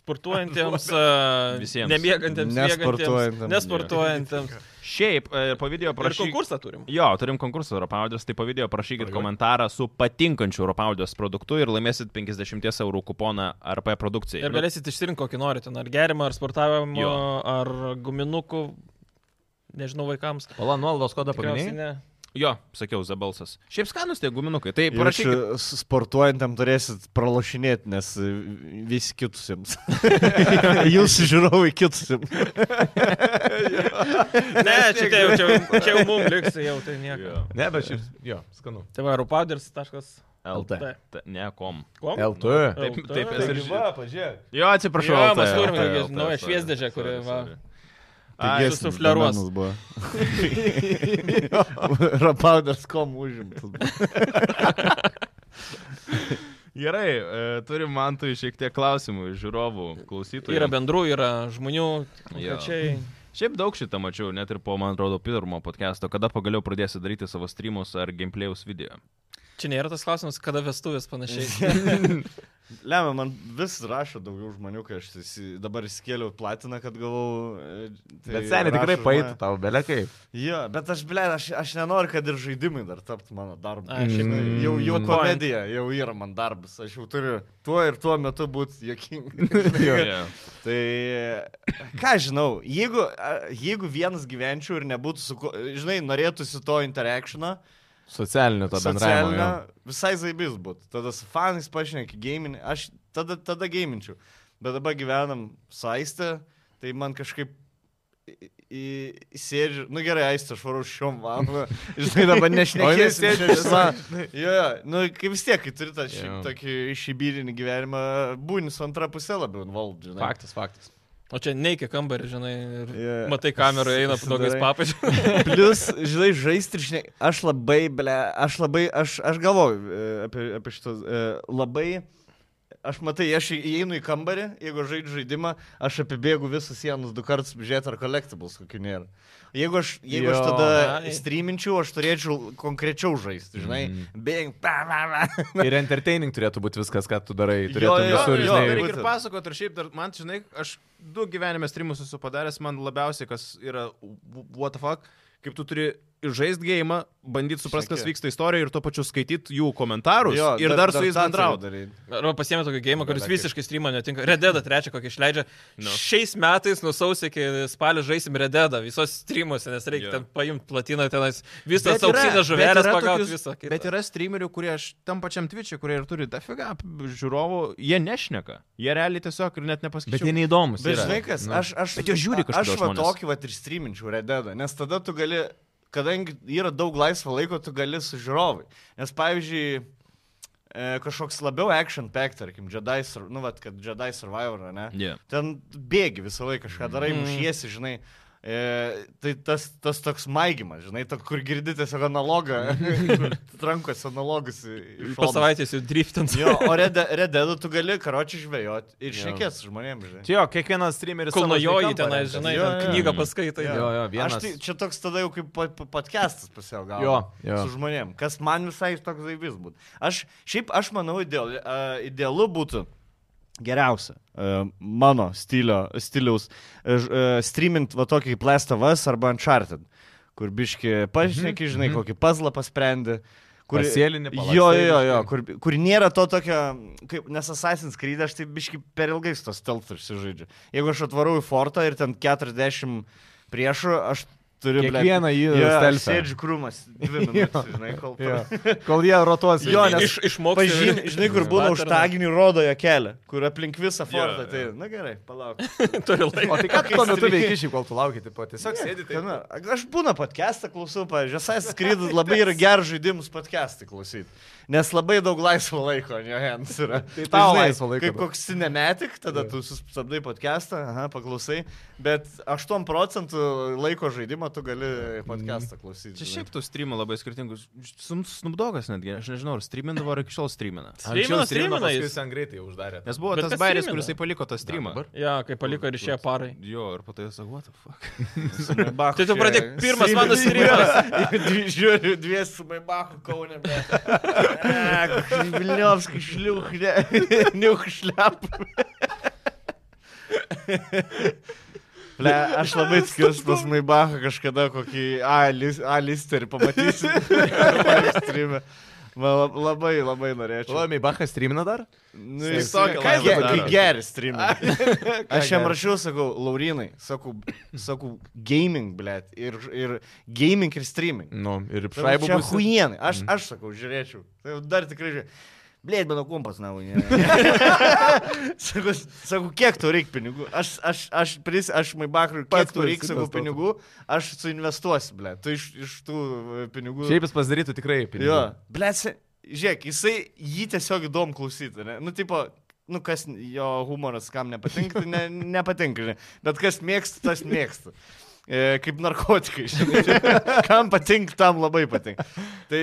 Speaker 2: sportuojantiems,
Speaker 1: Visiems.
Speaker 2: visiems. Nemiegantiems,
Speaker 3: Nesportuojantiems.
Speaker 2: mėgantiems, nesportuojantiems.
Speaker 1: Šiaip, e, po video
Speaker 2: Ir
Speaker 1: prašyk.
Speaker 2: konkursą turim.
Speaker 1: Jo, turim konkursą Europaudės, tai po video prašykit
Speaker 4: Pragai.
Speaker 1: komentarą su patinkančiu Europaudės produktu ir laimėsit 50 eurų kuponą RP produkcijai. Nu,
Speaker 2: Ir galėsit išsirinkti kokį norite, ten ar gerimą, ar sportavimą,
Speaker 1: Jo.
Speaker 2: ar guminukų, nežinau, vaikams.
Speaker 4: Pala, nuolaidos nu, kodą
Speaker 2: Tikriausiai
Speaker 4: pagrindinį.
Speaker 2: ne.
Speaker 1: Jo, sakiau, Zabalsas. Šiaip skanus tie guminukai, tai
Speaker 3: Ir aš
Speaker 1: parašykit.
Speaker 3: sportuojantam turėsit pralašinėti, nes e, visi [laughs] kitusiems. Jūs žiūrovai kitusiems.
Speaker 2: Ne, čia, tai jau, čia, jau- čia jau mums liks, jau tai nieko.
Speaker 1: Jo.
Speaker 4: Ne, bet šiaip, jo, skanu.
Speaker 2: Tai va, rupaders.com.
Speaker 1: LT. T- Ne, kom.
Speaker 4: LT.
Speaker 1: [laughs] Taip,
Speaker 2: LT.
Speaker 1: taip, mes ir žinome.
Speaker 4: pažiūrėk.
Speaker 1: Jo, atsiprašau.
Speaker 2: Jo,
Speaker 1: LT,
Speaker 2: mes turime
Speaker 1: LT,
Speaker 2: tokią
Speaker 1: LT,
Speaker 2: naują
Speaker 1: sorry,
Speaker 2: šviesdėžę, kuri,
Speaker 1: sorry,
Speaker 2: va.
Speaker 1: sorry. Ai,
Speaker 3: Pigesnis
Speaker 2: sufleruos.
Speaker 3: domenas buvo. [laughs] Rapaudas.com užimtas.
Speaker 1: Gerai, e, turim man tai šiek tiek klausimų iš žiūrovų, klausytojų.
Speaker 2: Yra bendrų, yra žmonių.
Speaker 1: Jo.
Speaker 2: Konkrečiai.
Speaker 1: Šiaip daug šitą mačiau, net ir po, man atrodo, pirmo podcast'o, kada pagaliau pradėsi daryti savo streamus ar gameplay'us video.
Speaker 2: Čia nėra tas klausimas, kada vestuvės
Speaker 3: [laughs]
Speaker 2: panašiai.
Speaker 3: Lemia, man vis rašo daugiau žmonių, kai aš įsi- dabar įskėliau platiną, kad gavau. e, tai
Speaker 4: Bet seniai tikrai
Speaker 3: rašo
Speaker 4: paėtų
Speaker 3: žmonės-
Speaker 4: tau, belekai.
Speaker 3: Jo, bet aš, ble, aš, aš nenoriu, kad ir žaidimai dar taptų mano darbu.
Speaker 2: Ai, šiaip-
Speaker 3: Žinai, jau, jau
Speaker 2: Mm.
Speaker 3: komedija, jau yra man darbas, aš jau turiu tuo ir tuo metu būti jokingai.
Speaker 2: [laughs]
Speaker 1: Yeah.
Speaker 3: Tai ką aš žinau, jeigu, a, jeigu vienas gyvenčiau ir nebūtų su kuo, žinai, norėtųsi to interakciono,
Speaker 4: Socialinio to bendravimo. jo.
Speaker 3: visai zaibis būtų. Tada su fanais pašneki, gaming, aš tada, tada gaminčiau. Bet dabar gyvenam saistę, tai man kažkaip į- į- įsėdžiu, nu gerai, aistė, aš varau šiom
Speaker 4: [laughs]
Speaker 3: valandom, žinai, dabar
Speaker 4: O jinai
Speaker 3: nešnekėsiu.
Speaker 4: sėdi
Speaker 3: čia visą- Jo, jo, nu kaip vis tiek, kai turi tą
Speaker 4: Jo.
Speaker 3: šiaip tokį išibydinį gyvenimą, būni su antra pusė labiau involved, žinai.
Speaker 4: Faktas, faktas.
Speaker 2: O čia neiki kambarį, žinai. ir
Speaker 3: Jo.
Speaker 2: Matai kamerą, eina padogais
Speaker 3: Susidarai.
Speaker 2: papačiu.
Speaker 3: Plus, žinai, žaisti ir žinai, aš labai, ble, aš labai, aš, aš galvoju e, apie, apie šitos, e, labai, aš matai, aš į- įeinu į kambarį, jeigu žaidžiu žaidimą, aš apibėgu visus sienus du kartus žiūrėti, ar collectibles kokių nėra. Jeigu aš, jeigu aš
Speaker 4: Jo.
Speaker 3: tada
Speaker 2: Ai.
Speaker 3: streaminčiau, aš turėčiau konkrečiau žaisti, žinai,
Speaker 1: Mhm.
Speaker 3: mm. bėgant, pa, pa, pa.
Speaker 4: [laughs] Ir entertaining turėtų būti viskas, ką tu darai.
Speaker 3: Jo,
Speaker 4: Turėtum
Speaker 3: jo,
Speaker 4: visur,
Speaker 3: jo,
Speaker 4: žinai.
Speaker 1: Reikia ir
Speaker 3: būtent.
Speaker 1: pasakot, ir šiaip dar man, žinai, aš du gyvenime streamus esu padaręs, man labiausiai kas yra w- what the fuck, kaip tu turi žaisti gėjimą, bandyti suprasti, kas
Speaker 3: Šneki.
Speaker 1: vyksta istorijoje ir tuo pačiu skaityti jų komentarus jo, ir dar, dar su jais
Speaker 3: tą turiu
Speaker 1: bendrauti.
Speaker 3: daryt.
Speaker 2: [laughs] Arba pasiemė tokį gėjimą, kuris
Speaker 4: Belekai.
Speaker 2: visiškai streamą netinka. Rededa trečią kokį išleidžia.
Speaker 1: Nu.
Speaker 2: No. Šiais metais nusausį iki spalio žaisim Rededa visos streamuose, nes reikia
Speaker 1: Jo.
Speaker 2: yeah. ten paimti platiną tenais. Visas auksinės žuvelės pagauti visą. kitą.
Speaker 1: bet yra streamerių, kurie aš tam pačiam Twitch'e, kurie ir turi dafiga žiūrovų, jie nešneka. Jie realiai tiesiog ir net
Speaker 4: Bet
Speaker 1: nepasakyčiau.
Speaker 4: jie Nu. neįdomus.
Speaker 3: Bet žinai kas, aš, aš,
Speaker 1: nu, Bet jo žiūri kažkodėl
Speaker 3: aš va
Speaker 1: žmonės.
Speaker 3: tokį va ir streaminčiau rededą, nes tada tu gali, kadangi yra daug laisvo laiko, tu gali su žiūrovai. Nes pavyzdžiui, e, kažkoks labiau action pack, tarkim, Jedi, Sur- nu, vat, kad Jedi Survivor, ne?
Speaker 1: Yeah. Mm.
Speaker 3: Ten bėgi visą laiką, kažką darai, mušiesi, žinai. E, tai tas, tas toks maigimas, žinai, to, kur girdi tiesiog analogą,
Speaker 1: [laughs]
Speaker 3: kur rankos analogus. į- į
Speaker 2: Po
Speaker 3: šonus.
Speaker 2: savaitės jau driftant. [laughs]
Speaker 3: Jo, o rededų tu gali karočiui žvejoti ir šnekės žmonėms, žinai.
Speaker 4: Čia jo, kiekvienas streameris. savo
Speaker 2: Kulnojoji
Speaker 4: žinai kampą
Speaker 2: tenai,
Speaker 4: renka.
Speaker 2: žinai,
Speaker 3: Jo,
Speaker 2: ten
Speaker 3: jo.
Speaker 2: knygą paskaitai.
Speaker 4: Jo, jo, vienas.
Speaker 3: Aš tai, čia toks tada jau kaip po- po- podcastas pasielgavo.
Speaker 4: Jo, jo.
Speaker 3: Su žmonėm. Kas man visai toks žaibis būtų. Aš, šiaip aš manau, ideal, a, idealu būtų geriausia a, mano stilio, stiliaus a, ž- a, streamint va tokį kaip Last of Us arba Uncharted, kur biški pašneki,
Speaker 4: Mhm,
Speaker 3: žinai, kokį puzzlą pasprendi. Kur, jo,
Speaker 4: Pasėlinį, palakstai
Speaker 3: jo, jo,
Speaker 4: biškį.
Speaker 3: kur, kur nėra to tokio, kaip, nes Assassin's Creed aš tai biški per ilgai su tos teltus žaidžiu. Jeigu aš atvarau į fortą ir ten 40 priešų, aš turiu... blet,
Speaker 4: Kiekvieną jį
Speaker 3: jo, aš
Speaker 4: stealthą.
Speaker 3: Sėdžiu krūmas,
Speaker 4: [laughs]
Speaker 3: dvi minutės, žinai, kol...
Speaker 4: Jo.
Speaker 3: pa-
Speaker 4: [laughs] Kol jie rotuos.
Speaker 3: Jo, nes-
Speaker 2: Iš, išmokti.
Speaker 3: Pažymi, žinai,
Speaker 2: [laughs]
Speaker 3: kur būna už taginį rodo jo kelią, kur aplink visą fortą.
Speaker 1: jo.
Speaker 3: Tai, na gerai, palauk.
Speaker 2: Turi laiką.
Speaker 4: O tai ką tu tuo metu veiki, šiaip kol tu lauki, tipo, tiesiog sėdi tai.
Speaker 3: Ten, aš būna podcastą klausau, pavyzdžiui, Assassin's Creed labai yra geras žaidimus podcastą klausyti, nes labai daug laisvo laiko, ne, Hans yra. Tai
Speaker 4: tau laisvo laiko
Speaker 3: Kaip
Speaker 4: daug.
Speaker 3: koks cinematic, tada tu sustabdai podcastą, aha, paklausai, bet 8 procentų laiko žaidimo tu gali
Speaker 4: Mhm.
Speaker 3: podcastą klausyti.
Speaker 1: Čia šiaip tų streamų labai skirtingų. Snubdogas netgi, aš nežinau, ar streamindavo ar iki šiol streamina.
Speaker 2: Streamina, streamina
Speaker 4: jis
Speaker 2: jis.
Speaker 4: ten greitai uždarė.
Speaker 1: Nes buvo
Speaker 2: Bet
Speaker 1: tas
Speaker 2: kas
Speaker 1: bairis,
Speaker 2: streamina?
Speaker 1: kuris jisai paliko tą streamą.
Speaker 4: dabar?
Speaker 2: Jo, kai paliko ir išėjo parai.
Speaker 1: Jo, ir po to jis sako, what the fuck.
Speaker 3: Maibachu
Speaker 2: Tai tu
Speaker 3: čia
Speaker 2: pradėk, pirmas mano
Speaker 3: [laughs] Dvi- Žiūriu, dvies su Maibachu Kaunė. Vilniovskai šliuchnė, [laughs] niukšliap. Le, aš labai tikiuosi pas Maibachą kažkada kokį A-listerį [laughs] pamatysiu. Streame. Man lab- labai, labai norėčiau.
Speaker 4: Laimėjai, Bachas streamina dar?
Speaker 3: Nu,
Speaker 1: Jis
Speaker 3: jis
Speaker 1: tokią
Speaker 3: ką
Speaker 1: laimę
Speaker 3: ge-
Speaker 1: daro.
Speaker 3: kai geras
Speaker 4: [laughs]
Speaker 3: streamas. Aš jam
Speaker 4: geras.
Speaker 3: rašiau, sakau, Laurinai, sakau, sakau gaming, blėt, ir, ir gaming ir streaming.
Speaker 4: Nu, ir
Speaker 3: Sakau,
Speaker 4: šaibu Mm.
Speaker 3: čia
Speaker 4: bus.
Speaker 3: huijenai, aš, aš sakau, žiūrėčiau. Tai jau Dar tikrai žiūrėčiau. Blėt, mano kompas navo.
Speaker 4: [laughs]
Speaker 3: sakau, sakau, kiek tau reikia pinigų? Aš, aš, aš, pris, aš Maibakrui,
Speaker 4: Pats
Speaker 3: kiek tau reikia, sakau,
Speaker 4: pasiinvestuotum.
Speaker 3: pinigų, aš suinvestuosiu, blėt. Tu iš, iš tų e, pinigų.
Speaker 4: Šiaip jis pasidarytų tikrai pinigų.
Speaker 3: Jo, blėsi, žiūrėk, jisai jį tiesiog įdomu klausyti, ne? Nu, tipo, nu, kas jo humoras, kam nepatinka, tai ne, [laughs] nepatinka, žinai. Bet kas mėgsta, tas mėgsta. E, kaip narkotikai, žinai. [laughs] Kam patinka, tam labai patinka. Tai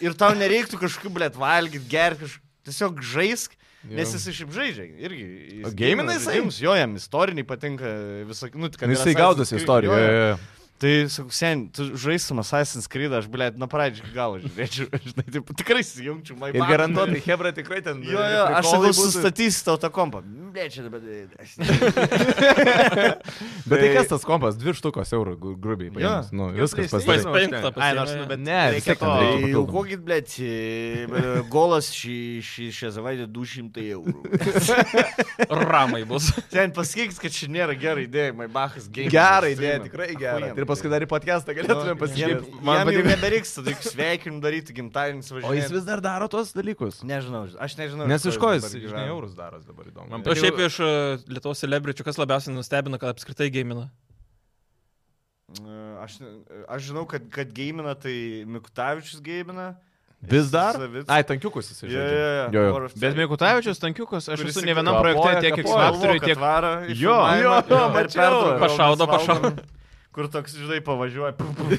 Speaker 3: ir tau nereiktų kažkokių, blėt, valgyti, gerti, kažkokių. Tiesiog žaisk, nes
Speaker 4: Jo.
Speaker 3: jisai šiaip žaidžia. Irgi. jis
Speaker 4: O geimina
Speaker 3: gamina
Speaker 4: jisai?
Speaker 3: žaidimus, Jo, jam istoriniai patinka visokių. Nu, kad
Speaker 4: Nu,
Speaker 3: ir
Speaker 4: Jisai
Speaker 3: Assassin's
Speaker 4: gaudosi
Speaker 3: Creed-
Speaker 4: istoriją.
Speaker 3: jo, jo.
Speaker 4: jo, jo, jo.
Speaker 3: Tai, sakau, sen, tu žaistum Assassin's Creed, aš, blėt, nuo pradžių iki [laughs] galo žiūrėčiau, žinai, taip, tikrai įjungčiau maišą.
Speaker 4: Ir garantuotai, Hebra tikrai ten.
Speaker 3: Jo, jo, aš sakau,
Speaker 4: prikolai būtų.
Speaker 3: sustatysiu tau tą kompą. Blėt, čia dabar.
Speaker 4: Bet tai
Speaker 3: tai-
Speaker 4: kas tas kompas? Dvi štukos eurų gru- grubiai. paėmus. Nu, viskas
Speaker 1: PlayStation.
Speaker 4: pasidarė.
Speaker 1: Nu,
Speaker 2: Penktą
Speaker 1: užtenka.
Speaker 2: pasiėmė.
Speaker 1: Ai, nors, nu, bet
Speaker 4: Ne, vis tiek
Speaker 1: reikia
Speaker 4: ten
Speaker 1: to.
Speaker 4: reikia.
Speaker 3: Jau kokį, blėt, э, golas šį, šį, šią savaitę 200 eurų.
Speaker 2: Ramai bus.
Speaker 3: Ten pasakyk, kad čia nėra gerai idėja, Maibachas gėja.
Speaker 4: Gerai, idėja, tikrai gerai. Ir paskui dar į podcastą galėtumėm
Speaker 3: Jam,
Speaker 4: pasižiūrėti.
Speaker 3: man jau nebereiks, tada sveikim daryti gimtadienį važiuoti.
Speaker 4: O jis vis dar daro tos dalykus.
Speaker 3: Nežinau, aš nežinau.
Speaker 4: Nes iš ko jis,
Speaker 3: dabar
Speaker 4: žinai,
Speaker 3: gyvena.
Speaker 4: eurus daros dabar įdomu.
Speaker 1: Man
Speaker 2: O
Speaker 1: Bet jau-
Speaker 2: šiaip iš e, Lietuvos celebričių, kas labiausiai nustebino, kad apskritai gėmina?
Speaker 3: E, Aš, ne- aš žinau, kad, kad gėmina, tai Mikutavičius gėmina.
Speaker 4: Vis dar?
Speaker 3: Savic-
Speaker 4: Ai, tankiukus jis
Speaker 3: Jo,
Speaker 4: žaidžia.
Speaker 3: jo,
Speaker 4: Jo,
Speaker 3: jo.
Speaker 4: jo.
Speaker 3: War of
Speaker 1: Bet
Speaker 3: Tanks.
Speaker 1: Mikutavičius, Tankiukas, aš
Speaker 3: Kuris
Speaker 1: esu ne
Speaker 3: tik
Speaker 1: vienam
Speaker 4: kapoja,
Speaker 1: projekte tiek
Speaker 4: kapoja.
Speaker 1: X-Factory,
Speaker 3: Alvoką
Speaker 1: tiek...
Speaker 3: tvaro iš
Speaker 1: Jo,
Speaker 3: filmavimo,
Speaker 4: jo,
Speaker 3: jo, per
Speaker 4: mačiau.
Speaker 3: pertrauką
Speaker 2: Pašaudo,
Speaker 3: mes valgom,
Speaker 2: pašaudo.
Speaker 3: Kur toks, žinai, pavažiuoja. pum, pum,
Speaker 4: [laughs] jo,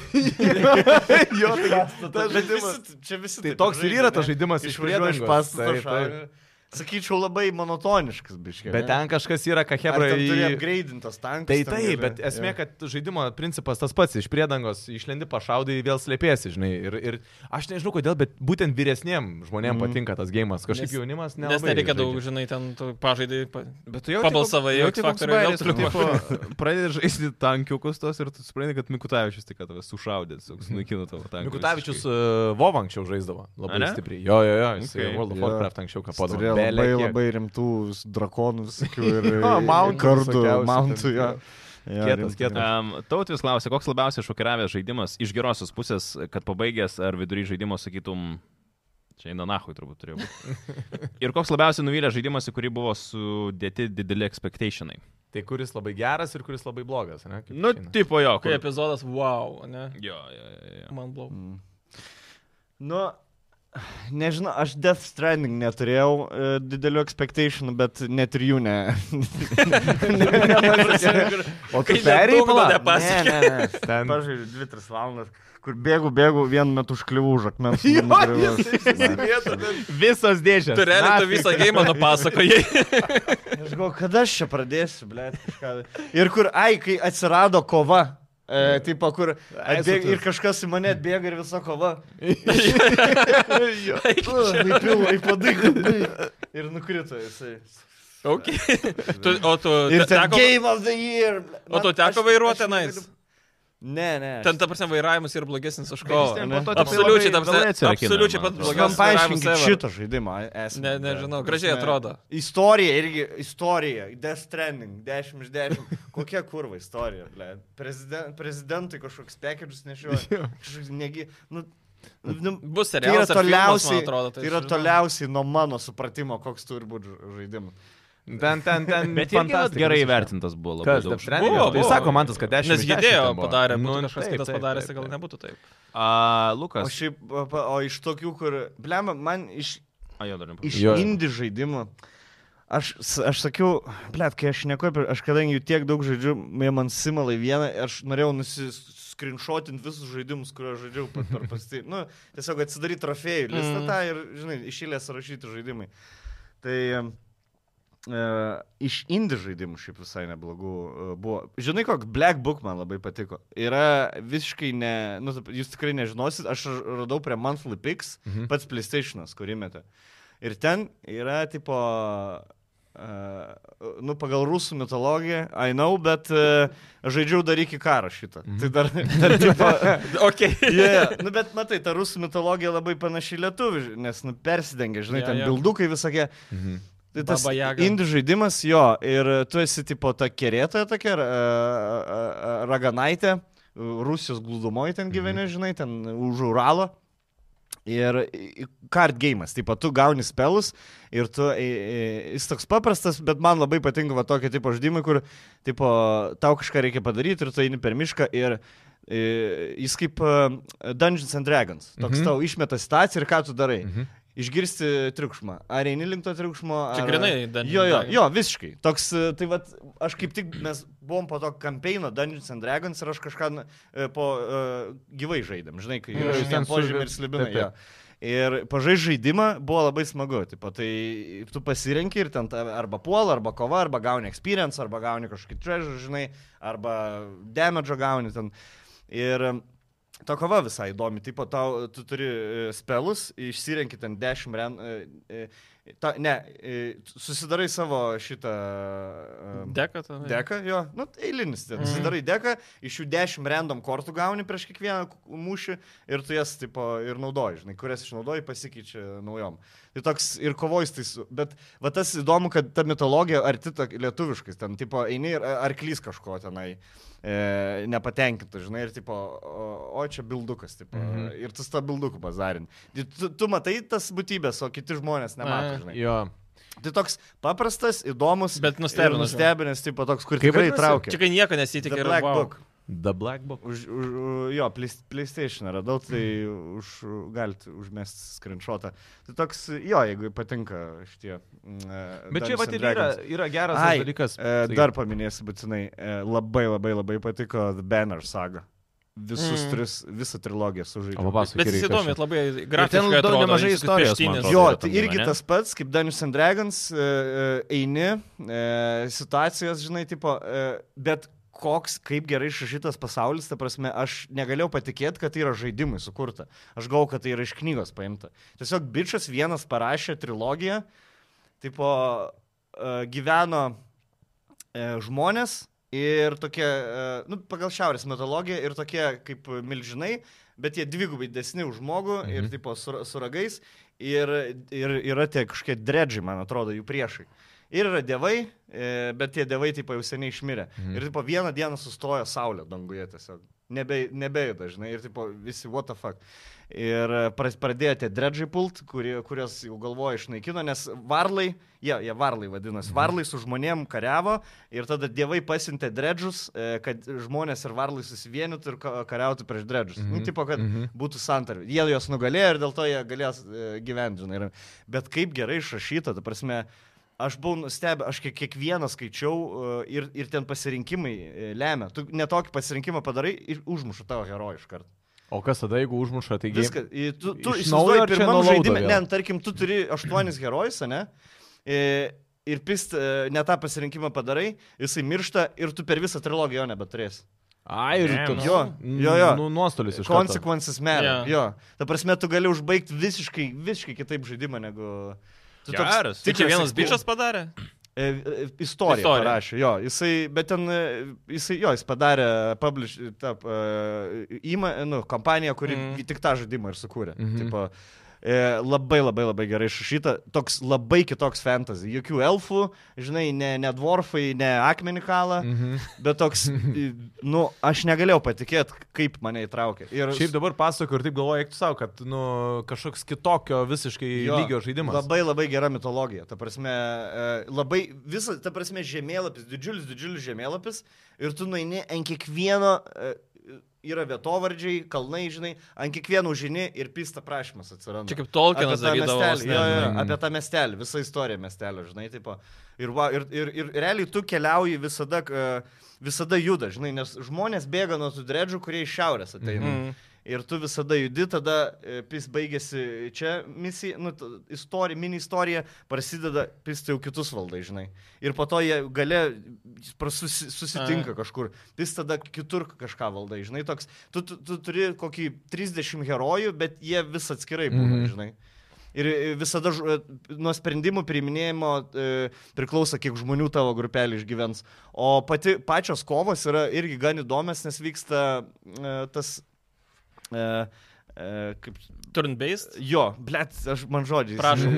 Speaker 3: [laughs]
Speaker 4: tai
Speaker 3: iš pastato.
Speaker 4: tas
Speaker 3: Bet
Speaker 4: žaidimas-
Speaker 3: visi- Čia visi.
Speaker 4: Tai
Speaker 3: taip
Speaker 4: toks ir yra
Speaker 3: žaidžia,
Speaker 4: tas
Speaker 3: ne?
Speaker 4: žaidimas iš
Speaker 3: Išvažiuoja iš
Speaker 4: priedangos.
Speaker 3: pastato.
Speaker 4: Taip,
Speaker 3: šaudo. Sakyčiau, labai monotoniškas biškiai.
Speaker 4: Bet ten kažkas yra, ką Hebra
Speaker 3: turi
Speaker 4: į...
Speaker 3: apgraidintas tankas.
Speaker 4: Tai
Speaker 3: ten
Speaker 4: taip,
Speaker 3: gali-
Speaker 4: bet esmė,
Speaker 3: jo.
Speaker 4: kad žaidimo principas tas pats, iš priedangos išlendi pašaudai, vėl slėpėsi, žinai. Ir, ir aš nežinau kodėl, bet būtent vyresniem žmonėm patinka tas gėjimas. Kažkaip
Speaker 2: Nes-
Speaker 4: jaunimas nelabai.
Speaker 2: Nes nereikia daug,
Speaker 4: žaidžia.
Speaker 2: žinai, ten tu pažaidai. Pa...
Speaker 1: Bet tu jau
Speaker 2: Pabalsavai,
Speaker 1: jau
Speaker 2: X Factory, vėl toliau.
Speaker 1: Pradedi žaisti tankiukus tos ir tu supranti, kad Mikutavičius tik ką tave sušaudė, su- sunaikino tavo tanką.
Speaker 4: Mikutavičius
Speaker 1: visiškai.
Speaker 4: uh, Vov anksčiau žaisdavo labai
Speaker 1: Ane?
Speaker 4: stipriai. Jo, jo, jo, jis
Speaker 1: Okay.
Speaker 4: okay. World of
Speaker 3: Jo.
Speaker 4: Warcraft anksčiau kapodavo.
Speaker 3: Turėjo
Speaker 4: Bele
Speaker 3: labai,
Speaker 4: kiek.
Speaker 3: labai rimtų s- drakonų, sakiau, ir
Speaker 4: Jo, mountų
Speaker 3: kartų,
Speaker 4: visokiausių
Speaker 3: mountų,
Speaker 4: ten,
Speaker 3: jo.
Speaker 4: jo.
Speaker 3: Jo,
Speaker 4: Kietas,
Speaker 3: rimtų.
Speaker 4: kietas.
Speaker 1: Um, Tautvis klausė, koks labiausiai šokiravęs žaidimas iš gerosios pusės, kad pabaigęs ar vidury žaidimo sakytum, čia eina nahui turbūt turėjo būti.
Speaker 4: [laughs]
Speaker 1: Ir koks labiausiai nuvylė žaidimas, į kurį buvo sudėti dideli expectationai.
Speaker 4: Tai kuris labai geras ir kuris labai blogas, ne? Kaip
Speaker 1: Nu,
Speaker 4: išeina?
Speaker 1: tipo jo,
Speaker 2: Kai
Speaker 1: kur...
Speaker 2: epizodas, wow, ne?
Speaker 3: Mm.
Speaker 2: [laughs]
Speaker 1: Jo, jo, jo, jo.
Speaker 2: Man blau.
Speaker 3: Nu, Nežinau, aš Death Stranding neturėjau uh, didelių expectationų, bet net ir jų ne. ne, ne [laughs] o tu
Speaker 2: Kai
Speaker 3: perėjai
Speaker 2: lėktuvo
Speaker 3: pala?
Speaker 2: nepasiekė.
Speaker 3: Ne, ne, [laughs] ne. Ten... Pažiūrėjau, 2-3 valandas, kur bėgu, bėgu, vienu metu užkliuvau už akmens. nugriuvau.
Speaker 1: Visos dėžės.
Speaker 2: Tu realiai tu visą gėjimą
Speaker 3: [laughs]
Speaker 2: nupasakojai.
Speaker 3: Aš galvoju, kada aš čia pradėsiu, ble. Ir kur, ai, kai atsirado kova. E, taip, kur atbėg, ir kažkas į mane atbėga ir visa
Speaker 2: [laughs]
Speaker 3: kova. Įpilvo, įpadai. Ir nukrito jisai.
Speaker 2: Okay. Tu, o tu
Speaker 3: Ir ten
Speaker 2: teko,
Speaker 3: Game of the Year. ble.
Speaker 2: o tau
Speaker 3: Man-
Speaker 2: teko
Speaker 3: aš-
Speaker 2: vairuoti
Speaker 3: aš
Speaker 2: tenais?
Speaker 3: negaliu- Ne, ne.
Speaker 2: ten ta prasme vairavimas yra blogesnis už kovą.
Speaker 3: ten po to
Speaker 2: Absoliučiai, ta prasme, absoliučiai pats
Speaker 3: Man
Speaker 2: blogiausias
Speaker 3: paaiškinkit
Speaker 2: vairavimas ever.
Speaker 3: šitą žaidimą. esmę,
Speaker 2: Ne-
Speaker 3: ble.
Speaker 2: nežinau, gražiai
Speaker 3: Prasme,
Speaker 2: atrodo.
Speaker 3: Istorija irgi, istorija. Death Stranding, 10 iš 10. Kokia kurva istorija, ble. Preziden, prezidentui kažkoks pekerius nešioja. Kažkoks negi. Nu, nu,
Speaker 2: Bus
Speaker 3: Tai
Speaker 2: serialas. ar
Speaker 3: yra
Speaker 2: filmas, man
Speaker 3: toliausiai,
Speaker 2: atrodo,
Speaker 3: tai yra
Speaker 2: žinau.
Speaker 3: toliausiai nuo mano supratimo, koks turi būti ža- žaidimas.
Speaker 4: Ten, ten, [laughs] ten.
Speaker 1: Bet irgi vat gerai įvertintas buvo labai
Speaker 4: Kas,
Speaker 1: daug.
Speaker 4: Death Stranding?
Speaker 2: Buvo,
Speaker 4: Tai
Speaker 2: buvo.
Speaker 4: sako man tas, kad 10.
Speaker 2: Nes judėjo padarė, nu, kažkas kitas padarė, tai gal nebūtų taip. [laughs]
Speaker 1: A,
Speaker 3: O,
Speaker 1: Lukas.
Speaker 3: šiaip, o, pa- o iš tokių, kur, blem, man iš,
Speaker 1: A, jo, dar nepamiršau.
Speaker 3: iš
Speaker 4: Jo.
Speaker 3: indie žaidimų. Aš, s- aš sakiau, bleb, kai aš neku apie, aš kadangi jų tiek daug žaidžiu, jie man simalai vieną, aš norėjau nusiskrinšotinti visus žaidimus, kuriuos žaidžiau pat per pasti. Nu, tiesiog atsidaryti trofėjų, listą
Speaker 2: Mm.
Speaker 3: tą ir, žinai, iš eilės rašyti žaidimai. Tai e, iš indie žaidimų šiaip visai neblogų e, buvo. Žinai, koks Black Book man labai patiko. Yra visiškai ne, nu, taip, jūs tikrai nežinosit, aš ra- radau prie Monthly Pix
Speaker 4: Mhm.
Speaker 3: pats PlayStation'as, kurį metė. Ir ten yra tipo... Uh, nu, pagal rusų mitologiją, I know, bet uh, žaidžiau dar iki karo šitą.
Speaker 2: Mhm.
Speaker 3: Mm -hmm. Tai dar, dar tipo, [laughs]
Speaker 2: Ok.
Speaker 3: Yeah. nu, bet matai, ta rusų mitologija labai panaši į lietuvių, ži- nes nu, persidengia, žinai,
Speaker 2: Jo,
Speaker 3: yeah, ten
Speaker 2: jo.
Speaker 3: yeah. bildukai visokie.
Speaker 4: Mhm.
Speaker 3: Tai tas
Speaker 2: Baba Jaga.
Speaker 3: indų žaidimas, jo, ir e, tu esi tipo ta kerėtoja tokia, ra- a- a- raganaitė, Rusijos glūdumoji ten
Speaker 4: Mhm.
Speaker 3: gyveni, žinai, ten už Uralo. Ir i- kart gėjimas, taip pat tu gauni spelus ir tu, i- i- jis toks paprastas, bet man labai patinka va tokio tipo žaidimai, kur tipo, tau kažką reikia padaryti ir tu eini per mišką ir i, jis kaip e, Dungeons and Dragons, toks
Speaker 4: Mhm.
Speaker 3: tau išmeta situaciją ir ką tu darai.
Speaker 4: Mhm.
Speaker 3: Išgirsti triukšmą. Ar eini link to triukšmo?
Speaker 2: Čia
Speaker 3: ar...
Speaker 2: grynai Dungeons
Speaker 3: Jo, jo,
Speaker 2: Dragons.
Speaker 3: jo, visiškai. Toks, e, tai vad, aš kaip tik mes buvom po to kampeino Dungeons and Dragons ir aš kažką na, e, po uh, gyvai žaidėm, žinai, kai
Speaker 4: Jo,
Speaker 3: yra
Speaker 4: jūs Nu, ten
Speaker 3: ten
Speaker 4: su-
Speaker 3: požymį ir slibinai.
Speaker 4: taip, taip.
Speaker 3: jo. Ir pažai žaidimą buvo labai smagu, tipo, tai tu pasirenki ir ten tave arba puola, arba kova, arba gauni experience, arba gauni kažkokį treasure, žinai, arba damage gauni ten. Ir ta kova visai įdomi, tipo, tau, tu turi e, spelus, išsirenki ten 10 ren... e, e, Ta, ne, e, susidarai savo šitą... e,
Speaker 2: Deka ten.
Speaker 3: Deka, jo, nu, tai eilinis, ten. Mm. Susidarai deka, iš jų 10 random kortų gauni prieš kiekvieną k- mūšį ir tu jas, tipo, ir naudoji, žinai, kurias išnaudoji, pasikeičia naujom. Tai toks ir kovojus, tai, su- bet, va tas įdomu, kad ta mitologija arti to- lietuviškais, ten, tipo, eini ir a- arklys kažko tenai e, nepatenkinta, žinai, ir, tipo, o, o čia bildukas, tipo, mm -hmm. ir tas tą bilduką bazarin. Tai Tu, tu matai tas būtybės, o kiti žmonės nemato,
Speaker 2: Na,
Speaker 3: žinai.
Speaker 4: Jo.
Speaker 3: Tai toks paprastas, įdomus,
Speaker 2: Bet nustebino,
Speaker 3: ir Nustebinęs, taip pat toks, kur
Speaker 4: Kaip
Speaker 3: tikrai
Speaker 4: vadinasi?
Speaker 3: traukia.
Speaker 2: Čia kai nieko nesitikė
Speaker 3: The
Speaker 2: ir
Speaker 3: Black
Speaker 2: wow.
Speaker 3: Book.
Speaker 4: The Black Book.
Speaker 3: Už, už, jo, Play- PlayStation radau, tai už, galite užmesti screenshotą. Tai toks, jo, jeigu patinka šitie. mm, e,
Speaker 4: Bet čia vat ir yra, yra geras tas
Speaker 3: Ai,
Speaker 4: dalykas.
Speaker 3: E, dar paminėsiu būtinai, e, labai labai labai patiko The Banner saga. Visus
Speaker 2: Mm.
Speaker 3: mm. tris, visą trilogiją sužaidžiau.
Speaker 4: O papasakok.
Speaker 2: Bet jis
Speaker 4: Kirai,
Speaker 2: įdomi,
Speaker 4: kas čia?
Speaker 2: labai grafiškai
Speaker 1: daug-
Speaker 2: atrodo.
Speaker 1: nemažai
Speaker 2: jis kaip
Speaker 1: istorijos, man
Speaker 2: peštynės.
Speaker 1: atrodo.
Speaker 3: Jo,
Speaker 1: yra
Speaker 3: tai
Speaker 1: tam
Speaker 3: irgi
Speaker 1: gyvenime.
Speaker 3: tas pats, kaip Dungeons and Dragons, e, e, eini, e, situacijos, žinai, tipo, e, bet koks, kaip gerai išrašytas pasaulis, ta prasme, aš negalėjau patikėti, kad tai yra žaidimai sukurta. Aš galvoju, kad tai yra iš knygos paimta. Tiesiog bičias vienas parašė trilogiją, tipo, e, gyveno e, žmonės ir tokie, e, nu, pagal šiaurės mitologiją ir tokie kaip milžinai, bet jie dvigubai desni už žmogų mhm. ir tipo su, su ragais ir, ir yra tie kažkokie dredžiai, man atrodo, jų priešai. Ir yra dievai, e, bet tie dievai taip jau seniai išmirė. Mhm. Ir taip vieną dieną sustojo saulė danguje tiesiog. nebe, nebejuda, žinai, ir tipo, visi what the fuck. Ir e, pras- pradėjo tie dredžiai pult, kurie, kurios jau galvoja išnaikino, nes varlai, jie, jie varlai vadinasi, varlai su žmonėm kariavo ir tada dievai pasintė dredžius, e, kad žmonės ir varlai susivienytų ir ka- kariautų prieš dredžius. Mm -hmm. Nu, tipo, kad mm -hmm. būtų santarvė. Jie juos nugalėjo ir dėl to jie galės e, gyventi, žinai. ir- Bet kaip gerai išrašyta, ta prasme, Aš buvau nustebęs, aš kiek- kiekvieną skaičiau e, ir, ir ten pasirinkimai e, lemia. Tu netokį pasirinkimą padarai ir užmuša tavo herojų iš karto.
Speaker 4: O kas tada, jeigu užmuša, tai
Speaker 3: Viską. i- Tu, tu
Speaker 4: Iš naujo
Speaker 3: įsivaizduoji
Speaker 4: ar čia
Speaker 3: pirmam
Speaker 4: nuo laudo
Speaker 3: žaidimui,
Speaker 4: vėl?
Speaker 3: ne, nu, tarkim, tu turi aštuonis herojus, ne? E, Ir pist, e, ne tą pasirinkimą padarai, jisai miršta ir tu per visą trilogiją jo nebeturėsi.
Speaker 4: Ai, ir
Speaker 1: Ne,
Speaker 4: tu.
Speaker 1: nu.
Speaker 3: Jo, jo, jo.
Speaker 4: Nu, nuostolis iš karto.
Speaker 3: Consequences matter.
Speaker 2: Jo.
Speaker 3: Jo. Ta prasme, tu gali užbaigti visiškai, visiškai kitaip žaidimą negu... Tu toks
Speaker 1: Geras.
Speaker 2: Tai čia
Speaker 3: tikras
Speaker 2: vienas
Speaker 3: explo-
Speaker 2: bičias padarė?
Speaker 3: E, e, Istoriją,
Speaker 2: Istoriją.
Speaker 3: istoriją. parašė, jo, jisai, bet ten, e, jisai, jo, jis padarė publish, ta, uh, įma, nu, kompaniją, kuri
Speaker 2: Mhm.
Speaker 3: mm. tik tą žaidimą ir sukūrė. Mm
Speaker 4: Mhm.
Speaker 3: -hmm. Tipo, e, labai labai labai gerai išrašyta, toks labai kitoks fantasy, jokių elfų, žinai, ne, ne dvorfai, ne akmenį kalą, mm.
Speaker 4: Mhm.
Speaker 3: bet
Speaker 4: [laughs]
Speaker 3: toks, i, nu, aš negalėjau patikėti, kaip mane įtraukė. Ir
Speaker 4: Šiaip dabar pasakoju ir taip galvoju, eik tu savo, kad nu, kažkoks kitokio visiškai jo,
Speaker 3: Jo,
Speaker 4: lygio žaidimas.
Speaker 3: Labai labai gera mitologija. Ta prasme, e, labai visą, ta prasme, žemėlapis, didžiulis, didžiulis žemėlapis ir tu nueini ant kiekvieno, e, yra vietovardžiai, kalnai, žinai, ant kiekvieno užini ir pista prašymas atsiranda.
Speaker 2: Čia kaip Tolkienas
Speaker 3: Apie tą
Speaker 2: darydavo, Mhm. vos
Speaker 3: miestelį,
Speaker 2: ne.
Speaker 3: jo, jo,
Speaker 4: Mm.
Speaker 3: Apie tą miestelį, visą istoriją miestelio, žinai, tipo. Ir, va, ir, ir, ir realiai tu keliauji visada, e, visada juda, žinai, nes žmonės bėga nuo tų dredžių, kurie iš šiaurės ateina. Mm.
Speaker 2: Mm.
Speaker 3: Ir tu visada judi, tada e, pis baigėsi čia misija, nu, t- istorija, mini istorija, prasideda pis tai jau kitus valdai, žinai. Ir po to jie gale prasusi, susitinka
Speaker 2: Ai.
Speaker 3: kažkur, pis tada kitur kažką valdai, žinai, toks, tu, tu, tu turi kokį 30 herojų, bet jie vis atskirai būna,
Speaker 4: Mhm.
Speaker 3: mm. žinai. Ir e, visada ž- e, nuo sprendimų priiminėjimo e, priklauso, kiek žmonių tavo grupelį išgyvens. O pati, pačios kovos yra irgi gan įdomios, nes vyksta e, tas... E, e, kaip,
Speaker 2: Turn-based?
Speaker 3: jo, blėt, aš man žodžiai.
Speaker 2: Prašom.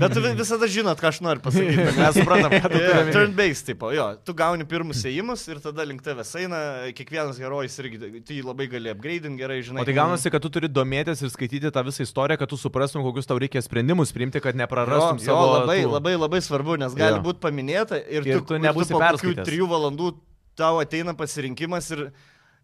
Speaker 3: Bet tu vi- visada žinot, ką aš noriu
Speaker 4: [laughs]
Speaker 3: pasakyti. Mes suprantam, kad tai yra turn-based tipo. Jo, tu gauni pirmus įėjimus ir tada link tavęs eina, kiekvienas herojus irgi, tu jį labai gali upgrade'inti gerai, žinai.
Speaker 4: O tai gaunasi, kad tu turi domėtis ir skaityti tą visą istoriją, kad tu suprastum, kokius tau reikia sprendimus priimti, kad neprarastum
Speaker 3: jo,
Speaker 4: savo...
Speaker 3: jo, labai,
Speaker 4: tų-
Speaker 3: labai labai svarbu, nes gali
Speaker 4: Jo.
Speaker 3: būti paminėta ir,
Speaker 4: Ir
Speaker 3: tu,
Speaker 4: tu
Speaker 3: ir
Speaker 4: nebūsi
Speaker 3: tu po kokių
Speaker 4: perskaitęs.
Speaker 3: trijų valandų tau ateina pasirinkimas ir,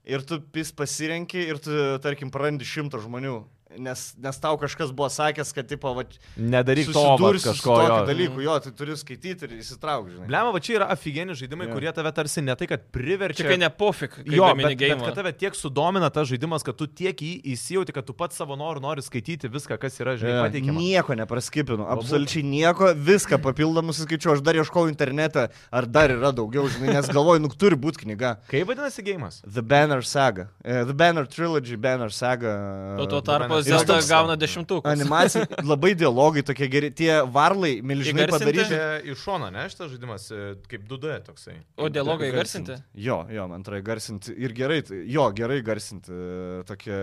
Speaker 3: ir tu pis pasirenki ir tu, tarkim, prarandi šimtą žmonių, nes, nes tau kažkas buvo sakęs, kad, tipo, va,
Speaker 4: Nedaryk to vat,
Speaker 3: susidursi su
Speaker 4: kažko.
Speaker 3: tokiu
Speaker 4: jo.
Speaker 3: dalyku, jo, tai turi skaityti ir įsitraukti, žinai.
Speaker 4: Blema, va čia yra aфиgieni žaidimai,
Speaker 3: Jo.
Speaker 4: kurie tave tarsi ne tai, kad
Speaker 2: Čia
Speaker 4: priverčia...
Speaker 2: kai ne pofik, kai
Speaker 4: Jo, bet, bet kad
Speaker 2: minigaimą.
Speaker 4: tave tiek sudomina tas žaidimas, kad tu tiek į jį įsijauti, kad tu pats savo norų nori skaityti viską, kas yra, žinai,
Speaker 3: Jo.
Speaker 4: pateikiama.
Speaker 3: Nieko nepraskipinu, absoliučiai nieko, viską papildomai suskaičiu, aš dar ieškau internete, ar dar yra daugiau, žinai, nes galvoju, nu turi būti knyga.
Speaker 4: Kaip vadinasi gėjimas?
Speaker 3: The Banner Saga. E, The Banner Trilogy, Banner Saga. e,
Speaker 2: O tuo
Speaker 3: The
Speaker 2: tarpu
Speaker 3: Banner- Ir
Speaker 2: Zelda
Speaker 3: toks
Speaker 2: gauna dešimtuką.
Speaker 3: Animacija, labai dialogai tokie geri, tie varlai milžinai
Speaker 2: Įgarsinti?
Speaker 3: padaryti.
Speaker 4: Iš šono, ne, šitas žaidimas e, kaip 2D toksai.
Speaker 2: O dialogai garsinti?
Speaker 3: Jo, jo, man tai garsinti ir gerai, tai- jo, gerai garsinti e, tokie.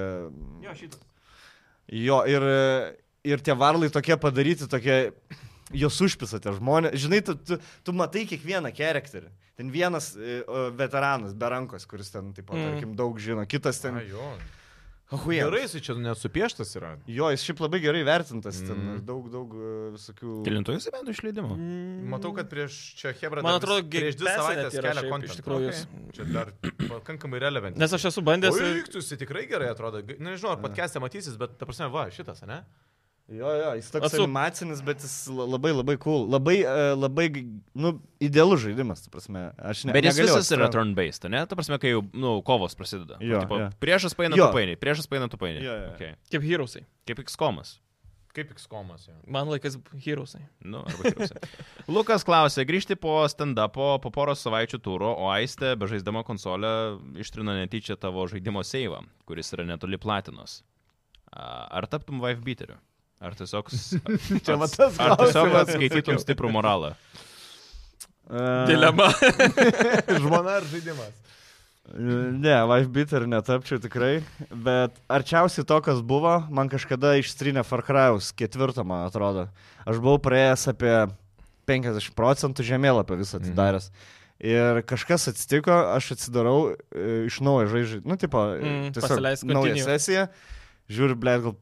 Speaker 2: Jo, šitas.
Speaker 3: Jo, ir, e, ir tie varlai tokie padaryti, tokie, jos užpisate žmonės. Žinai, tu, tu, tu matai kiekvieną charakterį. Ten vienas e, o, veteranas be rankos, kuris ten, taip,
Speaker 2: Mm.
Speaker 3: mm. tarkim, daug žino, kitas ten. Ahui,
Speaker 4: Gerai, jis čia nesupieštas yra.
Speaker 3: Jo, jis šiaip labai gerai vertintas, mm. ten
Speaker 4: Mm.
Speaker 3: daug, daug e, visokių...
Speaker 1: Kilintojus įvedų išleidimo.
Speaker 4: Matau, kad prieš čia Hebra
Speaker 2: Man atrodo, Game Pass'e net yra šiaip, iš tikrųjų,
Speaker 4: Čia dar pakankamai relevant.
Speaker 2: Nes aš esu bandęs.
Speaker 4: Oi, Iktusi tikrai gerai atrodo. G- nu, Nežinau, ar podcast'e matysis, bet, ta prasme, va, šitas, ne?
Speaker 3: Jo, jo, jis toks
Speaker 2: Atsup.
Speaker 3: Atsup. animacinis, bet jis la- labai labai cool. Labai, e, labai, g- nu, idealus žaidimas, ta prasme. Aš ne,
Speaker 1: Bet jis
Speaker 3: negalėjau
Speaker 1: visas yra
Speaker 3: atsitraukt.
Speaker 1: turn-based, ne? Ta prasme, kai jau, nu, kovos prasideda.
Speaker 3: Jo,
Speaker 1: tipo,
Speaker 3: jo.
Speaker 1: Priešas paina
Speaker 3: Jo.
Speaker 1: tupainį, priešas paina tupainį.
Speaker 3: Jo, jo, jo.
Speaker 1: Okay.
Speaker 2: Kaip herosai.
Speaker 1: Kaip X-komas.
Speaker 4: Kaip X-komas jau.
Speaker 2: Man laikas herosai.
Speaker 1: Nu, arba Heroes'e. [laughs] Lukas klausė, grįžti po stand-upo po poros savaičių turo, o Aistė, bežaisdama konsolę, ištrina netyčia tavo žaidimo seivą, kuris yra netoli platinos. A, Ar taptum wife beateriu? Ar tiesiog...
Speaker 3: [laughs]
Speaker 1: s-
Speaker 4: Čia va
Speaker 1: ats-
Speaker 4: tas
Speaker 1: Ar tiesiog
Speaker 4: klausimas,
Speaker 1: atskaitytum stiprų moralą?
Speaker 3: E,
Speaker 2: Dilema.
Speaker 4: Žmona ar žaidimas?
Speaker 3: Ne, Life Beater netapčiau tikrai, bet arčiausiai to, kas buvo, man kažkada ištrinė Far Cry'us ketvirtą, man atrodo. Aš buvau praėjęs apie 50 procentų žemėlapio visą atidaręs. Mhm. Ir kažkas atsitiko, aš atsidarau e, iš naujo žaidžiu, nu, tipo,
Speaker 2: Mm,
Speaker 3: mm,
Speaker 2: pasileisk
Speaker 3: tiesiog nauja
Speaker 2: continue.
Speaker 3: sesija. Žiūriu, ble, gal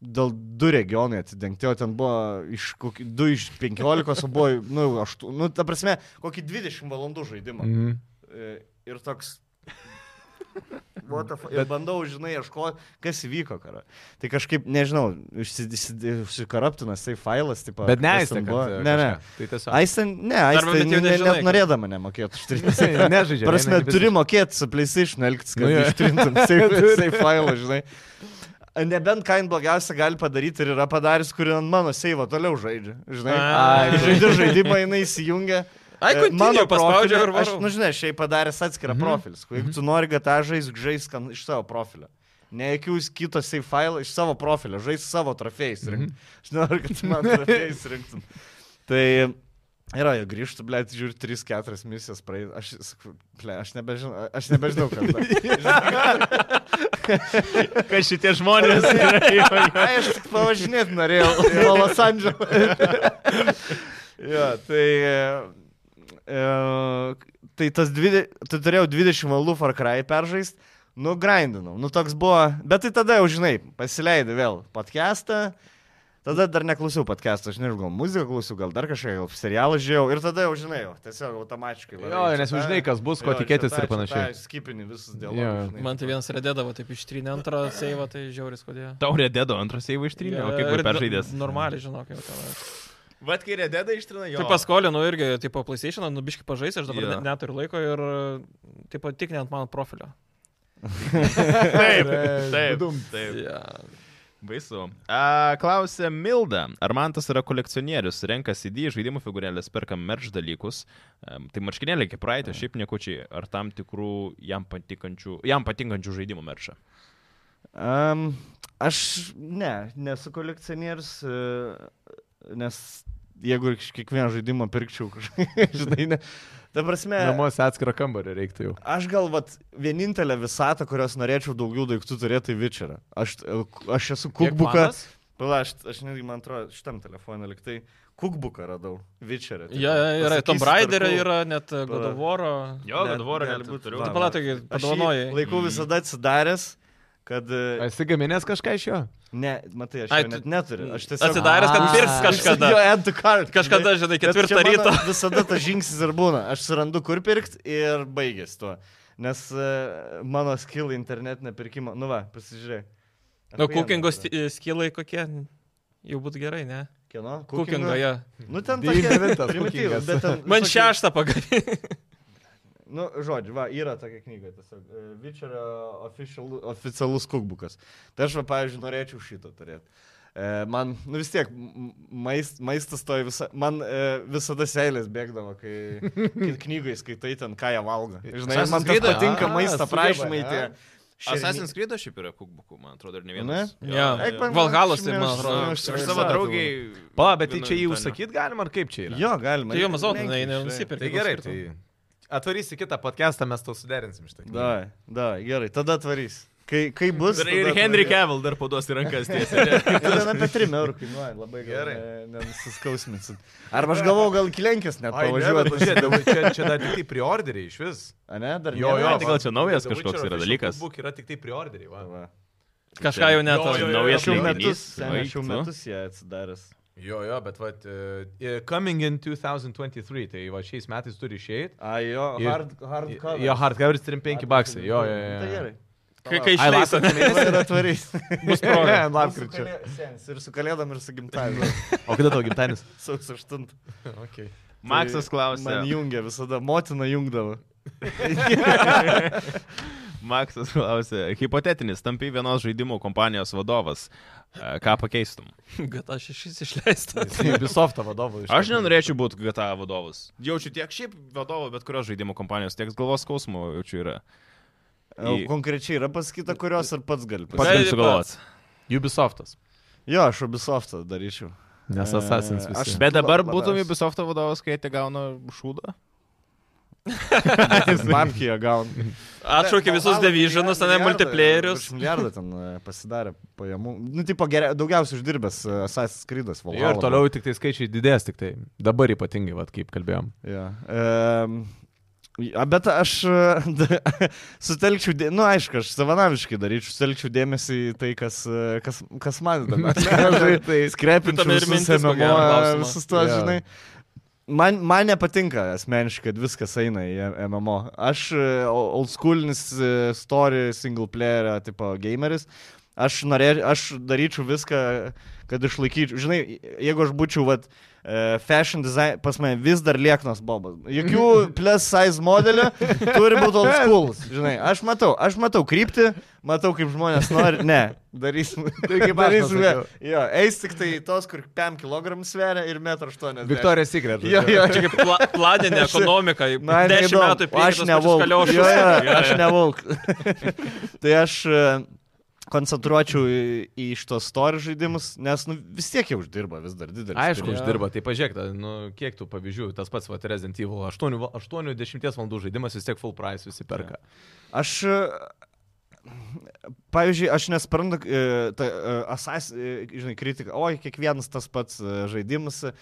Speaker 3: dėl du regionai atidengti, o ten buvo iš kokių, du iš penkiolikos, o buvo, nu, aštu, nu, ta prasme, kokį 20 valandų žaidimą.
Speaker 4: Mhm.
Speaker 3: E, Ir
Speaker 4: [laughs]
Speaker 3: toks. What the fuck? Ir bandau, žinai, ieškoti, kas įvyko karo. Tai kažkaip, nežinau, užsi- išsi- užsikaraptinas, tai failas, tipo.
Speaker 4: Bet
Speaker 3: kas
Speaker 4: neaistė,
Speaker 3: ten
Speaker 4: kad...
Speaker 3: buvo.
Speaker 4: e,
Speaker 3: Ne, ne.
Speaker 4: kažką. Tai tiesiog... [laughs]
Speaker 3: Aisten, ne,
Speaker 2: Arba
Speaker 3: Aisten,
Speaker 2: bent jau
Speaker 3: ne,
Speaker 2: nežinai,
Speaker 3: net
Speaker 2: kad-
Speaker 3: norėdama nemokėtų ištrinti.
Speaker 4: Nežaidžia.
Speaker 3: Prasme,
Speaker 4: eina į
Speaker 3: turi
Speaker 4: business.
Speaker 3: mokėti su PlayStation elgtis, kad
Speaker 4: Nu jo.
Speaker 3: nu,
Speaker 4: [laughs]
Speaker 3: ištrintum save failą, žinai. Nebent ką jin blogiausia gali padaryti ir yra padaręs, kuri ant mano seivo toliau žaidžia. Žinai,
Speaker 2: Ai.
Speaker 3: žaidži žaidimą, jinai įsijungia.
Speaker 2: Ai,
Speaker 3: E,
Speaker 2: continue paspaudžiau
Speaker 3: profile-
Speaker 2: ir
Speaker 3: Aš,
Speaker 2: varau. Mhm.
Speaker 3: nu, žinai, šiaip padaręs atskirą mm -hmm. profilį. Jeigu tu nori, kad tą žaisk, žaisk ant- iš savo profilio. Ne jokių kitos save failą, iš savo profilio, žaisk savo trofėjais. Mm
Speaker 2: Mhm.
Speaker 3: -hmm. [laughs] Aš noriu, kad tu man trofėjais rinktum. Tai yra, jo grįžtų, ble, žiūri, 3-4 misijas praeis. Aš, sakau, ble, aš nebežinau, aš nebežinau, kas
Speaker 2: [laughs]
Speaker 1: Kad šitie žmonės yra įvairiai.
Speaker 3: Ai, aš tik pavažinėti norėjau į Los Andželą. jo, tai... E, tai tas 20... Tai turėjau 20 valų Far Cry peržaist, nu grindinau. Nu toks buvo... Bet tai tada jau, žinai, pasileidai vėl podcastą. Tada dar neklausiau podcast'o, aš nežinau, gal muziką klausiau, gal dar kažką, gal serialą žiūrėjau ir tada jau žinai, jau, tiesiog automatiškai.
Speaker 4: Jo,
Speaker 3: varai
Speaker 4: nes
Speaker 3: čia
Speaker 4: jau
Speaker 3: tą-
Speaker 4: žinai, kas bus, ko
Speaker 3: jo,
Speaker 4: tikėtis
Speaker 3: čia tą,
Speaker 4: ir
Speaker 3: čia
Speaker 4: panašiai.
Speaker 3: tą, Skipini visus
Speaker 4: Jo.
Speaker 2: [laughs]
Speaker 3: dialogus. žinai.
Speaker 2: Man tai vienas redėdavo, taip ištrinė antrą seivą, tai žiauris kodėl.
Speaker 1: Taurė dėdo antras jau ištrynė,
Speaker 2: Э,
Speaker 1: o
Speaker 3: E,
Speaker 1: kaip ir peržaidęs.
Speaker 2: Normaliai, žinok, jau ten.
Speaker 1: Vat kai redėda ištrina,
Speaker 2: Tai paskolinau irgi, tipo, PlayStation, nubiškai pažaisti, aš dabar
Speaker 1: Jo.
Speaker 2: yeah. neturiu laiko ir, tipo, tik ne ant mano profilio.
Speaker 1: Taip,
Speaker 3: E,
Speaker 1: taip, taip.
Speaker 2: Yeah.
Speaker 1: Baisu. A, klausė Milda, ar Mantas yra kolekcionierius, renka CD, žaidimų figūrėlės, perka merch dalykus. Em, Tai marškinėlė iki praeitė, šiaip niekučiai, ar tam tikrų jam patinkančių, jam patinkančių žaidimų meršą.
Speaker 3: Um, aš ne, nesu kolekcionierius, e, nes jeigu iš kiekvieno žaidimo pirkčiau kažką, [laughs] žinai, ne. Ta prasme,
Speaker 4: Namuose atskirą kambarį reiktų jau.
Speaker 3: aš gal vat, vienintelę visatą, kurios norėčiau daugiau daiktų turėti, tai Vičerą. Aš, e, aš esu kukbukas. Pala, aš, aš netgi, man atrodo, šitam telefonui liktai kukbuką radau. Tai Vičerą.
Speaker 2: Ja, yra ir Tomb Raiderio, yra net e, God of War.
Speaker 1: Jo,
Speaker 3: Ne,
Speaker 1: kad vorą
Speaker 3: gali
Speaker 1: gali
Speaker 3: būt
Speaker 1: būti turiu.
Speaker 3: va.
Speaker 2: Tai palatai, padovanojai. Mhm.
Speaker 3: Laikau visada atsidaręs, kad... e,
Speaker 4: Esi gaminęs kažką iš jo?
Speaker 3: Ne, matai, aš
Speaker 2: Ai,
Speaker 3: Ai,
Speaker 2: tu-
Speaker 3: net neturiu. Aš tiesiog...
Speaker 2: Atsidaręs, kad
Speaker 4: A.
Speaker 2: pirks kažkada.
Speaker 3: Jo, add to cart.
Speaker 2: Kažkada, žinai, ketvirtą
Speaker 3: Bet čia
Speaker 2: ryto.
Speaker 3: mano [laughs] Visada tas žingsnis ir būna. Aš surandu, kur pirkti ir baigės tuo. Nes e, mano skilai internetinė pirkimo. Nu va, pasižiūrėk.
Speaker 2: Nu, kukingo skilai kokie, jau būtų gerai, ne?
Speaker 3: Kieno?
Speaker 2: Kukingo, jo.
Speaker 3: Nu, ten
Speaker 4: Devintas
Speaker 3: tokia primityvas,
Speaker 4: kukingas.
Speaker 3: bet ten...
Speaker 2: Man
Speaker 3: visokių-
Speaker 2: šeštą pagalvė.
Speaker 3: Nu, žodžiu, va, yra tokia knyga tiesiog. e, Witcherio official, oficialus kukbukas. Tai aš, va, pavyzdžiui, norėčiau šitą turėti. E, man, nu vis tiek, m- maist, maistas to visą, man e, visada seilės bėgdavo, kai, kai knygai skaitai ten, ką jie valgo. Žinai,
Speaker 1: Assassin's
Speaker 3: man taip
Speaker 1: Creed'o?
Speaker 3: patinka
Speaker 4: A,
Speaker 3: maisto
Speaker 4: sugeba,
Speaker 3: prašymai
Speaker 4: a.
Speaker 3: tie.
Speaker 1: Assassin's Creed šiaip yra kukbukų, man atrodo, ir ne vienas.
Speaker 2: Ne? Jo.
Speaker 3: Eik, man-
Speaker 2: Valhalos
Speaker 3: aš-
Speaker 2: ir, man atrodo.
Speaker 3: aš-
Speaker 1: Aš savo draugai.
Speaker 4: Pala, bet tai
Speaker 1: vienu
Speaker 4: čia jį
Speaker 1: ten-
Speaker 4: užsakyt galima, ar kaip čia yra?
Speaker 3: Jo, galima.
Speaker 2: Tai jau mazot, jinai
Speaker 3: Lenkiai, žinai.
Speaker 2: nenusipirka.
Speaker 4: Tai gerai, tai atvarysi kitą podcastą, mes to suderinsim iš tai.
Speaker 3: Da, da, gerai, tada atvarys. Kai, kai bus.
Speaker 1: Ir, ir
Speaker 3: tada
Speaker 1: Henry
Speaker 3: atvarys.
Speaker 1: Cavill dar paduos į rankas tiesiai.
Speaker 3: Ten apie 3 eurų kainuoja, labai
Speaker 4: Gerai.
Speaker 3: gerai. Nenusiskausminsit. Arba aš galvau, gal iki Lenkijos net
Speaker 4: Pavažiuoju,
Speaker 3: pavažiuoju.
Speaker 4: pažiūrėjau, čia, čia dar tik tai priorderiai iš vis.
Speaker 3: A ne, dar
Speaker 4: Jo,
Speaker 3: nėra?
Speaker 4: jo,
Speaker 1: tai gal čia naujas kažkoks yra dalykas?
Speaker 4: Būk yra tik tai priorderiai, va.
Speaker 3: Va.
Speaker 2: Kažką jau net.
Speaker 4: Jo, jo, jo.
Speaker 1: Naujas
Speaker 3: Aš jau
Speaker 1: leidinys.
Speaker 3: metus, seniai, aš jau metus jie atsidaręs.
Speaker 4: Jo, jo, bet va, e, coming in 2023, tai va šiais metais turi išėjti.
Speaker 3: A, jo,
Speaker 4: Ir-
Speaker 3: hard, hard cover.
Speaker 4: Jo, hardcoveris 35 baksai, jo, jo, jo.
Speaker 3: Tai gerai.
Speaker 2: Kai, kai
Speaker 4: Ai,
Speaker 2: išleis, [laughs]
Speaker 4: lapkritį
Speaker 2: ane?
Speaker 3: Jis yra tvarys. [laughs]
Speaker 4: Bus proga.
Speaker 3: Lapkričio. Ir su kalėdom, ir su gimtadieniu.
Speaker 1: nu.
Speaker 4: O kada tavo gimtadienis?
Speaker 3: [laughs] Sausio 8.
Speaker 4: okay.
Speaker 1: [laughs] Maksas klausė.
Speaker 3: Man jungia visada, motina jungdavo.
Speaker 1: Maksas klausė. Hipotetinis, tampi vienos žaidimų kompanijos vadovas. E, Ką pakeistum?
Speaker 2: Gata šešis išleistas.
Speaker 4: Ubisoft'o vadovas.
Speaker 1: Aš nenorėčiau būti GTA vadovas. Jaučiu tiek šiaip vadovo, bet kurios žaidimų kompanijos, tiek galvos skausmo jaučiu yra.
Speaker 3: O
Speaker 1: Į-
Speaker 3: Konkrečiai yra pasakyta, kurios ir pats gali
Speaker 1: Pats
Speaker 3: pasakyti.
Speaker 1: galiu sugalvoti.
Speaker 4: Ubisoft'as.
Speaker 3: Jo, aš Ubisoftą [laughs] daryčiau.
Speaker 4: Nes
Speaker 3: E,
Speaker 4: Assassin's visi.
Speaker 3: aš-
Speaker 1: Bet dabar
Speaker 3: Labai
Speaker 1: būtum
Speaker 3: aš-
Speaker 1: Ubisoft vadovas, kai jie gauna šūdą.
Speaker 3: Babkiją gaunu.
Speaker 2: Atšaukė visus
Speaker 3: Valhalla
Speaker 2: devyžinus,
Speaker 3: milijardą-
Speaker 2: ane,
Speaker 3: milijardą-
Speaker 2: multiplayerius.
Speaker 3: virš Milijardą ten e, pasidarė pajamų. Nu, tipo, geria, daugiausiai uždirbęs e, Assassin's Creed'as.
Speaker 4: Jo, ir toliau tik tai skaičiai didės, tik tai dabar ypatingai, vad kaip kalbėjom.
Speaker 3: Ja. E, Ja, Bet aš e, [laughs] sutelkčiau, dė... nu aišku, aš savanaviškai daryčiau, sutelkčiau dėmesį į tai, kas, e, kas, kas man įdomu. [laughs] tai
Speaker 2: Tame
Speaker 3: skrepintam
Speaker 2: ir
Speaker 3: ir
Speaker 2: mintis, ko gero,
Speaker 3: MMO,
Speaker 2: klausimo.
Speaker 3: su tuo,
Speaker 4: Jo.
Speaker 3: žinai. Man, man nepatinka asmeniškai, kad viskas eina į MMO. Aš e, o- old schoolinis e, story single player tipo gameris. Aš, norė, aš daryčiau viską, kad išlaikyčiau. Žinai, jeigu aš būčiau, vat, e, fashion design, pas mane vis dar lieknas bobas.
Speaker 4: [laughs]
Speaker 3: Jokių plus size modelių turi būti old school. Žinai, aš matau, aš matau kryptį, matau, kaip žmonės nori. Ne, darysim.
Speaker 4: [laughs] Tai kaip aš
Speaker 3: darysim.
Speaker 4: pasakiau.
Speaker 3: Jo, eis tik tai tos, kur 5 kg sveria ir 1,8 m.
Speaker 4: [laughs] Viktorija Secret.
Speaker 3: Jo, jo,
Speaker 2: Čia kaip pla planinė ekonomika.
Speaker 3: Na,
Speaker 2: 10
Speaker 3: neįdomu.
Speaker 2: metų į priekį.
Speaker 3: Aš nevauk. Jo,
Speaker 2: [laughs]
Speaker 3: jo, aš nevauk. tai aš e, koncentruočiau į, į šitos story žaidimus, nes nu, vis tiek jie uždirba vis dar didelį.
Speaker 4: Aišku,
Speaker 2: Jo.
Speaker 4: uždirba. Tai pažiūrėk, ta, nu, kiek tų pavyzdžių, tas pats vat, Resident Evil 80 valandų žaidimas vis tiek full price visi perka.
Speaker 3: Aš. e, Pavyzdžiui, aš nesprantu, e, ta, e, asas, e, žinai, kritika, oi, kiekvienas tas pats e, žaidimas, e,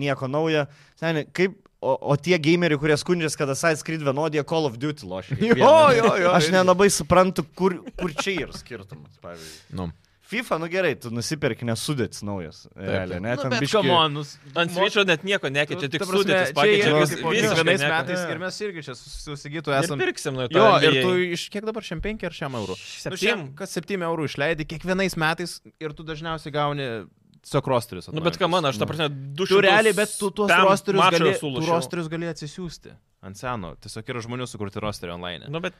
Speaker 3: nieko naujo. Seniai, kaip, o, o tie gameriai, kurie skundžiasi, kad Assassin's Creed vienodė Call of Duty lošia. kiekvieną.
Speaker 4: jo, jo.
Speaker 3: Aš nelabai suprantu, kur, kur čia yra skirtumas, pavyzdžiui.
Speaker 4: Nu.
Speaker 3: FIFA, nu gerai, tu nusipirki nesudėts naujas. Realiai,
Speaker 4: taip.
Speaker 3: ne,
Speaker 1: Nu,
Speaker 3: ten
Speaker 1: bet
Speaker 3: biškį-
Speaker 1: come on, nus-
Speaker 2: Ant svičio net nieko nekeičia, tik
Speaker 1: Nu, Ta prasme,
Speaker 2: sudėtis
Speaker 1: čia
Speaker 2: pakeičia.
Speaker 1: yra
Speaker 3: vis-
Speaker 1: kaip
Speaker 2: vis-
Speaker 3: vis-
Speaker 2: visiškai
Speaker 1: kiekvienais
Speaker 2: nieko.
Speaker 1: metais ir mes irgi čia susigytų
Speaker 2: Ir
Speaker 1: esam.
Speaker 2: pirksim nuo to.
Speaker 1: Jo,
Speaker 2: NBA.
Speaker 1: ir tu iš kiek dabar šiam 5 ar šiam eurų? Nu, šiam,
Speaker 2: Septym.
Speaker 1: kas 7 eurų išleidi kiekvienais metais ir tu dažniausiai gauni tiesiog rosterius.
Speaker 2: Nu, bet ką man, aš tą prasme, du šimtus.
Speaker 1: Tu realiai, bet tu tuos
Speaker 2: pem
Speaker 1: rosterius
Speaker 2: mačą
Speaker 1: gali, tu
Speaker 2: sulušiau.
Speaker 1: rosterius gali atsisiųsti ant seno. Tiesiog yra žmonių sukurti rosterį online.
Speaker 2: Nu, bet.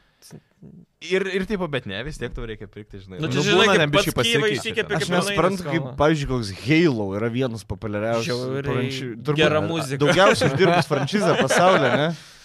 Speaker 1: Ir, ir taip, bet ne, vis tiek tau reikia pirkti, žinai.
Speaker 2: Nu, čia žinai,
Speaker 1: būna
Speaker 2: kaip
Speaker 1: ten biškį
Speaker 2: pats Kijevą
Speaker 1: pasikeičia
Speaker 2: išsikepė,
Speaker 1: ten.
Speaker 3: Aš
Speaker 2: kaip
Speaker 3: nesuprantu, kaip,
Speaker 2: skala.
Speaker 3: pavyzdžiui, koks Halo yra vienas populiariausių.
Speaker 2: Žiauriai
Speaker 3: franši-
Speaker 2: gera
Speaker 3: a-
Speaker 2: muzika.
Speaker 3: Daugiausiai uždirbęs franšizę pasaulyje, ne?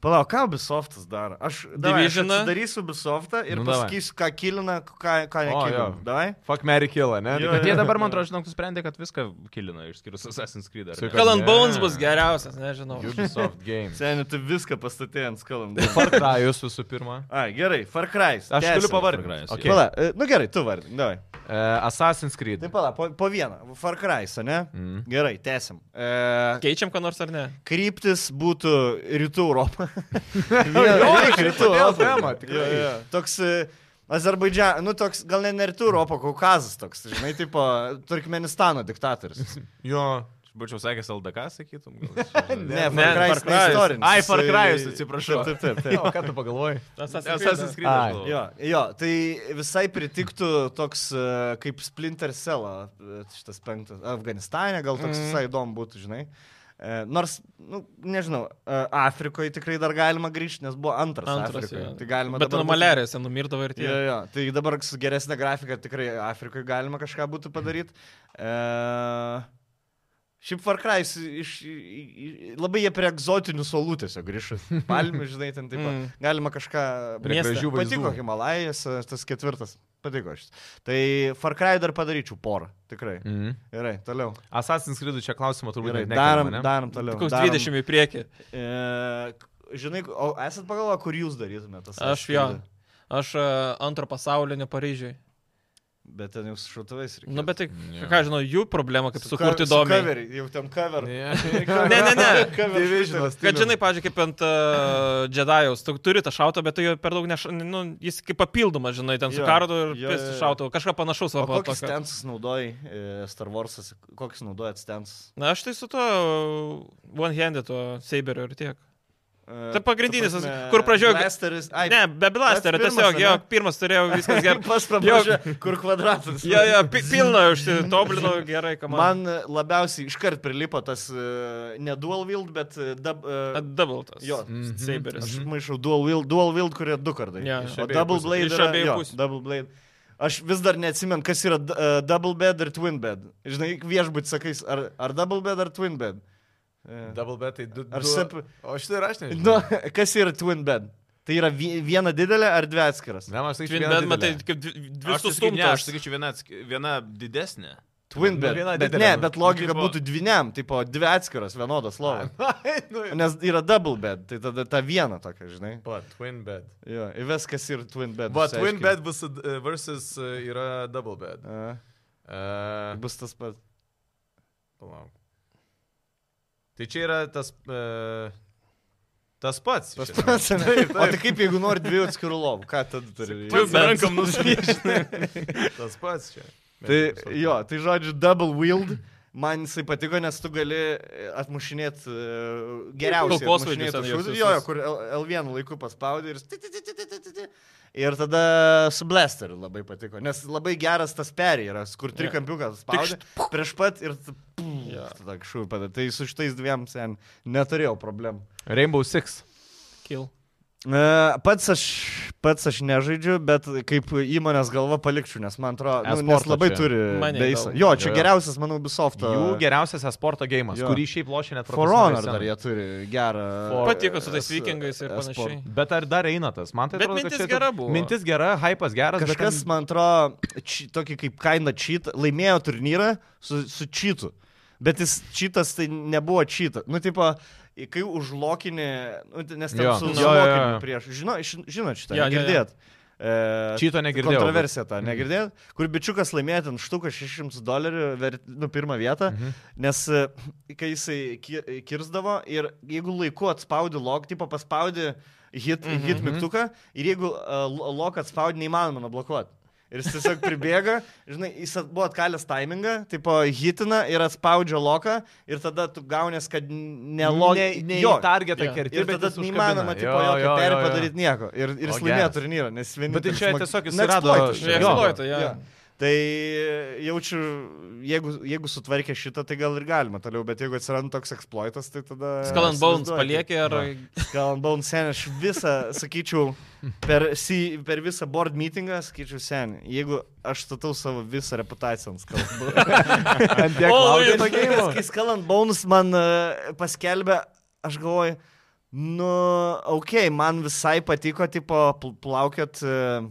Speaker 3: Palauk, ką Ubisoftas daro? Aš
Speaker 2: Divisioną.
Speaker 3: darysiu Ubisoftą ir nu,
Speaker 4: Nu, davai.
Speaker 3: pasakysiu, ką kilina, ką, ką nekilina.
Speaker 4: jo.
Speaker 3: Davai.
Speaker 4: Fuck Mary Killa, ne?
Speaker 3: Jo,
Speaker 1: bet jie dabar, man atrodo, žinok, nusprendė, kad viską kilino, išskyrus Assassin's Creed. ar ne?
Speaker 4: Sveika.
Speaker 2: Skull and
Speaker 4: ne.
Speaker 2: Bones bus geriausias, nežinau.
Speaker 4: Ubisoft Games.
Speaker 3: Seniai, tu viską pastatė ant skalam. [laughs]
Speaker 4: Far Cryus visų pirma.
Speaker 3: Ai, gerai, Far Cry's.
Speaker 4: Aš
Speaker 3: Tęsiam.
Speaker 4: galiu
Speaker 1: Far Cry's,
Speaker 4: pavardinti.
Speaker 1: jo.
Speaker 4: Okay.
Speaker 3: Pala, e, nu gerai, tu vardin, davai.
Speaker 4: E, Assassin's Creed.
Speaker 3: Tai pala, po, po vieną. Far Cry's, ne?
Speaker 4: Mm.
Speaker 3: Gerai, tęsim. E,
Speaker 2: Keičiam ką nors ar ne?
Speaker 3: kryptis būtų rytų Europą.
Speaker 4: Jo,
Speaker 3: Vienas
Speaker 4: čia
Speaker 3: rytų
Speaker 4: kodėl
Speaker 3: Europą.
Speaker 4: tema, tikrai.
Speaker 3: Jo, jo. Toks Azerbaidžianas, nu toks, gal ne, ne rytų Europą, Kaukazas toks, žinai, tipo Turkmenistano diktatorius.
Speaker 4: Jo.
Speaker 1: Būčiau sakęs LDK, sakytum. [laughs] gal.
Speaker 3: ne,
Speaker 2: ne, Far
Speaker 3: Far Cry's ne
Speaker 2: Cry's.
Speaker 3: istorinis.
Speaker 1: Ai, Far Cry's,
Speaker 3: Jisai-
Speaker 1: atsiprašau.
Speaker 3: Taip, taip,
Speaker 4: [laughs]
Speaker 3: taip.
Speaker 4: Jo, ką tu pagalvoji?
Speaker 1: Assassin's Creed. aš
Speaker 4: Ai.
Speaker 1: galvoju.
Speaker 3: Jo, jo, tai visai pritiktų toks e, kaip Splinter Cell, e, šitas penktas, Afganistane gal toks mm. visai įdomu būtų, žinai. E, Nors, nu, nežinau, e, Afrikoje tikrai dar galima grįžti, nes buvo antras, antras
Speaker 2: Antras.
Speaker 3: Afrikoje.
Speaker 2: jo.
Speaker 3: Tai galima
Speaker 2: Bet
Speaker 3: dabar būtų-
Speaker 2: anomalerėse numirdavo ir tie.
Speaker 3: Jo, jo. Tai dabar su geresnė grafika tikrai Afrikoje galima kažką būtų padaryti. E... Šiaip Far Cry iš... i- i- labai jie prie egzotinių salų tiesiog grįžus. Palmių, žinai, ten taip.
Speaker 2: Mm.
Speaker 3: Mm. Galima kažką...
Speaker 4: Prie
Speaker 2: Miestą.
Speaker 4: gražių vaizdų.
Speaker 3: Patiko Himalajas, e, tas ketvirtas. Patiko šis. Tai Far Cry dar padaryčiau porą. Tikrai.
Speaker 4: Mhm.
Speaker 3: Gerai, toliau.
Speaker 4: Assassin's Creed čia klausimą turbūt
Speaker 3: Gerai,
Speaker 4: net
Speaker 3: darom,
Speaker 4: nekeliama, ne?
Speaker 3: darom toliau.
Speaker 2: Koks
Speaker 3: darom.
Speaker 2: 20 į priekį.
Speaker 3: E, k- žinai, o esat pagalvo, kur jūs darytumėte tas?
Speaker 2: Aš jo. Aš e, antro pasaulinio Paryžiui.
Speaker 3: Bet ten jūs šutuvais reikia.
Speaker 2: Nu, bet tai,
Speaker 4: Jo.
Speaker 2: ką žinau, jų problema, kaip sukurti
Speaker 3: Su
Speaker 2: įdomiai.
Speaker 3: coveriai, Jau ten cover. [laughs]
Speaker 4: Ne,
Speaker 2: Ne, ne, ne.
Speaker 3: Cover
Speaker 4: Divisionas.
Speaker 2: Kad žinai, pažiūrėk, kaip ant uh, Jedi'aus, tu turi tą šautą, bet tu jo per daug neš... Nu, jis kaip papildomas, žinai, ten su
Speaker 3: Jo.
Speaker 2: kardu ir
Speaker 3: Jo, jo,
Speaker 2: pėstų
Speaker 3: jo.
Speaker 2: šautų. Kažką panašaus
Speaker 3: O
Speaker 2: savo
Speaker 3: kokius stensus naudoji e, Star Wars'as, kokius naudojat stensus?
Speaker 2: Na, aš tai su tuo one-handed tuo Saberiu ir tiek.
Speaker 3: E,
Speaker 2: Tai pagrindinis, kur pradžioj-
Speaker 3: Blasteris. Ai,
Speaker 2: ne, be blasterio,
Speaker 3: pats pirmas,
Speaker 2: tiesiog, jo,
Speaker 3: ane?
Speaker 2: pirmas turėjau viskas gerai.
Speaker 3: [laughs] Pas pradžioj, kur kvadratas.
Speaker 2: Jo, jo, pi pilną užsitobulinau gerai, ką man.
Speaker 3: Man e, labiausiai iškart prilipo tas e, ne dual wield, bet e, dub... e,
Speaker 2: Atdabiltas.
Speaker 3: Jo.
Speaker 4: Mhm.
Speaker 2: Saberis.
Speaker 3: Aš maišau dual wield, dual wield kurie du kartai.
Speaker 2: Jo,
Speaker 3: Iš
Speaker 2: jo.
Speaker 3: o double
Speaker 4: Iš
Speaker 3: blade.
Speaker 2: abiejų
Speaker 3: Yra,
Speaker 2: pusių.
Speaker 3: jo, double blade. Aš vis dar neatsimenu, kas yra d- e, double bed ir twin bed. Žinai, viešbut sakais, ar, ar double bed ar twin bed. E.
Speaker 4: Double bet, tai du.
Speaker 3: Ar
Speaker 4: du-
Speaker 3: sep-
Speaker 4: O štai ir aš nežinau.
Speaker 3: Nu, [laughs] kas yra twin bed? Tai yra vi- viena didelė ar dvi atskiras?
Speaker 4: Ne, man aš tai
Speaker 2: Twin Bed, matai, kaip dvi- dvi
Speaker 1: Aš tai sakyčiau, Ne, aš
Speaker 2: sustumtos.
Speaker 1: sakyčiau, viena, atsk- viena didesnė.
Speaker 3: Twinbet.
Speaker 4: Nu, viena
Speaker 3: Bet
Speaker 4: didelė,
Speaker 3: ne,
Speaker 4: nu.
Speaker 3: bet logika
Speaker 4: Tipo-
Speaker 3: būtų dviniam, tipo dvi atskiros vienodos lovos.
Speaker 4: nu, [laughs]
Speaker 3: Nes yra double bed, tai tada ta viena tokia, žinai.
Speaker 4: Va, twin bed.
Speaker 3: Jo, įveskas ir twin bed.
Speaker 4: Va,
Speaker 3: išsiaiškini.
Speaker 4: twin bed visad- e, versus e, yra double bed.
Speaker 3: A,
Speaker 4: E,
Speaker 3: Bus tas pats.
Speaker 4: Palauk. Tai čia yra tas... e, Tas pats.
Speaker 3: Tas
Speaker 4: iš
Speaker 3: [laughs]
Speaker 4: esmės.
Speaker 3: pats. ane? O tai kaip jeigu nori dviejų atskirų lovų, ką tada turi?
Speaker 2: Tu
Speaker 3: daryti?
Speaker 2: be rankom nusiviešinai.
Speaker 4: Tas pats čia.
Speaker 3: Tai jo, tai žodžiu, double wield. Man jisai patiko, nes tu gali atmušinėti geriausiai.
Speaker 2: Kulkosvaidžius ant
Speaker 3: atmušinėt
Speaker 2: jos
Speaker 3: už- Jo, jo,
Speaker 2: visus.
Speaker 3: kur L- L1 laiku paspaudė ir... ti- ti- ti- ti- ti- ti- ti- ti. Ir tada su blasteriu labai patiko, nes labai geras tas perėjimas, kur trikampiukas spaudė prieš pat ir... t- pum,
Speaker 2: Jo.
Speaker 3: Tada kažkur padeda. Tai su šitais dviem sen neturėjau problemų.
Speaker 4: Rainbow Six.
Speaker 2: Kill.
Speaker 3: E, Pats aš, pats aš nežaidžiu, bet kaip įmonės galva palikčiau, nes man atrodo, nu, nes
Speaker 4: E-sporto
Speaker 3: labai
Speaker 4: čia.
Speaker 3: turi.
Speaker 2: Mane
Speaker 3: beisą.
Speaker 2: gal-
Speaker 3: Jo, čia
Speaker 4: jo, jo.
Speaker 3: geriausias, manau, Ubisoft.
Speaker 4: Jų geriausias esporto gėjimas,
Speaker 3: Jo.
Speaker 4: kurį šiaip lošia net
Speaker 3: For
Speaker 4: profesionaliai
Speaker 3: Honor dar jie
Speaker 4: scenoj.
Speaker 3: turi gerą.
Speaker 4: For-
Speaker 2: Patiko su tais
Speaker 3: es-
Speaker 2: vikingais ir
Speaker 3: esport.
Speaker 2: panašiai.
Speaker 4: Bet ar dar eina tas? Man tai
Speaker 2: Bet
Speaker 4: atrodo, kad
Speaker 2: mintis
Speaker 4: čia-
Speaker 2: gera buvo.
Speaker 4: Mintis gera, hypas geras. bet
Speaker 3: Kažkas,
Speaker 4: ten-
Speaker 3: man atrodo, či- tokį kaip kainą čytą, laimėjo turnyrą su, su čytu. Bet jis čitas tai nebuvo čytas. Nu, tipo, i- kai užlokinį, nu, t- nes ten
Speaker 4: Jo.
Speaker 3: su
Speaker 4: Jo,
Speaker 3: su
Speaker 4: jo, jo,
Speaker 3: lokiniu
Speaker 4: jo.
Speaker 3: prieš. Žino, ši- Žinot,
Speaker 2: Jo,
Speaker 3: šitą
Speaker 2: jo, jo.
Speaker 3: girdėt. E,
Speaker 4: Čyto negirdėjau, bet-
Speaker 3: Kontroversiją tą negirdėt, kur bičiukas laimėjo ten štuką 600 dolerių, vert- nu, pirmą vietą, mhm. nes e, kai jisai ki- kirzdavo ir jeigu laiku atspaudi log, tipo paspaudi hit, mhm. hit mygtuką ir jeigu uh, log atspaudi, neįmanoma nublokuoti. Ir jis tiesiog pribėga, žinai, jis at- buvo atkalęs timingą, tipo hitina ir atspaudžia loką ir tada tu gaunės, kad ne log.
Speaker 4: Ne, ne
Speaker 3: jo.
Speaker 4: į targetą
Speaker 2: Jo.
Speaker 4: kerti.
Speaker 3: Ir
Speaker 4: bet
Speaker 3: tada
Speaker 4: jis
Speaker 3: neįmanoma,
Speaker 4: užkabina.
Speaker 3: tipo,
Speaker 4: Jo,
Speaker 3: jokio
Speaker 4: jo,
Speaker 3: perį
Speaker 4: jo, jo.
Speaker 3: padaryti nieko. Ir, ir
Speaker 4: O,
Speaker 3: jis laimėjo
Speaker 4: geras.
Speaker 3: turnyrą, nes vieni...
Speaker 4: Bet tai čia tiesiog jis rado- Jo.
Speaker 2: Neeksploitai, ja.
Speaker 3: Jo. Tai jaučiu, jeigu, jeigu sutvarkė šitą, tai gal ir galima toliau, bet jeigu atsiranda toks eksploitas, tai tada...
Speaker 2: Skull and Bones
Speaker 3: Įsivaizduoju,
Speaker 2: paliekė ir...
Speaker 3: Skull and Bones sen, aš visą, sakyčiau, per, si, per visą board meetingą, sakyčiau sen, jeigu aš statau savo visą reputaciją ant Skull and Bones.
Speaker 4: Ant tiek
Speaker 2: All
Speaker 4: laukia
Speaker 2: in.
Speaker 4: to
Speaker 3: Nes
Speaker 4: gėjimo.
Speaker 3: kai Skull and Bones man e, paskelbė, aš galvoju, nu, ok, man visai patiko, tipo, pl- plaukiot e,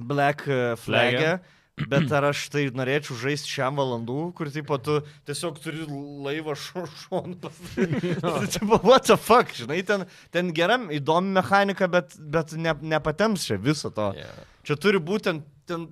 Speaker 3: Black e, flag'e. Bet ar aš tai norėčiau žaisti šiam valandų, kur tipo tu tiesiog turi laivą šonu pastatyti? [laughs] tipo, what the fuck, žinai, ten, ten geram, įdomi mechanika, bet, bet ne, nepatems čia viso to.
Speaker 2: Jo.
Speaker 3: Čia turi būti ten, ten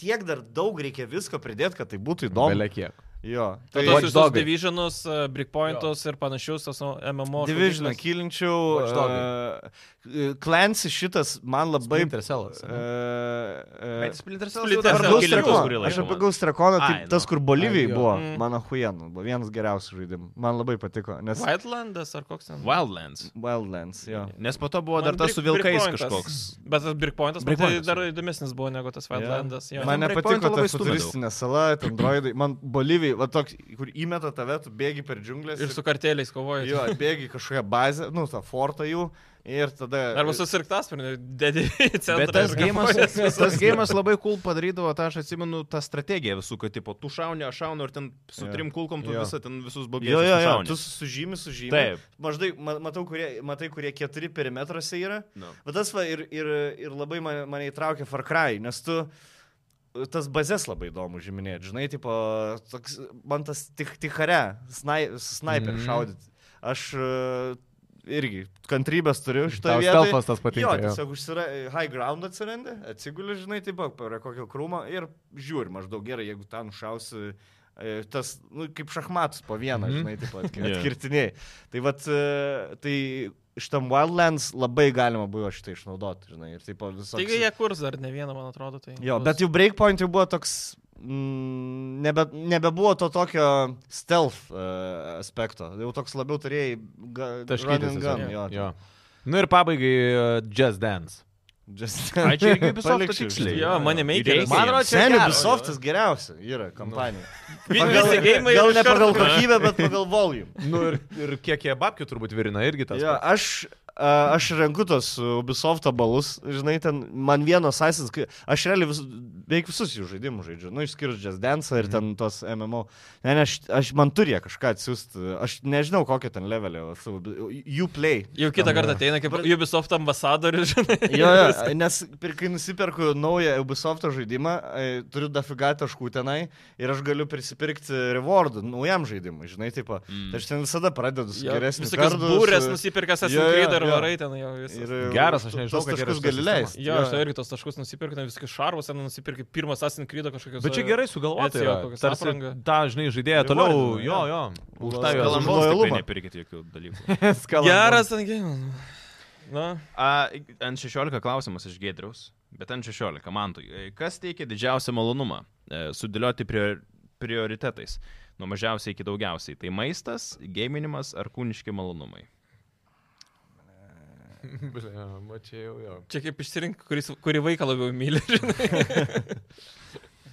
Speaker 3: tiek dar daug reikia visko pridėti, kad tai būtų įdomu.
Speaker 4: Belė kiek.
Speaker 3: Jo,
Speaker 2: Tai
Speaker 4: Watch
Speaker 2: tos visus
Speaker 4: Dogai.
Speaker 2: divisionus, uh, breakpointus ir panašius, tos nu, MMO.
Speaker 3: Divisioną
Speaker 2: šaudykles.
Speaker 3: kilinčiau.
Speaker 4: Watch
Speaker 3: Uh, Clancy šitas man labai... e,
Speaker 4: Splinter Cellas, ane?
Speaker 3: Uh, uh,
Speaker 1: Splinter
Speaker 2: Cells jau dabar
Speaker 3: Ar Gaus
Speaker 2: Killing'us
Speaker 3: Drakoną? Aš apie Gaus Drakoną,
Speaker 1: Ai,
Speaker 3: tai
Speaker 1: nu.
Speaker 3: tas, kur Bolivijai
Speaker 4: Ai, jo.
Speaker 3: buvo,
Speaker 2: Mm.
Speaker 3: mano huienų, buvo vienas geriausių žaidimų. Man labai patiko, nes...
Speaker 2: Wildlandas ar koks ten?
Speaker 1: Wildlands.
Speaker 3: Wildlands, jo.
Speaker 1: Nes po to buvo
Speaker 2: Man
Speaker 1: dar tas
Speaker 2: Break-
Speaker 1: su vilkais
Speaker 2: Breakpointas.
Speaker 1: kažkoks.
Speaker 2: Bet tas Breakpointas,
Speaker 1: Breakpointas,
Speaker 2: Breakpointas tai dar įdomesnis buvo negu tas Wildlandas.
Speaker 3: Jo.
Speaker 2: Yeah.
Speaker 3: Man
Speaker 1: ten
Speaker 3: nepatiko
Speaker 1: breakpointų
Speaker 3: ta
Speaker 1: labai stumia daug.
Speaker 3: futuristinė sala, ten droidai. Man Bolivijai, va toks, kur įmeta tave, tu bėgi per džiunglės.
Speaker 2: Ir su karteliais kovoji.
Speaker 3: Jo, bėgi į kažkokią bazę, nu, tą fortą jų. Ir tada...
Speaker 2: Arba susirktasparniu, dedi į centrą.
Speaker 1: Bet tas
Speaker 2: ir
Speaker 1: gėjimas,
Speaker 2: kovoji. [laughs]
Speaker 1: tas gėjimas labai cool padarydavo, tą aš atsimenu, tą strategiją visų, kad tipo, tu šauni, aš šaunu ir ten su
Speaker 3: Jo.
Speaker 1: trim kulkom tu
Speaker 3: Jo.
Speaker 1: visą ten visus bobėtus.
Speaker 3: Jo, jo, jo, tu sužymi, sužymi.
Speaker 1: Taip.
Speaker 3: Maždaip, ma- matau, kurie, matai, kurie keturi perimetruose yra.
Speaker 1: Nu.
Speaker 3: Bet tas va, ir, ir, ir labai mane, mane įtraukė Far Cry, nes tu tas bazės labai įdomu žiminėti, žinai, tipo, toks, man tas tik, tik kare, snai, sniper mm.
Speaker 4: Mhm.
Speaker 3: šaudyti. Aš e, irgi kantrybės turiu šitą
Speaker 4: Tau
Speaker 3: vietą.
Speaker 4: stealthas tas patinka,
Speaker 3: Jo,
Speaker 4: jo.
Speaker 3: tiesiog užsira, high ground atsiranda, atsiguli, žinai, taip, per kokio krūmo ir žiūri maždaug gerai, jeigu ten šausi. e, Tas, nu, kaip šachmatus po vieną, mm
Speaker 4: Mhm.
Speaker 3: -hmm. žinai, taip
Speaker 4: [laughs]
Speaker 3: pat
Speaker 1: Jo.
Speaker 3: atkirtiniai. Tai vad, tai šitam Wildlands labai galima buvo šitą išnaudoti, žinai, ir taip visokių.
Speaker 2: Taigi jie kurs dar ne vieną, man atrodo. Tai
Speaker 3: Jo,
Speaker 2: bus.
Speaker 3: bet jų breakpoint jau buvo toks... mm, Nebe, nebebuvo to tokio stealth uh, aspekto. Jau toks labiau turėjai... Ga, run
Speaker 4: Taškytis.
Speaker 3: and gun,
Speaker 4: tiesiog.
Speaker 3: jo.
Speaker 4: Jo. Nu ir pabaigai uh, Jazz Dance.
Speaker 3: [laughs] Just...
Speaker 1: Ai, čia irgi Ubisofto
Speaker 3: Palikčiau
Speaker 1: tiksliai.
Speaker 3: šitą.
Speaker 2: Jo, mane
Speaker 1: Reikia
Speaker 2: meikia.
Speaker 1: Man
Speaker 4: atrodo, čia
Speaker 3: Seniai,
Speaker 4: geras.
Speaker 3: Ubisoftas geriausia yra
Speaker 4: [laughs]
Speaker 3: kompanija.
Speaker 2: visi gėjimai.
Speaker 3: gal ne pagal kokybę, bet pagal volume.
Speaker 4: Nu ir, ir kiek jie babkių turbūt virina irgi [laughs] tas.
Speaker 3: Jo,
Speaker 4: pats.
Speaker 3: aš, a, aš renku tos Ubisoft balus, žinai, ten man vienas Assassin's Creed, aš realiai vis, beveik visus jų žaidimus žaidžiu, nu, išskyrus Just Dance ir ten tos MMO. Ne, ne, aš, aš man turi jie kažką atsiųsti, aš nežinau kokio ten levelio, jų play.
Speaker 2: Jau kitą kartą ateina kaip Ubisoft ambasadorius, žinai.
Speaker 3: Jo,
Speaker 4: [laughs]
Speaker 3: jo, nes ir kai nusiperku naują Ubisoft žaidimą, e, turiu dafiga taškų tenai ir aš galiu prisipirkti rewardų naujam žaidimui, žinai, taip. Mm. Tai aš ten visada pradedu su
Speaker 2: Jo,
Speaker 3: geresniu.
Speaker 2: Visokias būrės nusipirka
Speaker 3: Jo, jo,
Speaker 2: Assassin's Creed ar
Speaker 3: jo.
Speaker 2: varai ten jau visą.
Speaker 4: Geras, aš nežinau, kad
Speaker 3: Tos
Speaker 4: yra
Speaker 3: taškus
Speaker 4: šita
Speaker 3: gali leisti.
Speaker 2: Jo, aš tau irgi tos taškus nusipirku, ten visokius šarvus, ten nusipirku pirmą Assassin's Creed kažkokios.
Speaker 4: Bet čia gerai sugalvota.
Speaker 2: Etsy,
Speaker 4: yra.
Speaker 2: jo, kokias
Speaker 4: Tarsi
Speaker 2: aprangą.
Speaker 4: tą, žinai, žaidėją
Speaker 3: Rewardina,
Speaker 4: toliau,
Speaker 3: jo.
Speaker 4: jo, [laughs] jo, už tą
Speaker 3: Už
Speaker 4: jo
Speaker 3: kalambos.
Speaker 1: Kalambos tikrai
Speaker 3: lojalumą.
Speaker 1: nepirkit jokių dalykų.
Speaker 4: skalambos.
Speaker 2: Geras ten gėjimas. Na,
Speaker 1: A, ant 16 klausimas iš Gedriaus, bet ant 16 man tu. Kas teikia didžiausią malonumą? E, Sudėlioti prior, prioritetais. Nuo mažiausiai iki daugiausiai. Tai maistas, gaminimas ar kūniški
Speaker 3: [laughs]
Speaker 1: malonumai?
Speaker 4: Bля, Mačiau, jo.
Speaker 2: čia kaip išsirink, kuris, kurį vaiką labiau myli. žinai.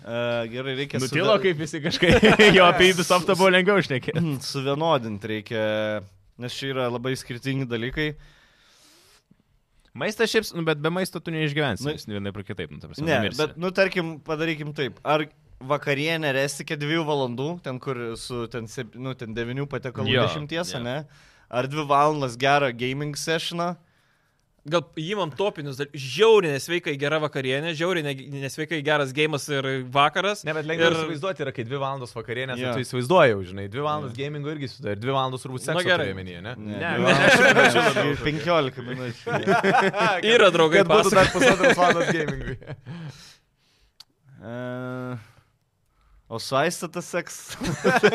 Speaker 3: Uh, gerai, reikia
Speaker 4: Nutilo,
Speaker 3: suda-
Speaker 4: kaip visi kažkaip jo apie Ubisoftą buvo lengviau išnekėti.
Speaker 3: [laughs] [clears throat] suvienodinti, reikia, nes čia yra labai skirtingi dalykai.
Speaker 1: Maistas šiaip, nu, bet be maisto tu neišgyvensi.
Speaker 3: Nu-
Speaker 1: Nu, vienai par kitaip, nu, tarsi.
Speaker 3: Ne, bet, nu, tarkim, padarykim taip. Ar vakarienė resikė dviejų valandų, ten kur su ten, sep- nu, ten devinių patekalų
Speaker 1: Jo,
Speaker 3: dešimties,
Speaker 1: jo.
Speaker 3: ne? Ar dvi valandas gerą gaming sessioną?
Speaker 2: Gal įimam topinius, dal- žiauriai nesveikai gera vakarienė, žiauriai ne- nesveikai geras gėjimas ir vakaras.
Speaker 4: Ne, bet lengviau
Speaker 2: Ir-
Speaker 4: ir... įsivaizduoti yra, kai dvi valandos vakarienės,
Speaker 3: Jo.
Speaker 4: yeah. tu įsivaizduoji, jau, žinai, dvi valandos yeah. gamingo irgi sudar, dvi valandos turbūt sekso
Speaker 2: gerai.
Speaker 4: turiuomenyje, ne?
Speaker 1: Ne,
Speaker 3: [laughs] ne. 15 minučių.
Speaker 2: Yra draugai,
Speaker 4: Kad būtų
Speaker 2: pasakoja.
Speaker 4: dar pusantros valandos gamingui.
Speaker 3: E, O saistatas seks.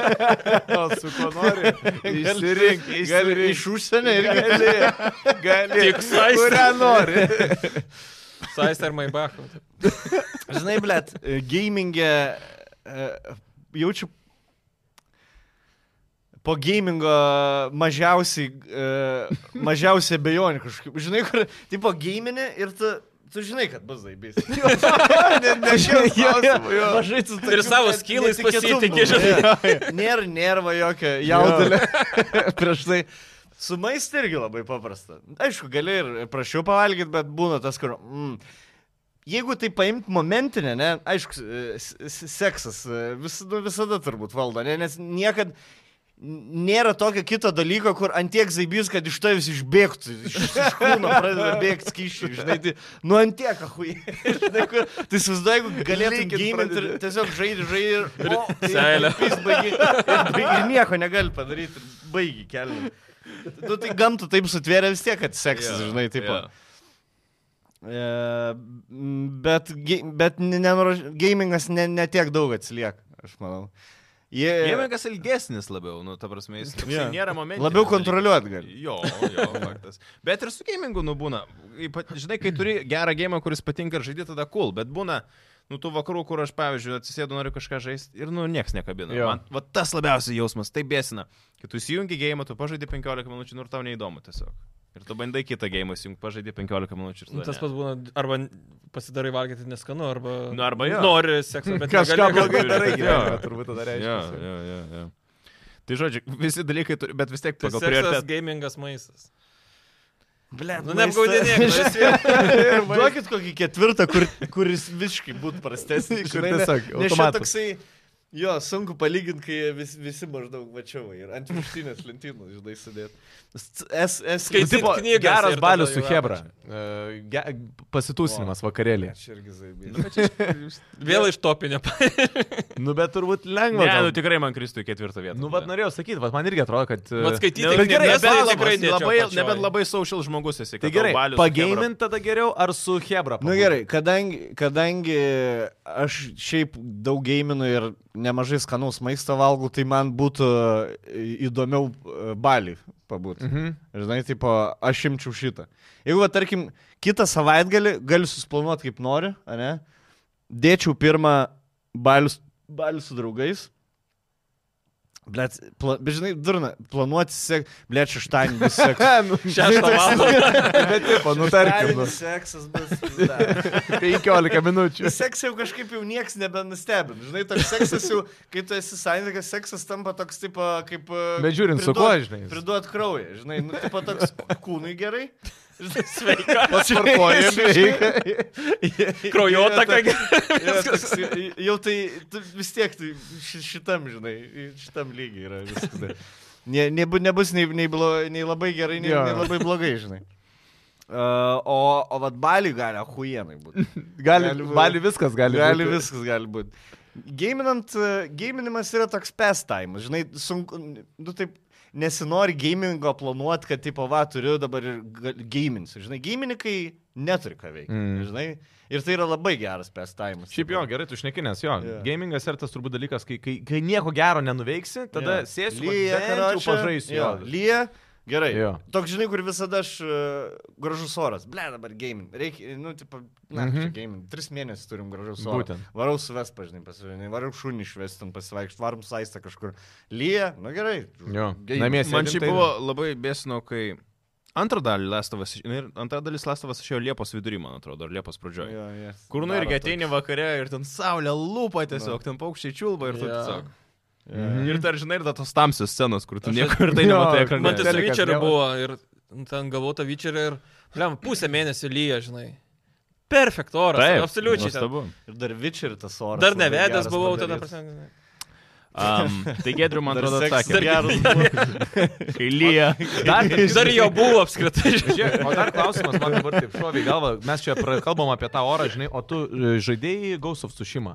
Speaker 4: [laughs] O su kuo nori? Išsirink,
Speaker 3: Gali
Speaker 4: išsirink.
Speaker 3: iš užsienio irgi.
Speaker 4: Gali, gali.
Speaker 2: Tik saistą.
Speaker 4: Kurią nori.
Speaker 2: [laughs]
Speaker 4: Nu,
Speaker 2: Saista ir Maibacho.
Speaker 3: Žinai, blėt, e, gamingė, e, jaučiu po gamingo mažiausiai, e, mažiausiai bejonių kažkaip. Žinai, kur, tipo, gaminė ir tu, tu žinai, kad bus zaibys. Mažai tu
Speaker 2: Ir savo skylais pasitikė, žinai.
Speaker 3: Nėra nervo jokio jaudulio. [laughs] Prieš tai. Su maistu irgi labai paprasta. Aišku, gali ir prašiau pavalgyti, bet būna tas, kur... Mm, Jeigu tai paimt momentinę, ne, aišku, e, s- s- seksas e, vis, nu, visada turbūt valdo, ne, nes niekad n- nėra tokio kito dalyko, kur antiek zaibys, kad iš tavęs išbėgtų, iš, iš kūno pradeda bėgti skyšiai, žinai, tai nu antiek, ahui. [laughs] Žinai, kur- Tai įsivaizduoju, jeigu galėtum
Speaker 4: Lygint
Speaker 3: gaiminti ir
Speaker 4: pradedi.
Speaker 3: tiesiog žaidži, žaidži ir... o, ir-
Speaker 2: seilė.
Speaker 3: ir jis baigi- Ir baigi- ir nieko negali padaryti, ir baigi kelią. Nu tai gamtų taip sutvėrė vis tiek, kad seksas, yeah, žinai, taip. Yeah. E, m, bet ge- bet ne- nenuraž- gamingas ne, ne tiek daug atsilieka, aš manau. Jie
Speaker 1: Gėmingas ilgesnis labiau, nu, ta prasme, jis toksai
Speaker 3: Jo.
Speaker 1: nėra momentas.
Speaker 3: labiau kontroliuot gali.
Speaker 1: Jo, jo, faktas. Bet ir su gamingu nubūna. Žinai, kai turi gerą gėjimą, kuris patinka ir žaidži, tada cool, bet būna, nu, tų vakarų, kur aš, pavyzdžiui, atsisėdu, noriu kažką žaisti ir, nu, nieks nekabina.
Speaker 4: Jo.
Speaker 1: Man, va, tas labiausias jausmas, tai bėsina. Kai tu įsijungi gėjimą, tu pažaidži 15 minučių, nu, ir tau neįdomu tiesiog. Ir tu bandai kitą gėjimą įsijungti, pažaidži 15 minučių ir
Speaker 2: Nu,
Speaker 1: tada ne.
Speaker 2: Tas pats būna, arba n- pasidarai valgyti neskanu, arba...
Speaker 1: Nu, arba jo.
Speaker 2: Nori sekso, bet
Speaker 4: Kažką
Speaker 2: negali.
Speaker 4: blogai darai,
Speaker 1: Jo.
Speaker 4: gyvenime, turbūt tada
Speaker 1: Jo,
Speaker 4: reiškia.
Speaker 1: jo, jo, jo. Tai žodžiu, visi dalykai, turi, bet vis tiek
Speaker 2: Tai
Speaker 1: [laughs] pagal
Speaker 2: seksas,
Speaker 1: prioritetą.
Speaker 2: gamingas maistas.
Speaker 3: Ble,
Speaker 2: Nu, neapgaudinėk.
Speaker 3: [laughs]
Speaker 2: nu, esi-
Speaker 3: Duokit kokį ketvirtą, kur, kuris visiškai būtų prastesnis.
Speaker 4: Kur
Speaker 3: žinai, ne-
Speaker 4: tiesiog
Speaker 3: Nes čia
Speaker 4: automatu.
Speaker 3: toksai, jo, sunku palyginti, kai vis, visi maždaug mačiau ir ant viršinės lentynos, žinai, sudėt. S, s, s,
Speaker 4: Nu,
Speaker 2: Skaityk
Speaker 4: tipo,
Speaker 2: knygas ir
Speaker 4: Geras
Speaker 2: tada
Speaker 4: balius su
Speaker 2: jau
Speaker 4: Hebra. E, ge- Pasitūsinimas vakarėlį.
Speaker 3: Aš irgi zaibėjau.
Speaker 2: [laughs]
Speaker 3: [laughs]
Speaker 2: Vėl iš topinio. [laughs]
Speaker 4: Nu, bet turbūt lengva.
Speaker 1: Ne,
Speaker 4: gal.
Speaker 1: nu tikrai man kristų į ketvirtą vietą.
Speaker 4: Nu, vad norėjau sakyti, vad man irgi atrodo, kad... e,
Speaker 2: Vat skaityti
Speaker 4: ne,
Speaker 2: knygas
Speaker 4: bet gerai,
Speaker 2: nebent
Speaker 4: esu
Speaker 2: tikrai
Speaker 4: alamas.
Speaker 2: dėčiau
Speaker 1: labai,
Speaker 2: apačioj.
Speaker 1: nebent labai social žmogus esi.
Speaker 4: Tai gerai, pageiminti tada geriau ar su Hebra?
Speaker 3: Na nu, gerai, kadangi, kadangi aš šiaip daug gaminu ir nemažai skanaus maisto valgau, tai man būtų e, įdomiau e, balį pabūti. Mhm.
Speaker 4: Mhm.
Speaker 3: Žinai, tipo, aš imčiau šitą. Jeigu, va, tarkim, kitą savaitgalį galiu susplanuoti kaip noriu, ar ne? Dėčiau pirmą balius, balius su draugais. Blet, pla, bet žinai, durna, planuoti sek, blet, šeštadienį bus seksas.
Speaker 4: Ne, nu,
Speaker 2: Šeštą valandą.
Speaker 4: bet tipo, nu tarkim, nu,
Speaker 3: seksas bus. Da.
Speaker 4: 15 minučių.
Speaker 3: Seks jau kažkaip jau nieks nebenustebin. Žinai, toks seksas jau, kai tu esi sąjungas, seksas tampa toks tipo kaip... e,
Speaker 4: Bet žiūrint, su
Speaker 3: priduot-
Speaker 4: kuo, žinai.
Speaker 3: Priduot kraują, žinai, nu, tipo toks kūnui gerai.
Speaker 2: Sveika.
Speaker 3: [laughs] Pasvarkojai,
Speaker 4: Sveika.
Speaker 2: Kraujotaka.
Speaker 3: Viskas. Jau tai tu vis tiek tai ši- šitam, žinai, šitam lygiai yra viskas. dar. Ne, nebu, nebus nei, nei, blo, nei labai gerai, nei,
Speaker 4: Jo.
Speaker 3: nei labai blogai, žinai. Uh, o, o vad baliui gali, ahujenai būti.
Speaker 4: Gali,
Speaker 3: Gali būt.
Speaker 4: gali viskas, [laughs] gali,
Speaker 3: Gali
Speaker 4: būti.
Speaker 3: viskas gali būti. Gaminant, e, gaminimas yra toks pastaimas, žinai, sunku, nu taip, nesinori gamingo planuoti, kad tipo, va, turiu dabar ir ga- gaminsiu, žinai, gamininkai neturi ką veikti,
Speaker 4: Mm.
Speaker 3: mm. žinai, ir tai yra labai geras pastaimas.
Speaker 4: Šiaip jo, gerai, tu šnekinės, jo.
Speaker 3: Jo.
Speaker 4: Yeah. Gamingas yra tas turbūt dalykas, kai, kai, kai nieko gero nenuveiksi, tada yeah. sėsiu ir pažaisiu.
Speaker 3: Jo,
Speaker 4: Jo.
Speaker 3: lyja, gerai. Jo.
Speaker 4: Jo.
Speaker 3: Toks, žinai, kur visada aš uh, gražus oras, ble, dabar gaming, reikia, nu, tipo, na, mm
Speaker 4: Mhm.
Speaker 3: -hmm. gaming, tris mėnesius turim gražus oras.
Speaker 4: Būtent.
Speaker 3: Varau suves, pažinai, pasivažinai, varau šunį išvesti, ten pasivaikščioti, varom saistą kažkur. Lyja, nu gerai.
Speaker 4: Jo.
Speaker 3: Geiming.
Speaker 4: Namie sėdi.
Speaker 1: Man šiaip
Speaker 4: tai-
Speaker 1: buvo labai bėsino, kai antrą dalį Lestovas, nu antrą dalį Lestovas išėjo Liepos vidury, man atrodo, ar Liepos pradžioje.
Speaker 3: Jo, yes.
Speaker 1: Kur nu
Speaker 3: Daro
Speaker 1: irgi ateini vakare ir ten saulė lūpa tiesiog, ten paukščiai čiulba ir tu
Speaker 2: Jo.
Speaker 1: tiesiog.
Speaker 3: tokį. Jo.
Speaker 4: Mhm.
Speaker 1: Ir dar žinai, ir dar tos tamsios scenos, kur tu
Speaker 2: Aš-
Speaker 1: [laughs] nieko ir tai
Speaker 4: Jo,
Speaker 1: nematai
Speaker 2: Man
Speaker 1: ekrane.
Speaker 4: tiesiog-
Speaker 2: tas
Speaker 4: Telikas
Speaker 2: vyčerį
Speaker 4: nėra.
Speaker 2: buvo ir ten gavau tą vyčerį ir, blem, pusę mėnesį lyja, žinai. Perfekt oras.
Speaker 1: Taip,
Speaker 2: absoliučiai. ten.
Speaker 1: nuostabu.
Speaker 3: Ir dar vičer tas oras.
Speaker 2: Dar
Speaker 3: labai
Speaker 2: nevedęs
Speaker 3: geras
Speaker 2: buvau tada.
Speaker 3: padarytas.
Speaker 2: Prasme,
Speaker 1: Um, tai Gedriu, man
Speaker 3: Dar
Speaker 1: atrodo,
Speaker 3: seksas
Speaker 1: atsakė.
Speaker 3: geras
Speaker 1: [laughs]
Speaker 3: buvo.
Speaker 1: Kai lyja.
Speaker 4: [laughs]
Speaker 1: [laughs]
Speaker 4: Dar,
Speaker 2: dar jo buvo
Speaker 3: [laughs]
Speaker 2: apskritai.
Speaker 4: Žiūrėk, o dar klausimas, man dabar taip šovė į galvą, mes čia pra- kalbam apie tą orą, žinai, o tu e, žaidėjai Ghost of Sushima.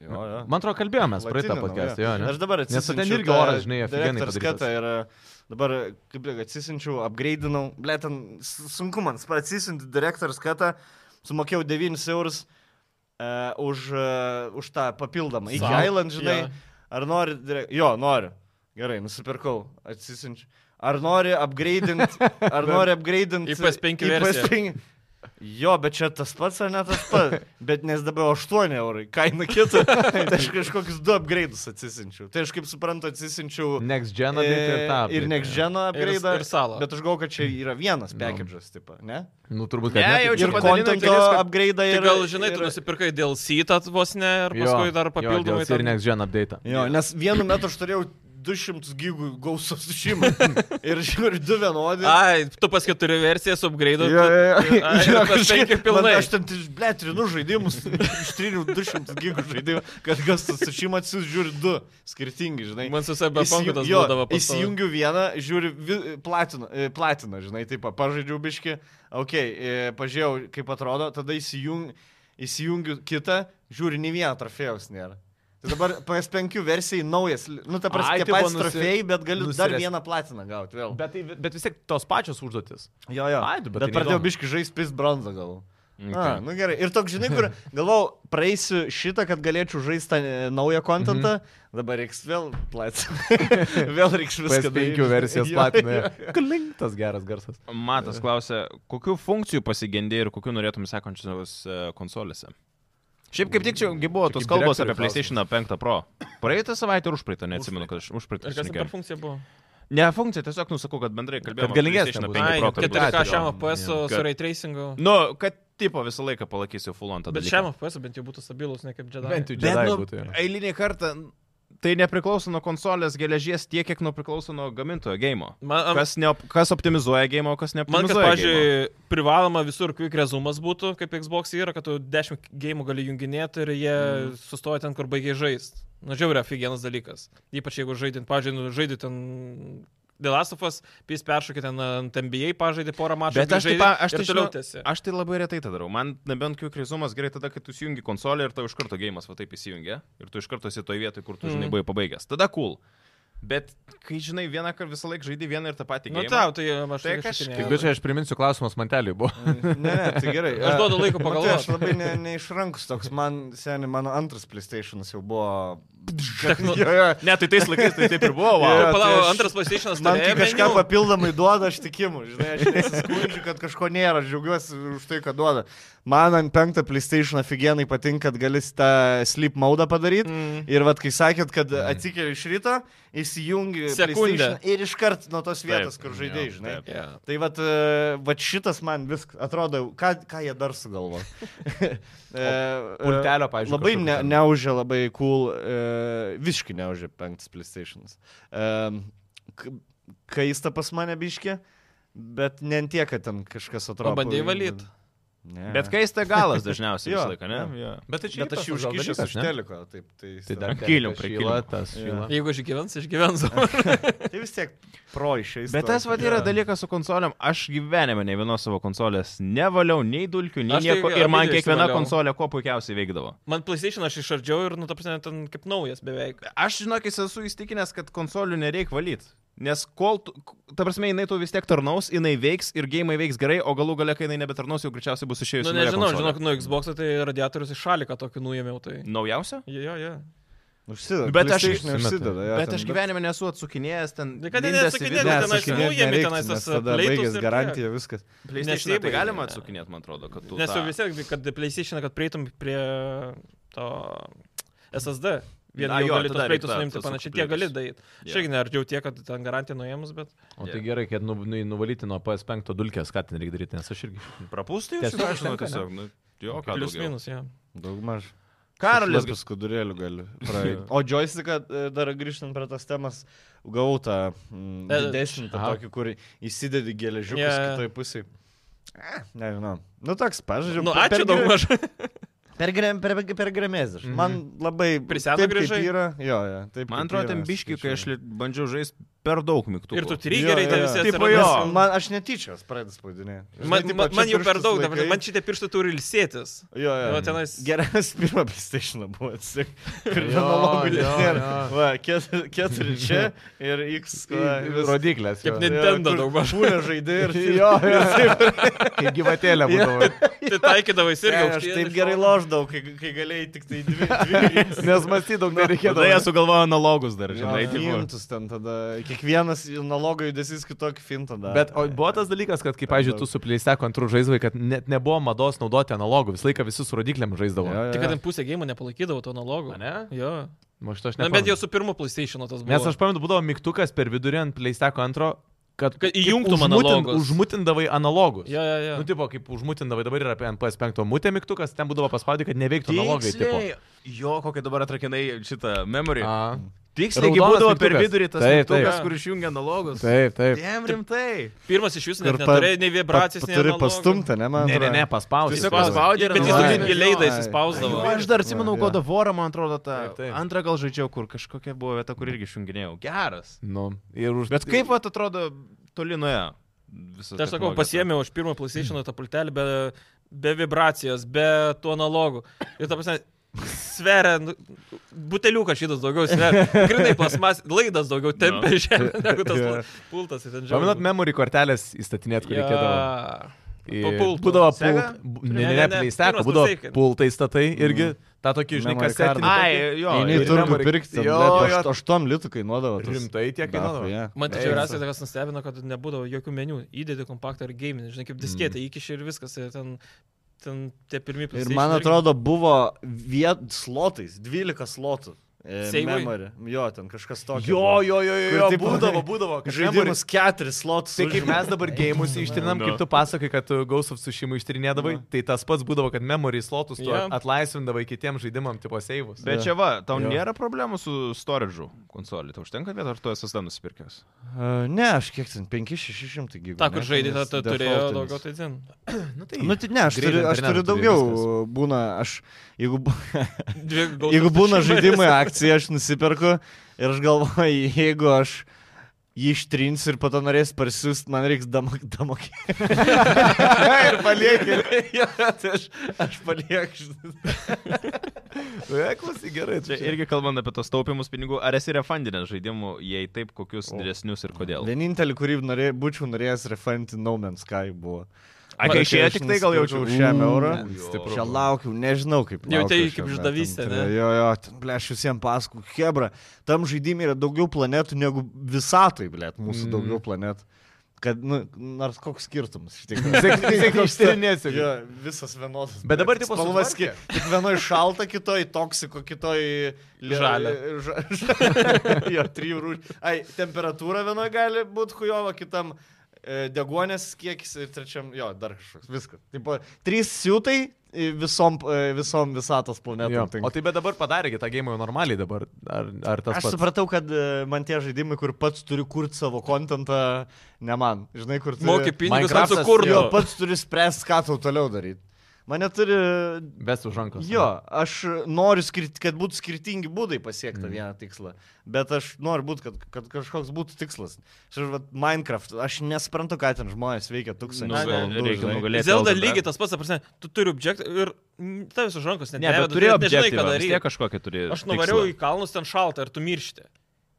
Speaker 3: Jo, jo.
Speaker 4: Man atrodo, kalbėjomės praeitą
Speaker 3: Latininom,
Speaker 4: podcastą,
Speaker 3: jo.
Speaker 4: jo, ne?
Speaker 3: Aš dabar
Speaker 4: Nes tu ten
Speaker 3: atsisinčiau.
Speaker 4: irgi oras, žinai, afigenai
Speaker 3: Skata
Speaker 4: padarytas.
Speaker 3: ir e, dabar, kaip tik atsisinčiau, upgrade'inau. Ble, ten s- sunku man, spa- atsisinti direktor skatą, sumokėjau 9 eurus uh, už, uh, už tą papildomą. Iki
Speaker 2: Sau.
Speaker 3: Island, žinai.
Speaker 2: Jo.
Speaker 3: Ar nori, direk- jo, noriu. Gerai, nusipirkau, atsisinčiau. Ar nori
Speaker 4: [laughs]
Speaker 3: upgrade'int, ar nori upgrade'int
Speaker 2: Į PS5
Speaker 3: į
Speaker 2: versiją.
Speaker 3: PS5? Jo, bet čia tas pats ar ne tas pats. Bet nes dabar 8 eurai, kaina kita. Tai aš kažkokius du upgrade'us atsisinčiau. Tai aš kaip suprantu atsisinčiau e,
Speaker 4: Next Gen update ir tą.
Speaker 3: ir
Speaker 4: update.
Speaker 3: Next Gen upgrade'ą.
Speaker 2: ir salą.
Speaker 3: Bet aš galvoju, kad čia yra vienas package'as, tipo, ne?
Speaker 4: Nu, turbūt,
Speaker 1: Ne,
Speaker 4: kad ne,
Speaker 1: jau
Speaker 4: taip.
Speaker 1: čia
Speaker 3: Ir
Speaker 1: padalinai
Speaker 3: kontento
Speaker 1: kelis kart-
Speaker 3: upgrade'ą
Speaker 2: Tai
Speaker 3: ir...
Speaker 2: gal, žinai, tu
Speaker 3: ir-
Speaker 2: nusipirkai dėl sytą vos ne ir
Speaker 4: Jo,
Speaker 2: paskui dar
Speaker 4: jo,
Speaker 2: papildomai.
Speaker 4: DLC Ir
Speaker 2: ten-
Speaker 4: Next Gen update.
Speaker 3: Jo, nes vienu metu aš turėjau 200 gigų gausos šimą. ir žiūriu, du vienodi.
Speaker 2: Ai, tu pas keturių versijas upgrade'o.
Speaker 3: Jo, jo, jo.
Speaker 2: Ai,
Speaker 3: [laughs] Jo,
Speaker 2: pas
Speaker 3: kažkaip
Speaker 2: penki
Speaker 3: man-
Speaker 2: pilnai.
Speaker 3: Aš ten, iš- ble, trinu žaidimus, [laughs] ištrinu 200 gigų žaidimą, kad kas tas su šim atsius žiūri du skirtingi, žinai.
Speaker 2: Man su sebe
Speaker 3: Įsijung-
Speaker 2: pankutas
Speaker 3: jo,
Speaker 2: būdavo pasaulio.
Speaker 3: Įsijungiu vieną, žiūriu, vi- platinu, e, platinu, žinai, taip, pažaidžiau biški, okei, okay, pažiūrėjau, kaip atrodo, tada įsijung, įsijungiu kitą, žiūriu, nei vieno trofėjaus nėra. Tai dabar PS5 versijai naujas, nu ta
Speaker 4: Ai,
Speaker 3: prasme,
Speaker 2: tai
Speaker 3: tie
Speaker 4: tipo,
Speaker 3: patys
Speaker 4: nusi-
Speaker 3: trofėjai, bet galiu dar
Speaker 4: nusires-
Speaker 3: vieną platiną gauti vėl.
Speaker 4: Bet, tai, bet vis tiek tos pačios užduotis.
Speaker 3: Jo, jo.
Speaker 4: Ai, tu, bet
Speaker 3: bet
Speaker 4: tai
Speaker 3: pradėjau
Speaker 4: neįdomu.
Speaker 3: biški žaisti pris bronzą gal. Na,
Speaker 1: Okay.
Speaker 3: nu gerai. Ir toks, žinai,
Speaker 4: [laughs]
Speaker 3: kur galvojau, praeisiu šitą, kad galėčiau žaisti tą e, naują
Speaker 4: Mhm.
Speaker 3: kontentą, dabar reiks vėl platinti. [laughs] vėl reiks viską
Speaker 4: PS5
Speaker 3: daryt.
Speaker 4: versijas
Speaker 3: Jo, jo.
Speaker 4: platina. Klink tas geras garsas.
Speaker 1: Matas klausia, kokiu funkcijų pasigendė ir kokiu norėtum sekančios e, konsolėse? Šiaip kaip tik čia gi buvo
Speaker 4: Čia
Speaker 1: tos
Speaker 4: kaip
Speaker 1: kalbos
Speaker 4: direktorių
Speaker 1: apie PlayStation 5 Pro. Praeitą savaitę ir užpraeitą, neatsimenu, kad aš užpraeitą.
Speaker 2: Ir kas ten per
Speaker 1: šnekėjau.
Speaker 2: funkcija buvo?
Speaker 1: Ne, funkcija, tiesiog nusakau, kad bendrai kalbėjome.
Speaker 4: Kad galingesnė būtų.
Speaker 2: Ai,
Speaker 1: 5 Pro. kad
Speaker 4: kad-
Speaker 2: 4K
Speaker 4: jo.
Speaker 2: šiam FPS su
Speaker 1: Kad-
Speaker 2: ray tracingu.
Speaker 1: Nu, kad tipo visą laiką palaikysiu fulantą.
Speaker 2: Bet šiam FPS bent jau būtų stabilus, ne kaip Jedi.
Speaker 4: Bent jau
Speaker 1: Bet,
Speaker 4: Jedi
Speaker 1: nu,
Speaker 4: būtų. jo.
Speaker 1: eilinį kartą tai nepriklauso nuo konsolės geležies tiek, kiek nuo priklauso nuo gamintojo game.
Speaker 2: Man, am-
Speaker 1: Kas, ne, kas optimizuoja game, o kas
Speaker 2: man kad,
Speaker 1: neoptimizuoja. game.
Speaker 2: pažiūrėjau, privaloma visur quick rezumas būtų, kaip Xbox yra, kad tu 10 gėjimų gali junginėti ir jie mm. sustoja ten, kur baigiai žaisti. Na, nu, žiauriai, aфиgenas dalykas. Ypač jeigu žaidint, pažiūrėjau, žaidit ten Delasofas, pys peršokit ten ant NBA, pažaidė porą mačų.
Speaker 1: Bet aš tai,
Speaker 2: grįžai
Speaker 1: pa, aš,
Speaker 2: ir
Speaker 1: tai
Speaker 2: toliau
Speaker 1: žinau,
Speaker 2: tęsi.
Speaker 1: aš tai labai retai tą darau. Man nebent kiek rizumas gerai tada, kai tu įjungi konsolę ir tau iš karto gėjimas va taip įsijungia. Ir tu iš karto esi toje vietoje, kur tu žinai
Speaker 2: Mhm.
Speaker 1: buvai pabaigęs. Tada cool. Bet kai žinai, vieną kartą visą laiką žaidži vieną ir tą patį.
Speaker 2: Nu
Speaker 1: geimą,
Speaker 2: tau, tai aš
Speaker 1: Tai
Speaker 2: tai
Speaker 1: kažkaip-
Speaker 4: Tik du čia aš priminsiu klausimas manteliui buvo.
Speaker 3: Ne, ne, tai gerai.
Speaker 2: Aš duodu laiko
Speaker 3: Matai, aš
Speaker 2: pagalvoti.
Speaker 3: labai
Speaker 2: [laughs]
Speaker 3: ne, neišrankus toks, man seniai mano antras PlayStation'as jau buvo...
Speaker 2: Techno-
Speaker 3: Jo, jo.
Speaker 1: Ne, tai tais laikais tai taip ir buvo. Wow.
Speaker 3: Jo,
Speaker 2: Palauk,
Speaker 3: tai aš-
Speaker 2: antras PlayStation'as
Speaker 3: Man
Speaker 2: turėjo
Speaker 3: tai kažką
Speaker 2: meniu.
Speaker 3: papildomai duoda, aš tikimu, žinai, aš nesiskundžiu, kad kažko nėra, aš džiaugiuosi už tai, kad duoda. Man ant penktą PlayStation aфиgenai patinka, kad gali tą sleep maudą padaryti.
Speaker 2: Mhm.
Speaker 3: Mm. Ir vad, kai sakėt, kad atsikeli iš ryto, įsijungi
Speaker 2: Sekundę.
Speaker 3: PlayStation ir iškart nuo tos vietos,
Speaker 1: Taip,
Speaker 3: kur
Speaker 1: jo,
Speaker 3: žaidėjai, žinai.
Speaker 1: taip.
Speaker 2: Yeah.
Speaker 3: Tai vat, vat šitas man viskas atrodo, ką, ką jie dar sugalvo.
Speaker 4: [laughs]
Speaker 3: [laughs] E,
Speaker 4: pultelio, pavyzdžiui,
Speaker 3: Labai
Speaker 4: kažkokio
Speaker 3: ne,
Speaker 4: ten.
Speaker 3: neužė, labai cool, e, visiškai neužė penktas PlayStation'as. E, kaista pas mane biškė, bet ne ant tiek, kad ten kažkas atrodo.
Speaker 2: O bandėjai valyt?
Speaker 3: Ne.
Speaker 1: Bet kai tai galas dažniausiai
Speaker 3: Jo,
Speaker 1: visą laiką, ne? Jo.
Speaker 4: Bet tai
Speaker 3: Bet aš jau užkišęs iš teliko, taip, tai,
Speaker 4: Tai dar
Speaker 1: Kylim
Speaker 4: telikas
Speaker 1: prie
Speaker 4: šyla,
Speaker 1: kilimo.
Speaker 4: tas
Speaker 3: Jo.
Speaker 4: šyla.
Speaker 2: Jeigu išgyvens, išgyvens.
Speaker 3: tai vis tiek pro išėjęs.
Speaker 1: Bet tas vad yra dalykas su konsoliam, aš gyvenime ne vienos savo konsolės nevaliau, nei dulkių, nei
Speaker 2: Aš tai
Speaker 1: nieko. Ir man
Speaker 2: abidvi
Speaker 1: kiekviena
Speaker 2: išsivaliau.
Speaker 1: konsolė kuo puikiausiai veikdavo.
Speaker 2: Man PlayStation aš išardžiau ir, nu, ta prasme, ten kaip naujas beveik.
Speaker 1: Aš žinokis esu įstikinęs, kad konsolių nereik valyti. Nes kol, tu, ta prasme, jinai tu vis tiek tarnaus, jinai veiks ir gėjimai veiks gerai, o galų gale, kai jinai nebetarnaus, jau greičiausiai bus išėjusi.
Speaker 2: Nu, nežinau, žinok, nuo Xbox tai radiatorius iš šalika tokį nuėmiau. Tai...
Speaker 1: nu- Naujausia?
Speaker 2: Jo, jo, jo.
Speaker 3: Užsideda.
Speaker 1: Bet aš-
Speaker 3: neužsideda. jo,
Speaker 1: Bet
Speaker 3: ten
Speaker 1: aš
Speaker 3: daug-
Speaker 1: gyvenime nu, nesu atsukinėjęs ten.
Speaker 2: Tai kad
Speaker 1: lindęs į
Speaker 2: neatsukinėjau,
Speaker 1: vidų.
Speaker 2: ten
Speaker 3: Ne,
Speaker 2: tenais
Speaker 3: sakinėt
Speaker 2: nuimi
Speaker 3: nereiktų,
Speaker 2: tenais
Speaker 3: nes
Speaker 2: tas,
Speaker 3: tada
Speaker 2: pleitus ir
Speaker 3: baigės
Speaker 2: tiek.
Speaker 3: garantija, viskas.
Speaker 1: PlayStation'ą
Speaker 2: Nes jeigu-
Speaker 1: tai galima
Speaker 2: ne.
Speaker 1: atsukinėti, man atrodo, kad tu.
Speaker 2: Nes
Speaker 1: tą-
Speaker 2: jau vis tiek, kad PlayStation, kad prieitum prie to SSD. Vien
Speaker 1: Na
Speaker 2: jau
Speaker 1: jo,
Speaker 2: gali
Speaker 1: tada
Speaker 2: tos pleitus
Speaker 1: reik tą-
Speaker 2: nuimti,
Speaker 1: tas
Speaker 2: panašiai tie
Speaker 1: pleitus.
Speaker 2: gali daryti.
Speaker 1: Jo.
Speaker 2: Šiaip neardžiau tiek, kad ten garantiją nuėmus, bet...
Speaker 4: O tai gerai, kad nu, nu, nuvalyti nuo PS5 dulkės, ką ten reikia daryti, nes aš irgi.
Speaker 1: Prapūsti,
Speaker 4: Tiesiog
Speaker 1: aš žinau,
Speaker 4: užtenka, ne?
Speaker 1: tiesiog. nu, Jo, ką
Speaker 2: Plius
Speaker 1: daugiau.
Speaker 2: minus, jo.
Speaker 3: Daugmaž.
Speaker 1: Karolis
Speaker 3: Šlapis skudurėlių gali. praeit. o joysticką, e, dar grįžtant prie tos temas, gavau tą mm,
Speaker 2: E,
Speaker 3: didesnį, tą
Speaker 4: aha.
Speaker 3: tokį, kur įsidedi geležiukus yeah.
Speaker 2: Yeah.
Speaker 3: kitoj pusėj. Eh, Nežinau. Nu toks, pažiūrėjau.
Speaker 2: Nu, ačiū daug maž.
Speaker 3: Per, grem- per, per gremėzį. Mm -hmm. Man labai...
Speaker 2: Prie seno
Speaker 3: taip,
Speaker 2: Mhm.
Speaker 3: kaip
Speaker 2: grįžai?
Speaker 3: Yra, jo, jo, taip,
Speaker 1: Man atrodo, ten biški, kai aš li- bandžiau žaisti per daug mygtukų.
Speaker 2: [laughs] Ir tu trigeriai ten visi
Speaker 3: Taip,
Speaker 2: atsirandas.
Speaker 3: jo. Man, aš netyčia pradėjau spaudinėti.
Speaker 2: Man, man, man jau per daug, dabar, man šitie pirštai turi ilsėtis.
Speaker 3: [laughs] Jo, jo.
Speaker 2: Nu, tenais-
Speaker 3: Geras [laughs] pirmą PlayStation buvo atsik. Ir
Speaker 4: Jo,
Speaker 3: analogų
Speaker 4: jo,
Speaker 3: nėra.
Speaker 4: jo.
Speaker 3: Va, ket- keturi čia ir X. va,
Speaker 4: Tai
Speaker 3: vis-
Speaker 4: Rodiklės.
Speaker 2: Kaip
Speaker 4: jo.
Speaker 2: ne- Nintendo
Speaker 3: kur
Speaker 2: daugmaž.
Speaker 3: Pūlė žaidė ir...
Speaker 4: Jo, jo. Kaip gyvatėlė [laughs] būdavo.
Speaker 2: Tai taikydavai tai irgi.
Speaker 3: Ne, aš taip gerai loždavau, kai, kai galėjai tik tai dvi. dvi
Speaker 4: Nes mąstydavau, nereikėdavo.
Speaker 1: Tada jie sugalvojo analogus dar, žinai, tai
Speaker 3: Žinai,
Speaker 1: tipo.
Speaker 3: imtus ten tada. Kiekvienas analogo judesys kitokį fintą daro.
Speaker 4: Bet o buvo tas dalykas, kad, kaip, pavyzdžiui, tu su pleiste kontru žaisdavai, kad net nebuvo mados naudoti analogų, visą laiką visi su rodikliam žaisdavo.
Speaker 3: Jo, jo.
Speaker 2: Tik kad ten pusę gėjimų nepalaikydavo to analogo.
Speaker 4: A, ne?
Speaker 2: Jo.
Speaker 4: O šito Nu, aš
Speaker 2: Na, bet
Speaker 4: nepamenu.
Speaker 2: jau su pirmu PlayStation tas buvo.
Speaker 4: Nes aš pamenu, būdavo mygtukas per vidurį ant pleisteko antro, kad,
Speaker 2: Kad
Speaker 4: kaip
Speaker 2: įjungtum analogus.
Speaker 4: Užmutindavai analogus.
Speaker 2: Jo, jo, jo.
Speaker 4: Nu, tipo, kaip užmutindavai dabar yra apie NPS5 mutė mygtukas, ten būdavo paspaudai, kad neveiktų analogai. Tipo.
Speaker 1: Tiksliai. Jo, kokia dabar atrakinai šitą memory.
Speaker 4: A.
Speaker 1: Tiksliai, kai
Speaker 4: Raudonas
Speaker 1: būdavo per
Speaker 4: mygtukas.
Speaker 1: vidurį tas
Speaker 4: Taip,
Speaker 1: mygtukas,
Speaker 4: taip.
Speaker 1: kur išjungia analogus.
Speaker 4: Taip, taip.
Speaker 1: Jam rimtai.
Speaker 2: Pirmas iš jūsų net
Speaker 3: Ir pa-
Speaker 2: neturėjo nei vibracijos, nei...
Speaker 3: Turi
Speaker 2: analogo.
Speaker 3: pastumti, ne, man.
Speaker 4: Ne, ne, ne,
Speaker 3: atrodo.
Speaker 4: paspaudai.
Speaker 1: Tiesiog
Speaker 4: Paspaudai.
Speaker 1: paspaudė ir
Speaker 2: Bet jis
Speaker 3: Ai.
Speaker 2: turi giliai
Speaker 3: Ai.
Speaker 2: įspausdavo.
Speaker 1: Aš dar atsimenu
Speaker 3: Jo, jo.
Speaker 1: God of War, man atrodo, tą
Speaker 4: Taip, taip.
Speaker 1: antrą gal žaidžiau, kur kažkokia buvo vieta, kur irgi išjunginėjau. Geras.
Speaker 4: Nu, ir už...
Speaker 1: Bet kaip, vat, atrodo, toli nuėjo. visas
Speaker 2: Tai aš
Speaker 1: technologijas.
Speaker 2: sakau, pasiemiau iš pirmo PlayStation tą pultelį be, be vibracijos, be tų analogų. Ir ta prasme, sveria, nu, buteliukas šitas daugiau sveria. Grinai plasmas, laidas daugiau tempia no. žemę negu tas yeah. pultas. ir ten žiauriai.
Speaker 4: Paminat memory kortelės įstatinėt, kur
Speaker 2: Jo.
Speaker 4: reikėdavo. Į-
Speaker 2: Po pultų.
Speaker 4: Būdavo pult...
Speaker 1: Sega?
Speaker 4: bu- Ne,
Speaker 2: Ne,
Speaker 4: ne,
Speaker 2: ne,
Speaker 4: ne, pleisteko,
Speaker 2: pirmas
Speaker 4: būdavo
Speaker 2: klausai,
Speaker 4: pultai statai irgi. Ta tokia, žinai,
Speaker 3: Memory
Speaker 4: kasetė.
Speaker 3: card.
Speaker 1: Ai, jo.
Speaker 3: Eini į
Speaker 1: ir-
Speaker 3: turgų
Speaker 4: memory-
Speaker 3: pirkti,
Speaker 4: Jo, jo.
Speaker 3: jo, 8 litų kainuodavo. tas.
Speaker 4: Rimtai tiek kainuodavo?
Speaker 3: Dafu, jo.
Speaker 2: Man tai
Speaker 4: Ei,
Speaker 2: žiauriausiai tai kas nustebino, kad nebūdavo jokių menių. Įdedi kompaktą ar game, žinai, kaip disketę, mm. įkiši ir viskas. Ir ten, ten tie pirmie
Speaker 3: Ir
Speaker 2: PlayStation.
Speaker 3: man
Speaker 2: irgi-
Speaker 3: atrodo, buvo viet slotais, 12 slotų. e,
Speaker 2: Seivui?
Speaker 3: memory. Jo, ten kažkas tokio.
Speaker 4: Jo,
Speaker 3: buvo.
Speaker 4: jo, jo, jo,
Speaker 3: Kur
Speaker 4: jo
Speaker 3: taip-
Speaker 4: būdavo,
Speaker 3: [laughs]
Speaker 4: būdavo. kad memory-
Speaker 3: Žaidimus 4 slotus.
Speaker 4: Tai kaip mes dabar gėjimus ištrinam,
Speaker 1: Nu.
Speaker 4: kaip tu pasakai, kad tu Ghost of Sushima ištrinėdavai, tai tas pats būdavo, kad memory slotus tu
Speaker 2: Jo.
Speaker 4: atlaisvindavai kitiems žaidimams, tipo seivus.
Speaker 1: Bet
Speaker 3: Jo.
Speaker 1: čia va, tau
Speaker 4: Jo.
Speaker 1: nėra problemų su storage'u konsolį, tau užtenka vietos, ar tu SSD nusipirkęs?
Speaker 3: Uh, ne, aš kiek ten 5-600 gigų.
Speaker 2: Ta, kur žaidė, ta, ta turėjo daugiau, tai
Speaker 3: Tai...
Speaker 2: ten.
Speaker 4: nu, tai,
Speaker 3: Nu, tai ne, aš
Speaker 4: Greitai
Speaker 3: turiu, aš
Speaker 4: internetu
Speaker 3: turiu
Speaker 4: turi
Speaker 3: daugiau.
Speaker 4: viskas.
Speaker 3: Būna, aš, jeigu, bu-
Speaker 2: Dvi Ghost
Speaker 3: jeigu
Speaker 2: of
Speaker 3: būna
Speaker 2: Tsushima ir
Speaker 3: žaidimai akcija, aš nusiperku ir aš galvoju, jeigu aš jį ištrinsiu ir po to norės parsiųsti, man reiks damokį. [laughs] ir palieku. jo, tai aš, aš palieku. žinai.
Speaker 4: E, klausyk, gerai.
Speaker 1: Čia irgi kalbant apie tos taupimus pinigų, ar esi refundinęs žaidimų, jei taip, kokius
Speaker 3: O.
Speaker 1: didesnius ir kodėl?
Speaker 3: Vienintelį, kurį norė, būčiau norėjęs refundinti No Man's Sky buvo.
Speaker 1: A, kai išėjo tik tai gal jaučiau
Speaker 3: šiam eurą.
Speaker 4: Stipru.
Speaker 3: Čia laukiau, nežinau kaip.
Speaker 2: Jau
Speaker 3: laukiau
Speaker 2: tai
Speaker 3: šio,
Speaker 2: kaip
Speaker 3: bet
Speaker 2: išdavystė,
Speaker 3: ten-
Speaker 2: ne?
Speaker 3: Jo, jo, ten, ble, aš visiems pasakau, Hebra, tam žaidimui yra daugiau planetų negu visatai, ble,
Speaker 4: Mhm.
Speaker 3: mūsų mm. daugiau planetų. Kad, nu, nors koks skirtumas. iš tikrųjų. [laughs]
Speaker 4: Tik ištyrinėsiu.
Speaker 3: Jo, visas vienodas.
Speaker 4: Bet dabar tipo
Speaker 3: spalvas
Speaker 4: sutvarkė.
Speaker 3: ki- Tik vienoje šalta, kitoje toksiko, kitoje
Speaker 2: Žalia.
Speaker 3: [laughs] jo, trijų rūšių. Ai, temperatūra vienoje gali būti hujova, kitam e, degonės kiekis ir trečiam, jo, dar kažkoks. Viskas. Tipo, trys siūtai e, visom, e, visom visatos
Speaker 4: Jo.
Speaker 3: planetom. tinka.
Speaker 4: O tai bet dabar padarė tą gėjimą jau normaliai dabar. Ar, ar tas
Speaker 3: Aš pats. supratau, kad e, man tie žaidimai, kur pats turi kurti savo kontentą, ne man. Žinai, kur turi...
Speaker 2: Moki pinigus, kad
Speaker 4: Minecraftas-
Speaker 3: Jo,
Speaker 2: sukurtų.
Speaker 3: pats turi spręsti, ką tau toliau daryti. Mane turi
Speaker 4: Bes už rankos.
Speaker 3: Jo, aš noriu, skirti, kad būtų skirtingi būdai pasiekti mm. vieną tikslą, bet aš noriu būti, kad, kad kažkoks būtų tikslas. Aš, vat, Minecraft, aš nesuprantu, ką ten žmonės veikia
Speaker 1: Nu,
Speaker 2: Ne,
Speaker 3: tūkstančius
Speaker 1: gal
Speaker 3: valandų.
Speaker 1: reikia
Speaker 3: žinai.
Speaker 1: nugalėti.
Speaker 2: Zelda
Speaker 1: Elden Ring.
Speaker 2: lygiai tas pats, ta prasme, tu turi objektą ir mm, tavęs už rankos net
Speaker 1: Ne,
Speaker 2: neveda,
Speaker 1: bet
Speaker 2: tu
Speaker 1: turėjo
Speaker 2: net nežinai, ką
Speaker 1: objektyvą, vis tiek
Speaker 2: daryti.
Speaker 1: kažkokį turėjo.
Speaker 2: Aš nuvariau į kalnus, ten šalta ir tu miršti.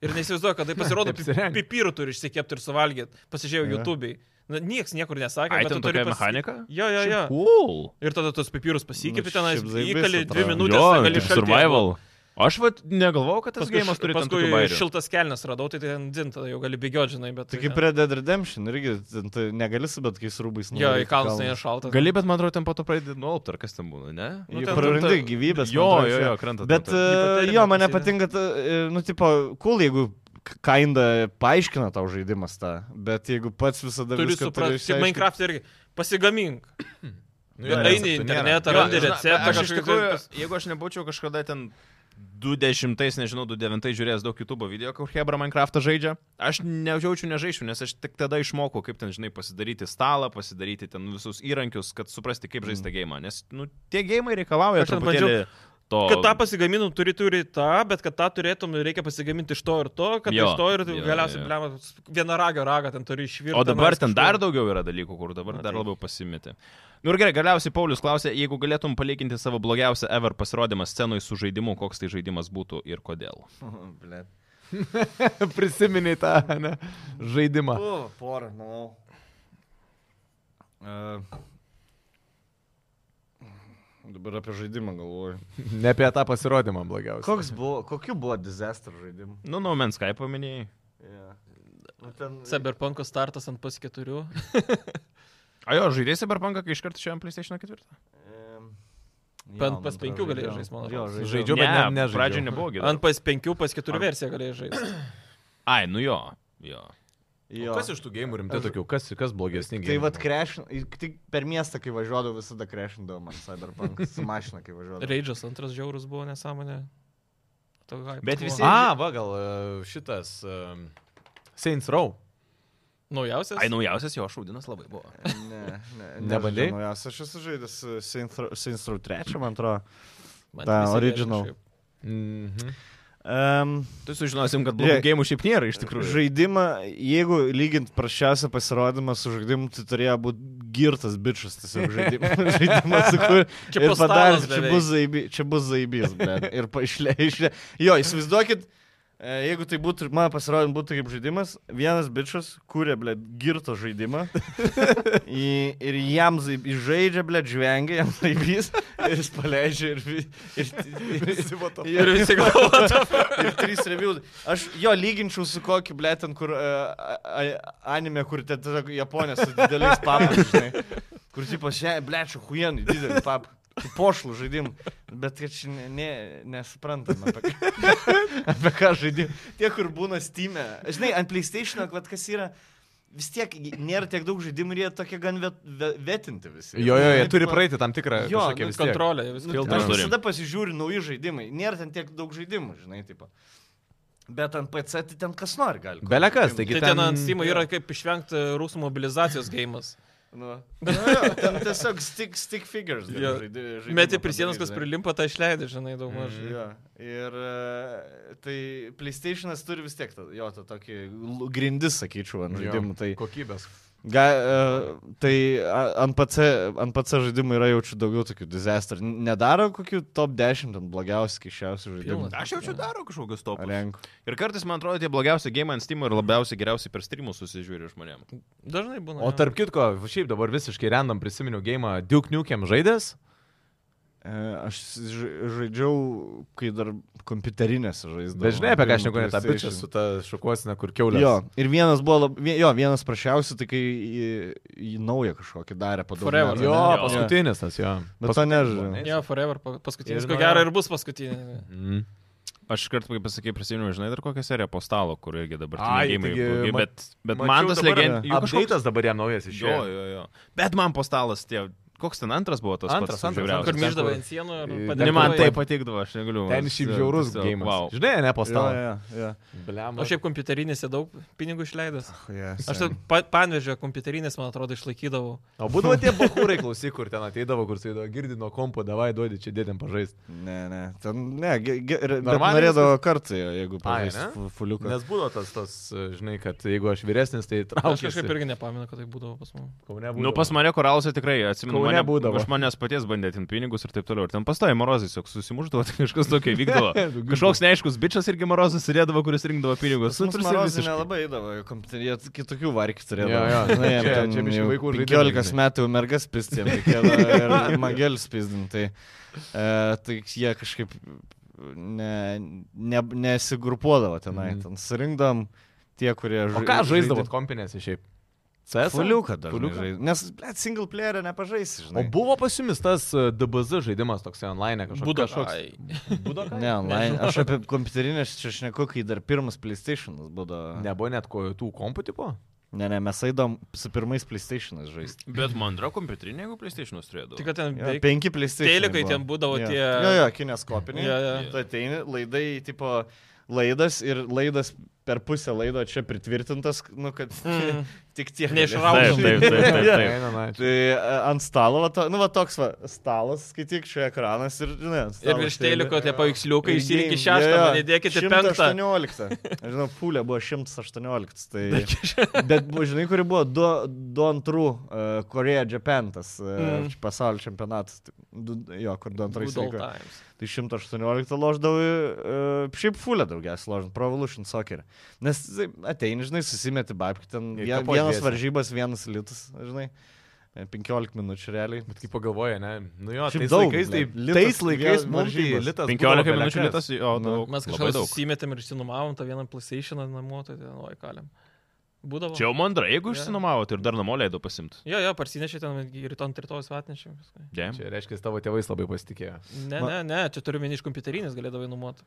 Speaker 2: Ir neįsivaizduoju, kad tai pasirodo,
Speaker 4: Taip
Speaker 2: pi-
Speaker 4: apsirengt.
Speaker 2: pipirų turi išsikepti ir suvalgyti. Pasižiūrėjau
Speaker 3: Jo.
Speaker 2: YouTube'ai. Na, Niekas niekur nesakė, bet tu
Speaker 1: Aitin
Speaker 2: turi
Speaker 1: tokia
Speaker 2: pasi-
Speaker 1: mechanika?
Speaker 2: Jo, jo, jo.
Speaker 1: Cool.
Speaker 2: Ir tada tos pipirus
Speaker 3: Nu,
Speaker 2: pasikėpi
Speaker 3: šiaip
Speaker 2: ten,
Speaker 3: zaibys
Speaker 2: įkali dvi
Speaker 3: atrodo.
Speaker 2: minutės,
Speaker 1: jo,
Speaker 2: gali
Speaker 1: kaip
Speaker 2: šaltyje
Speaker 1: survival.
Speaker 2: būt.
Speaker 1: Aš vat negalvojau, kad tas
Speaker 2: Paskui,
Speaker 1: gėjimas turi tam
Speaker 2: paskui
Speaker 1: tikrų bairių.
Speaker 2: šiltas kelnes radau, tai ten dzin, tada jau gali bėgioti, žinai, bet...
Speaker 3: Tai kaip prie Dead Redemption, irgi ten tu negali su bet kokiais rūbais.
Speaker 2: Jo, į kalnus nešalta.
Speaker 1: Gali, bet man atrodo, ten po to pradedi nuolpt, ar kas ten būna, ne?
Speaker 2: Nu,
Speaker 3: Nu,
Speaker 2: ten-
Speaker 3: prarandi
Speaker 2: ten-
Speaker 3: gyvybės.
Speaker 1: Jo,
Speaker 3: man atrodo,
Speaker 1: jo,
Speaker 3: čia.
Speaker 1: jo, krenta.
Speaker 3: Bet
Speaker 1: ten-
Speaker 3: e,
Speaker 2: Hipotermija
Speaker 3: jo, mane
Speaker 2: prasideda.
Speaker 3: patinka, ta, e, nu, tipo, cool, jeigu k- kinda paaiškina tau žaidimas tą, bet jeigu pats visada
Speaker 2: Turi
Speaker 3: viską turi
Speaker 2: suprasti, kaip
Speaker 3: išsiaiškint-
Speaker 2: Minecraft irgi. Pasigamink.
Speaker 4: Nu,
Speaker 2: Bet
Speaker 4: jo,
Speaker 2: eini į
Speaker 4: receptų nėra.
Speaker 2: internetą,
Speaker 1: Jo,
Speaker 4: [laughs]
Speaker 2: randi
Speaker 1: žinai,
Speaker 2: receptą.
Speaker 1: Aš iš
Speaker 2: kažkokį-
Speaker 1: tikrųjų, jeigu aš nebūčiau kažkada ten 20, nežinau, 29 žiūrėjęs daug YouTube video, kur Hebra Minecraftą žaidžia, aš nejaučiu nežaišiu, nes aš tik tada išmokau, kaip ten, žinai, pasidaryti stalą, pasidaryti ten visus įrankius, kad suprasti, kaip žaisti gėjimą. Nes, nu, tie gėjimai reikalauja
Speaker 2: Aš ten
Speaker 1: truputėlį to.
Speaker 2: Kad tą pasigamintum, turi turi tą, bet kad tą turėtum, reikia pasigaminti iš to ir to, kad
Speaker 1: Jo,
Speaker 2: iš to ir
Speaker 1: jo, jo.
Speaker 2: galiausiai, blem, vieną ragą ragą ten turi išvirti.
Speaker 1: O dabar ten dar daugiau yra dalykų, kur dabar
Speaker 2: Na,
Speaker 1: dar
Speaker 2: taip.
Speaker 1: labiau pasimeti. Nu ir gerai, galiausiai Paulius klausė, jeigu galėtum palyginti savo blogiausią ever pasirodymą scenoje su žaidimu, koks tai žaidimas būtų ir kodėl.
Speaker 3: [laughs] Blet.
Speaker 4: Prisiminiai tą ne, žaidimą.
Speaker 3: O, porą, manau. E, Dabar apie žaidimą galvoju.
Speaker 4: Ne apie tą pasirodymą blogiausią.
Speaker 3: Koks buvo, kokiu buvo disaster žaidimu?
Speaker 1: Nu, No Man's Sky paminėjai.
Speaker 3: Yeah. Nu, ten...
Speaker 2: Cyberpunk startas ant pas keturių.
Speaker 1: A jo, žaidėjai Cyberpunk, kai iškart išėjom PlayStation 4.
Speaker 3: em, jo,
Speaker 2: Pen-
Speaker 3: man
Speaker 2: pas
Speaker 3: atrodo,
Speaker 2: penkių galėjai
Speaker 3: žaidžiau.
Speaker 2: žaist, man
Speaker 3: Jo,
Speaker 2: atrodo.
Speaker 3: žaidžiau.
Speaker 4: Žaidžiau, bet ne- nežaidžiau.
Speaker 1: Pradžioje nebuvo gėda.
Speaker 2: Ant pas penkių, pas keturių
Speaker 1: Ar-
Speaker 2: versiją galėjai žaisti.
Speaker 1: Ai, nu jo. jo.
Speaker 3: Jo.
Speaker 4: Kas iš tų gėjimų rimtai tokių? Kas, kas blogesni
Speaker 3: Tai
Speaker 4: gėjimai?
Speaker 3: vad krešin, tik per miestą, kai važiuodavau, visada krešindavau man Cyberpunk su mašina, kai važiuodavau.
Speaker 2: Raidžas antras žiaurus buvo nesąmonė. To hype
Speaker 1: Bet
Speaker 2: buvo.
Speaker 1: visi-
Speaker 4: A, va gal e, šitas. e, Saints Row.
Speaker 2: Naujausias?
Speaker 1: Ai, nu, naujausias jo šaudinas labai buvo.
Speaker 3: Ne, ne,
Speaker 4: Nebandei?
Speaker 3: nežaidžiau naujos. Aš esu žaidęs e, Saints Row- Saints Row 3, man atrodo.
Speaker 2: Man
Speaker 3: Ta,
Speaker 2: visi geri
Speaker 3: original.
Speaker 2: kažkaip.
Speaker 4: Mhm.
Speaker 3: Um,
Speaker 1: Tu sužinosim, kad
Speaker 3: blogų
Speaker 1: blogų gėjimų šiaip nėra iš tikrųjų.
Speaker 3: Žaidimą, jeigu lygint prasčiausią pasirodymą su žaidimu, tai turėjo būti girtas bičias tiesiog
Speaker 1: [laughs]
Speaker 3: žaidimas. žaidimas kur...
Speaker 2: Čia
Speaker 3: ir
Speaker 2: po
Speaker 3: padarė,
Speaker 2: stalas
Speaker 3: čia
Speaker 2: beveik.
Speaker 3: bus, zaiby, čia bus zaibys, bet. Ir išlė, išlė. Jo, įsivaizduokit, e, jeigu tai būtų, mano pasirodymas būtų kaip žaidimas, vienas bičias kūrė, ble, girtą žaidimą. [laughs] I, ir jam zaib- žaidžia, ble, žvengia, jam zaibys. Ir jis paleidžia ir... vi- ir, ir, ir,
Speaker 2: Ir visi galvoja.
Speaker 3: [laughs] Ir trys review. Aš jo lyginčiau su kokiu, ble, ten, kur uh, anime, kur ten tiesiog Japonija su dideliais papais. Kur, tipo, šią, ble, čia huienų, didelį pap. tų Pošlų žaidimų, bet kad čia ne, ne, nesuprantam, apie ką, [laughs] apie ką žaidim. Tie, kur būna Steam'e. Žinai, ant PlayStation, kad kas yra, vis tiek nėra tiek daug žaidimų ir jie tokie gan vet, ve- vetinti visi.
Speaker 4: Jo, jo, jie
Speaker 3: Tipo,
Speaker 4: turi praeiti tam tikrą.
Speaker 3: Jo,
Speaker 4: kažkokią
Speaker 3: nu,
Speaker 4: vis tiek.
Speaker 2: Kontrolė. viskas.
Speaker 3: Nu,
Speaker 1: Filtrą
Speaker 3: aš
Speaker 1: turim.
Speaker 3: visada pasižiūriu nauji žaidimai. Nėra ten tiek daug žaidimų, žinai, tipo. Bet ant PC tai ten kas nori gali. kokį
Speaker 4: Belekas,
Speaker 3: žaidimą.
Speaker 4: taigi
Speaker 2: Tai
Speaker 4: ten...
Speaker 2: ten ant Steam yra kaip išvengti rusų mobilizacijos gėjimas.
Speaker 3: Nu. Nu, jo, ten tiesiog stick, stick figures. gali
Speaker 2: Jo.
Speaker 3: žaidi- žaidimą
Speaker 2: Meti prie sienos,
Speaker 3: padaryt,
Speaker 2: kas
Speaker 3: žinai.
Speaker 2: prilimpa, tai išleidai, žinai, daug mažai.
Speaker 3: Jo. Ir e, tai PlayStation'as turi vis tiek, tą- jo, tą tokį l- grindis, sakyčiau, ant
Speaker 4: Jo,
Speaker 3: žaidimų. Tai
Speaker 4: Kokybės.
Speaker 3: Ga, e, tai a- ant PC, ant PC žaidimų yra jaučiu daugiau tokių disaster. N- Nedaro kokių top 10 ten blogiausių, keščiausių žaidimų.
Speaker 2: Pilnas.
Speaker 1: Aš jaučiu daro kažkokius topus.
Speaker 3: Renku.
Speaker 1: Ir kartais, man atrodo, tie blogiausi game ant Steam ir labiausiai geriausiai per streamus susižiūri žmonėm.
Speaker 2: Dažnai būna.
Speaker 4: O tarp kitko, šiaip dabar visiškai random prisiminiau gėjimą Duke Nukem žaidęs.
Speaker 3: E, Aš ž- žaidžiau, kai dar kompiuterinėse žaidžiau.
Speaker 4: Dažnai apie ką aš neku, ne tą bičią su ta šukuosina, kur kiaulė.
Speaker 3: Jo, ir vienas buvo, lab... vie- jo, vienas prašiausių, tai kai į, į naują kažkokį darė
Speaker 2: Forever,
Speaker 3: padarė.
Speaker 4: jo,
Speaker 2: Jo.
Speaker 4: paskutinis tas, jo.
Speaker 3: Bet to nežinau.
Speaker 4: ne?
Speaker 2: Jo, forever, pa- paskutinis.
Speaker 4: Ir
Speaker 2: Ko
Speaker 4: nuo-
Speaker 2: gero ir bus paskutinis.
Speaker 4: Mm.
Speaker 1: Aš kartu, kaip pasakai, prisimenu, žinai, dar kokią seriją po stalo, kur irgi dabar
Speaker 4: Ai,
Speaker 1: gimai.
Speaker 4: taigi, ma-
Speaker 1: Bet, bet man tas legend...
Speaker 3: yra
Speaker 1: jų kažkoks-
Speaker 4: Apšaitas dabar jam naujas iš
Speaker 1: Jo, jo, jo. Bet man po stalas tie... Koks ten antras buvo tas
Speaker 4: Antras,
Speaker 1: pats,
Speaker 4: antras,
Speaker 1: žiauriausias?
Speaker 2: Kur
Speaker 4: ten,
Speaker 2: myždavo
Speaker 4: kur-
Speaker 2: ant sienų ir
Speaker 4: Ne,
Speaker 1: Ne,
Speaker 2: padėdavo
Speaker 1: man
Speaker 2: į-
Speaker 1: tai patikdavo, aš negaliu.
Speaker 4: Ten šiaip žiaurus gėjimas.
Speaker 1: Wow.
Speaker 4: Žinai, ne,
Speaker 3: Jo,
Speaker 4: postalo.
Speaker 3: jo, jo.
Speaker 4: Bliam.
Speaker 2: O šiaip kompiuterinėse daug pinigų išleidęs.
Speaker 3: Yes,
Speaker 2: Aš tai pa, panvežę kompiuterinės, man atrodo, išlaikydavau.
Speaker 4: O būdavo tie bahūrai klausyk, kur ten ateidavo, kur saidavo, girdino kompo, davai duodi čia dėdėm pažaisti.
Speaker 3: Ne, ne, ten, ne, ge, ge, ir- bet
Speaker 4: Normaliai
Speaker 3: norėdavo kartą, jo, jeigu
Speaker 4: Ai,
Speaker 3: pažaisti
Speaker 4: ne?
Speaker 3: fu- fuliuką.
Speaker 4: Nes būdavo tas, tas, žinai, kad jeigu aš vyresnis, tai
Speaker 2: Aš
Speaker 4: traukiu.
Speaker 2: kažkaip irgi nepamenu, kad tai būdavo pas mus.
Speaker 1: Nu, pas mane koralose tikrai, atsimenu,
Speaker 4: Kaune
Speaker 1: mane,
Speaker 4: būdavo.
Speaker 1: iš manęs paties bandė atimti pinigus ir taip toliau. Ir ten pastai Morozas, jog [laughs] susimuždavo, tai kažkas tokio
Speaker 4: [laughs]
Speaker 1: vykdavo. Kažkoks neaiškus bičias irgi Morozas sėdėdavo, kuris rinkdavo pinigus. Nu,
Speaker 3: Mums
Speaker 1: tarsi
Speaker 3: Marozai
Speaker 1: visiškai-
Speaker 3: nelabai įdavo, jie kitokių Nu, varkių turėjo.
Speaker 4: Jo, jo. Čia- čia biškį vaikų žaidimai,
Speaker 3: 15
Speaker 4: žinai.
Speaker 3: metų mergas pistėm,
Speaker 4: [laughs]
Speaker 3: ir magelis pistėm, tai, e, tai jie kažkaip ne, ne, nesigrupuodavo tenai,
Speaker 4: Mhm.
Speaker 3: mm. ten surinkdam tie, kurie žaidė.
Speaker 4: O ką žaisdavot kompinėse šiaip? CS?
Speaker 3: Fuliuką dar.
Speaker 4: Fuliuką?
Speaker 3: Nes, ble, single playerio nepažaisi,
Speaker 4: O
Speaker 3: žinai.
Speaker 4: buvo pas jumis tas e, DBZ žaidimas toks online kažkoks?
Speaker 2: Būdo
Speaker 4: kažkoks. Būdo
Speaker 3: Ne, online. Aš apie kompiuterinę aš čia šneku, kai dar pirmas PlayStation'as būdavo. Ne.
Speaker 4: [laughs] Nebuvo net ko tų kompų tipo?
Speaker 3: ne, ne, mes eidom su pirmais PlayStation'as žaisti.
Speaker 1: Bet man yra kompiuterinė, jeigu PlayStation'us turėdavo.
Speaker 2: Tik kad ten
Speaker 3: Jo,
Speaker 2: beveik...
Speaker 3: penki PlayStation.
Speaker 2: Telikai ten būdavo tie-
Speaker 3: Jo, jo, kineskopiniai.
Speaker 2: Jo, jo.
Speaker 3: Tu ateini, laidai, tipo, laidas ir laidas per pusę laido čia pritvirtintas, nu,
Speaker 2: [laughs]
Speaker 3: kad
Speaker 2: Mm.
Speaker 3: tik tiek.
Speaker 2: Neišraužom.
Speaker 3: gali.
Speaker 1: Taip, taip,
Speaker 4: [laughs]
Speaker 1: taip, taip.
Speaker 4: Ne, ne, ne.
Speaker 3: [laughs] Tai a, ant stalo, va, to, nu, va toks, va, stalas, skaityk, čia ekranas ir, žinai, ant
Speaker 2: Ir
Speaker 3: stalo
Speaker 2: virš
Speaker 3: sėdi.
Speaker 2: teliko tie paveiksliukai,
Speaker 3: Ir
Speaker 2: išsirinkit
Speaker 3: game,
Speaker 2: šeštą,
Speaker 3: jo, jo.
Speaker 2: man įdėkite penktą.
Speaker 3: 118. Aš žinau, pūlė buvo 118.
Speaker 2: [laughs]
Speaker 3: Tai... Bet, buvo, žinai, kuri buvo du, du antrų uh, Korea Japantas uh,
Speaker 2: Mm.
Speaker 3: mm. pasaulio čempionatas. Tai Du, jo, kur du antrais.
Speaker 2: Good old
Speaker 3: vyko.
Speaker 2: times.
Speaker 3: Tai 118 loždavau, uh, šiaip fulę daugiausiai loždavau, Pro Evolution Soccer. Nes tai, ateini, žinai, susimeti babkį, ten
Speaker 4: Ir
Speaker 3: vien,
Speaker 4: kapot
Speaker 3: vienas
Speaker 4: dviese.
Speaker 3: varžybas, vienas litas, žinai, e, 15 minučių realiai.
Speaker 4: Bet kaip pagalvoja, ne? Nu jo,
Speaker 3: Šiaip
Speaker 4: tais
Speaker 3: daug,
Speaker 4: laikais, tai
Speaker 3: blet. Litas
Speaker 4: tais laikais
Speaker 3: vien
Speaker 4: mums tai
Speaker 3: varžybos.
Speaker 4: litas. būdavo
Speaker 1: 15
Speaker 4: bele
Speaker 1: minučių
Speaker 4: kas.
Speaker 1: litas, o
Speaker 3: Nu.
Speaker 1: daug.
Speaker 2: Mes
Speaker 1: labai
Speaker 2: kažkada
Speaker 1: daug.
Speaker 2: susimetėm ir išsinumavom tą vieną PlayStation namo, tai ten, oi, kalėm. Būdavo.
Speaker 1: Čia jau mandra, jeigu
Speaker 2: Jo.
Speaker 1: išsinomavot ir dar namo leido pasimti.
Speaker 2: Jo, jo, parsinešė ten ir ton rytojus atnešė. viską.
Speaker 1: Dėm.
Speaker 4: Čia reiškia, tavo tėvais labai pasitikėjo.
Speaker 2: Ne,
Speaker 3: Ma-
Speaker 2: ne, ne, čia turiu minį iš kompiuterinės galėdavai numuoti.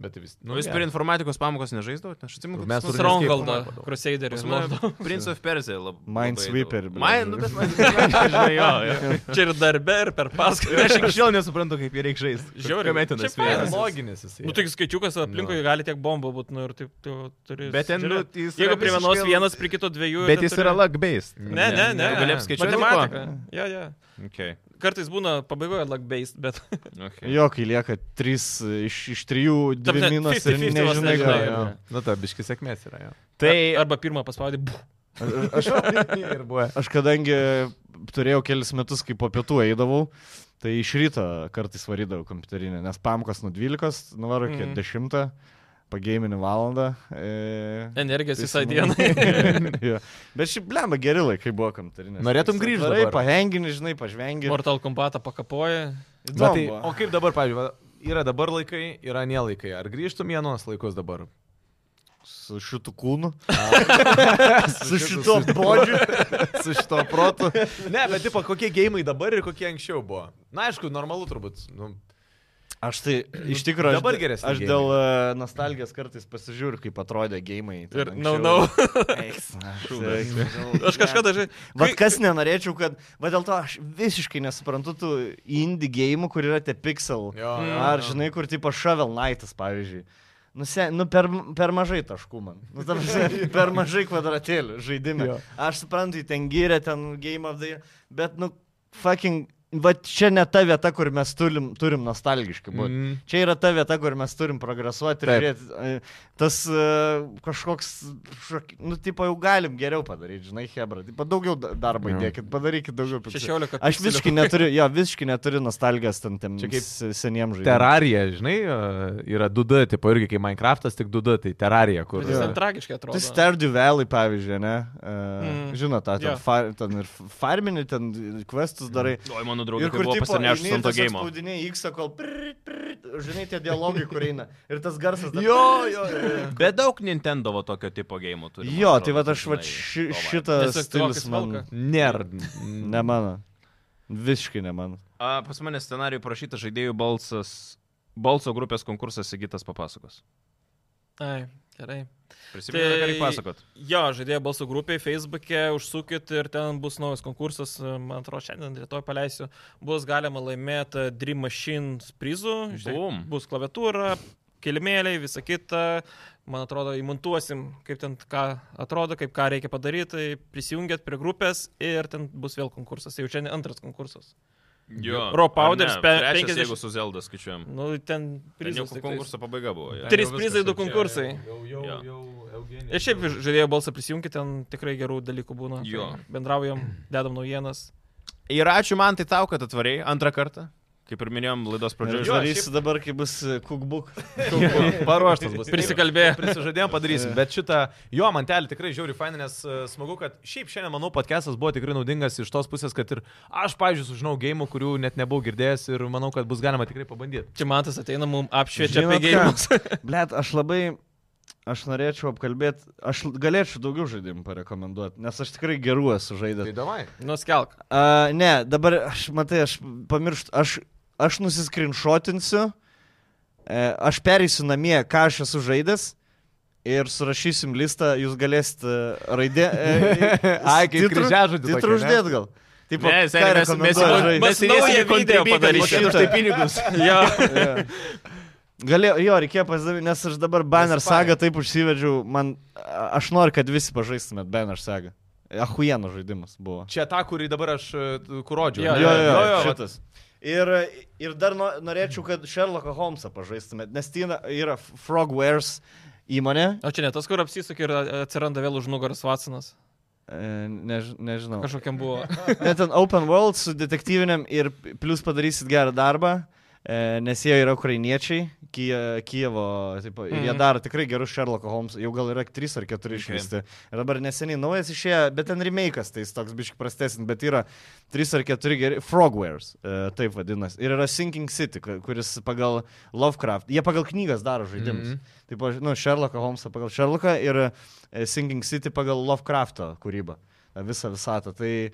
Speaker 4: Bet tai vis.
Speaker 1: Nu, jūs per informatikos pamokas nežaisdavote, aš atsimenu,
Speaker 4: kad
Speaker 1: kad
Speaker 4: pas mus
Speaker 2: Strongholdą,
Speaker 4: formuodavo.
Speaker 2: Crusaderį.
Speaker 1: Pas mane Prince of Persia labai.
Speaker 3: Minesweeper, blet.
Speaker 1: Mind, nu, bet Minesweeper, žinai, jo. jo.
Speaker 2: [laughs]
Speaker 3: [laughs]
Speaker 2: Čia ir darbe, ir per
Speaker 1: Ir
Speaker 2: paskaitą.
Speaker 1: aš [laughs] iki šiol nesuprantu, kaip jie reikia žaisti.
Speaker 2: Žiauriai.
Speaker 1: metinas
Speaker 2: Čia
Speaker 1: vienas.
Speaker 2: fainas.
Speaker 4: Loginis jisai.
Speaker 2: Nu, tik skaičiukas aplinkui gali tiek bombų būti, nu ir taip tu turi.
Speaker 1: Bet ten, nu,
Speaker 2: žiūrėt.
Speaker 1: jis
Speaker 2: Jeigu
Speaker 1: yra
Speaker 2: prie vienos
Speaker 1: visiškai-
Speaker 2: vienas, prie kito dviejų.
Speaker 1: Bet
Speaker 2: ten
Speaker 1: jis yra
Speaker 2: turi-
Speaker 1: lag-based.
Speaker 2: Ne, ne, ne.
Speaker 1: Gali apskaičiuoti.
Speaker 2: Matematika. Jo, jo.
Speaker 1: [laughs] Okay.
Speaker 2: Kartais būna pabaigoje lag-based, bet.
Speaker 1: Okay.
Speaker 3: Jo, kai lieka 3 iš, iš 3, 2
Speaker 2: prasme,
Speaker 3: minus
Speaker 2: 50-50 vos
Speaker 3: ir nežinai, ką.
Speaker 2: nežinai,
Speaker 3: jo.
Speaker 2: jo.
Speaker 4: Nu, ta biški sėkmės yra jo.
Speaker 1: Tai
Speaker 2: [laughs] Arba pirmą paspaudai. buh.
Speaker 4: Aš ir buvo.
Speaker 3: Aš kadangi turėjau kelis metus, kai po pietų eidavau, tai iš ryto kartais varydavau kompiuterinę, nes pamkos nuo nu, 12, nuvaru iki
Speaker 2: Mhm.
Speaker 3: 10, pagėminį valandą. E...
Speaker 2: Energijos
Speaker 3: tai
Speaker 2: visą
Speaker 3: su
Speaker 2: dieną. [laughs]
Speaker 3: manim- [laughs] Jo. Bet šiaip, blemba, geri laikai buvo kompiuterinė.
Speaker 4: Norėtum grįžt
Speaker 3: Gerai,
Speaker 4: dabar?
Speaker 3: pahenginį, žinai, pažvengi.
Speaker 2: Mortal Kombatą pakapoja.
Speaker 4: Bet tai, o kaip dabar, pavyzdžiui, va, yra dabar laikai, yra nelaikai. Ar grįžtum į anos laikus dabar?
Speaker 3: Su šitu
Speaker 4: [laughs]
Speaker 3: kūnu.
Speaker 4: Su su-
Speaker 3: bodžiu.
Speaker 4: su šito protu. Ne, bet tipo, kokie gėjimai dabar ir kokie anksčiau buvo. Na, aišku, normalu turbūt. Nu,
Speaker 3: Aš
Speaker 2: [clears throat]
Speaker 3: tai iš tikrųjų.
Speaker 4: Dabar geresni
Speaker 3: Aš dėl e, nostalgijos kartais pasižiūriu, kaip atrodė gėjimai.
Speaker 2: Ir nau, nau.
Speaker 3: [laughs]
Speaker 2: Aš kažką dažnai.
Speaker 3: Vat kas nenorėčiau, kad... Va dėl to aš visiškai nesuprantu tų indie gėjimų, kur yra tie pixel.
Speaker 4: jo,
Speaker 2: Mm.
Speaker 4: jo,
Speaker 3: Ar
Speaker 4: jo.
Speaker 3: žinai, kur tipo Shovel Knightas, pavyzdžiui. Nu, se, nu per, per mažai taškų man. Nu, ta prasme,
Speaker 2: [laughs]
Speaker 3: per mažai kvadratėlių žaidime.
Speaker 4: Jo.
Speaker 3: Aš suprantu, jį ten gyrė, ten game of the... year, Bet, nu, fucking va čia ne ta vieta, kur mes turim, turim nostalgiškai būti.
Speaker 4: Mm.
Speaker 3: Čia yra ta vieta, kur mes turim progresuoti ir
Speaker 4: Taip.
Speaker 3: žiūrėti. e, Tas e, kažkoks, šok- nu, tipo, jau galim geriau padaryti, žinai, Hebra. Tipo, daugiau da- darbo
Speaker 4: Jo.
Speaker 3: įdėkit, padarykit daugiau. picų.
Speaker 2: 16
Speaker 3: Aš visiškai neturiu, jo, visiškai neturiu nostalgijos tam tiem
Speaker 4: Čia kaip
Speaker 3: se- seniem žaidimam.
Speaker 4: Terarija, žinai, e, yra 2D, tipo irgi kaip Minecraftas, tik 2D, tai Terarija, kur...
Speaker 2: Bet jis
Speaker 3: Jo.
Speaker 2: ten tragiškai
Speaker 3: Tai
Speaker 2: atrodo.
Speaker 3: Stardew Valley, pavyzdžiui, ne? Uh,
Speaker 2: Mm.
Speaker 3: mm. Žinot, tą, ten,
Speaker 2: Jo.
Speaker 3: yeah. far, ten ir farminį, ten questus darai.
Speaker 1: O, mano draugai, kur buvo pasinešęs ant to gėjimo.
Speaker 3: Spaudiniai X, kol... Prit, prit, žinai, tie dialogai, kur eina. Ir tas garsas. dar-
Speaker 4: Jo, jo, jo.
Speaker 1: Bet daug Nintendo va tokio tipo gėjimų turi. man
Speaker 3: Jo,
Speaker 1: atrodo,
Speaker 3: tai va aš va
Speaker 1: žinai, to
Speaker 3: ši,
Speaker 1: Mhm. va.
Speaker 3: šitą
Speaker 2: Tiesiog
Speaker 3: stilių
Speaker 2: tokį
Speaker 3: man.
Speaker 2: spalką.
Speaker 4: Nėra.
Speaker 3: Ne mano. Visiškai ne mano.
Speaker 1: A, pas mane scenarijų parašyta žaidėjų balsas. Balso grupės konkursas įgytas papasakos.
Speaker 2: Ai, gerai.
Speaker 1: Prisimenu, tai... ką
Speaker 2: Tai-
Speaker 1: reikia pasakot.
Speaker 2: Jo, žaidėjo balsų grupiai, Facebook'e, užsukit ir ten bus naujas konkursas, man atrodo, šiandien, rytoj paleisiu, bus galima laimėti Dream Machine prizų,
Speaker 1: Nu,
Speaker 2: Žiūrėk,
Speaker 1: Bum.
Speaker 2: bus klaviatūra, kilimėliai, visa kita, man atrodo, įmontuosim, kaip ten ką atrodo, kaip ką reikia padaryti, tai prisijungiat prie grupės ir ten bus vėl konkursas, jau čia ne antras konkursas.
Speaker 1: Jo.
Speaker 2: Rock Powders
Speaker 1: Ar ne?
Speaker 2: pe-
Speaker 1: Trečias,
Speaker 2: 50
Speaker 1: Jeigu su Zelda skaičiuojam.
Speaker 2: Nu, ten
Speaker 1: Mhm. Ten jau
Speaker 2: prizas. tik tais.
Speaker 1: konkurso pabaiga buvo. jo.
Speaker 2: Trys prizai, du konkursai.
Speaker 4: Jau,
Speaker 1: Jo.
Speaker 4: jau, Eugenijus.
Speaker 2: Ir šiaip žaidėjo balsą prisijungti, ten tikrai gerų dalykų būna. Tai
Speaker 1: Jo.
Speaker 2: Bendraujam, dedam naujienas.
Speaker 1: [clears throat] Ir ačiū man tai tau, kad atvarėjai antrą kartą. Kaip ir minėjom laidos
Speaker 3: Ir
Speaker 1: pradžioje.
Speaker 4: Jo,
Speaker 3: darysi dabar, kai bus e,
Speaker 1: [laughs]
Speaker 3: cookbook.
Speaker 4: Paruoštas bus.
Speaker 2: Prisikalbėjo.
Speaker 4: Prisižadėjom padarysim, bet šitą, jo, mantelį tikrai žiauri fainai, nes e, smagu, kad šiaip šiandien, manau, podcastas buvo tikrai naudingas iš tos pusės, kad ir aš, pavyzdžiui, sužinau gėjimų, kurių net nebuvau girdėjęs ir manau, kad bus galima tikrai pabandyti.
Speaker 2: Čia matas ateina mums apšviečia
Speaker 3: Žinot
Speaker 2: apie gėjimus.
Speaker 3: Blet, aš labai... Aš norėčiau apkalbėti, aš l- galėčiau daugiau žaidimų parekomenduoti, nes aš tikrai gerų esu žaidęs.
Speaker 4: davai.
Speaker 2: Nuskelk.
Speaker 3: Uh, ne, dabar aš, matai, aš pamirštu, aš, aš nusiskrinšotinsiu, e, aš pereisiu namie, ką aš esu žaidęs ir surašysim listą, jūs e, galėsite raidė.
Speaker 4: [laughs] Ai, kaip kryžiažodį tokį,
Speaker 3: e, Titru
Speaker 4: ne?
Speaker 3: uždėt gal. Taip,
Speaker 1: Ne, seniai, mes- mes jau-
Speaker 2: žaist.
Speaker 1: mes jau
Speaker 2: Naują video padarysim.
Speaker 1: Už tai
Speaker 4: [laughs]
Speaker 3: [laughs]
Speaker 1: pinigus.
Speaker 2: Ja.
Speaker 3: Galėjau, jo, reikėjo pasidavyti, nes aš dabar banner
Speaker 4: Nesipainiok.
Speaker 3: sagą taip užsivedžiau, man, a- aš noriu, kad visi pažaistumėt banner sagą. Ahuieno žaidimas buvo.
Speaker 4: Čia ta, kurį dabar aš e, kurodžiu.
Speaker 2: Jo,
Speaker 3: Jo, jo,
Speaker 4: jo,
Speaker 3: jo, šitas. Ir, ir dar no, norėčiau, kad Sherlocką Holmesą pažaistumėt, nes tai yra- yra Frogwares įmonė.
Speaker 2: O čia ne tas, kur apsisukia ir atsiranda vėl už nugaros Vatsonas.
Speaker 3: E, Než, nežinau.
Speaker 2: Kažkokiam [laughs] buvo.
Speaker 3: Net ten Open World su detektyviniam ir plus padarysit gerą darbą, e, nes jie yra ukrainiečiai, Kie, eh, Kievo, taip, mm. jie
Speaker 2: Mhm.
Speaker 3: daro tikrai gerus Sherlock Holmes, jau gal yra 3 ar 4 išleisti. Ir dabar neseniai naujas išėjo, bet ten remake'as, tai jis toks biški prastesnis, bet yra 3 ar 4 geri, Frogwares, e, taip vadinasi. Ir yra Sinking City, ku- kuris pagal Lovecraft, jie pagal knygas daro žaidimus. Mm
Speaker 4: Mhm.
Speaker 3: -hmm. Taip, aš- nu, Sherlocką Holmesą pagal Sherlocką ir e, Sinking City pagal Lovecrafto kūrybą. E, Visą visatą. Tai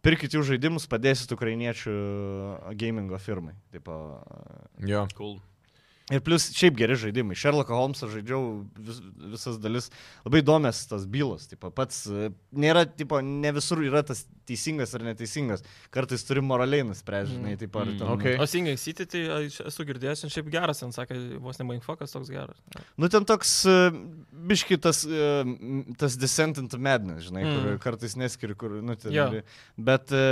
Speaker 3: pirkit jų žaidimus, padėsit ukrainiečių gamingo firmai. Taip,
Speaker 4: jo.
Speaker 1: Cool.
Speaker 3: ir plus šiaip geri žaidimai. Sherlocką Holmesą žaidžiau vis, visas dalis. Labai įdomias tas bylos. Taip, pats e, nėra, tipo, ne visur yra tas teisingas ar neteisingas. Kartais turi moraliai nuspręžinai.
Speaker 2: Mm.
Speaker 3: Taip, ar
Speaker 1: Mm,
Speaker 3: ten...
Speaker 4: okay.
Speaker 2: O Singing City, tai aš esu girdėjęs, ten šiaip geras, ten sakė, vos ne Mindfuckas toks geras.
Speaker 3: Nu, ten toks e, biški tas, e, m, tas descent into madness, žinai, mm.
Speaker 2: Mm.
Speaker 3: kur kartais neskiri, kur, nu, ten.
Speaker 2: Jo.
Speaker 3: Yeah. Bet e,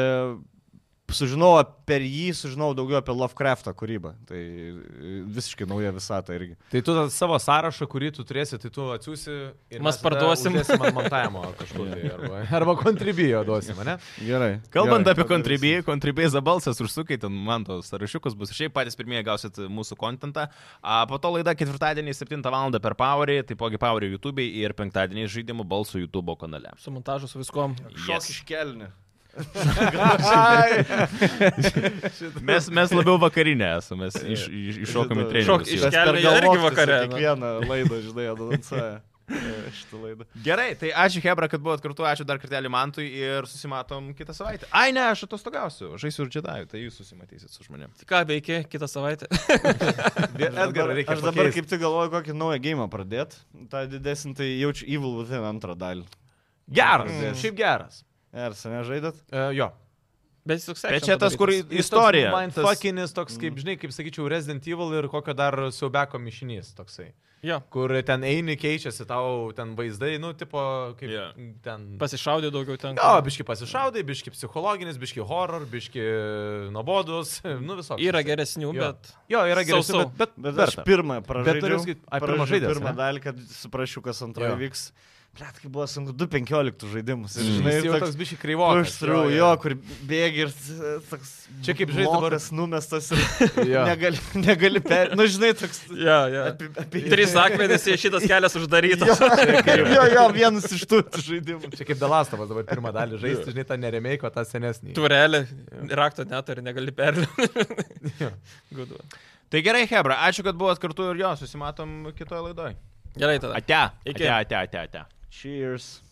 Speaker 3: sužinojau per jį, sužinojau daugiau apie Lovecraft'o kūrybą. Tai e, visiškai nauja visata irgi.
Speaker 4: Tai tu tą savo sąrašą, kurį tu turėsi, tai tu atsiųsi ir
Speaker 2: Mes parduosim.
Speaker 4: Man montavimo
Speaker 2: [laughs]
Speaker 4: kažkur. Tai, arba arba kontribijo duosim, ne?
Speaker 3: Gerai.
Speaker 1: Kalbant apie kontribijai, kontribijai za balsas užsukite, man tos sąrašiukus bus. Šiaip patys pirmieji gausit mūsų kontentą. A, po to laida ketvirtadienį 7 val. per Powerį, taipogi Powerį YouTube ir penktadienį žaidimų balsų YouTube kanale.
Speaker 2: Su montažu, su viskom.
Speaker 1: Yes.
Speaker 3: šokis kelnių.
Speaker 1: Mes, mes labiau vakarinė esame, mes iš, iš, iššokam į
Speaker 2: Šok
Speaker 1: trenerius.
Speaker 2: iš
Speaker 1: jau.
Speaker 2: kelnių irgi vakare, nu.
Speaker 3: Kiekvieną laidą, žinai, adansuoja. [laughs] Šitą laidą.
Speaker 1: Gerai, tai ačiū Hebra, kad buvot kartu, ačiū dar kartelį Mantui ir susimatom kitą savaitę. Ai ne, aš atostogausiu, žaisiu ir džedaju, tai jūs susimatysit su žmonėmis.
Speaker 2: Tai Ką veikia kitą savaitę? [laughs]
Speaker 4: Edgarai, reikia.
Speaker 3: Aš dabar
Speaker 4: pakeist.
Speaker 3: kaip tik galvoju, kokį naują gėjimą pradėti. Ta didesnį, tai jaučiu Evil Within antrą dalį.
Speaker 4: Geras,
Speaker 2: Mm.
Speaker 4: šiaip geras.
Speaker 3: Ir seniai žaidat?
Speaker 4: Uh, jo.
Speaker 2: Bet jis toks
Speaker 1: Bet čia tas, kur
Speaker 2: padarytas.
Speaker 1: istorija.
Speaker 4: Fuckinis toks, kaip žinai, kaip sakyčiau, Resident Evil ir kokio dar siaubeko mišinys toksai.
Speaker 2: Jo.
Speaker 4: kur ten eini, keičiasi tau ten vaizdai, nu, tipo, kaip
Speaker 1: Jo.
Speaker 4: yeah. ten...
Speaker 2: Pasišaudė daugiau ten.
Speaker 4: Jo, biški pasišaudai, biški psichologinis, biški horror, biški nuobodus, [laughs] nu visoks.
Speaker 2: Yra geresnių,
Speaker 4: Jo.
Speaker 2: bet...
Speaker 4: Jo, yra geresnių,
Speaker 2: Sau-sau.
Speaker 4: bet, bet,
Speaker 3: Bet aš
Speaker 4: verta.
Speaker 3: pirmą
Speaker 4: turiu
Speaker 3: pražaidžiau.
Speaker 4: sakyt, ai, pirmą
Speaker 3: pražaidžiau
Speaker 4: žaidęs,
Speaker 3: pirmą
Speaker 4: ne?
Speaker 3: dalį, kad suprasčiau, kas antroje
Speaker 4: Jo. Mm.
Speaker 3: vyks. Blet, kai buvo sunku, 2.15 žaidimus. Ir,
Speaker 4: Jis
Speaker 3: žinai,
Speaker 4: jau
Speaker 3: toks
Speaker 4: toks biški kreivokas.
Speaker 3: Užsirau, jo, kur bėgi ir e, toks.
Speaker 4: Čia kaip žaist dabar-
Speaker 3: blokas numestas ir
Speaker 4: [laughs] Jo.
Speaker 3: negali, [laughs] negali per... Na, nu, žinai, toks.
Speaker 2: Ja, ja.
Speaker 3: Apie, apie...
Speaker 2: Trys akmenys ir šitas kelias uždarytas.
Speaker 3: jo, jo, vienas iš tų žaidimų.
Speaker 4: Čia kaip Delastovas dabar pirmą dalį žaisti, žinai, tą neremėjko, tą senesnį.
Speaker 2: Turelį, rakto neturi, negali perlipti.
Speaker 4: Jo.
Speaker 2: Gudu.
Speaker 1: Tai gerai, Hebra, ačiū, kad buvot kartu ir jo, susimatom kitoje laidoje.
Speaker 2: Gerai tada.
Speaker 1: Ate.
Speaker 2: Iki.
Speaker 1: Ate, ate, ate, ate.
Speaker 3: Cheers.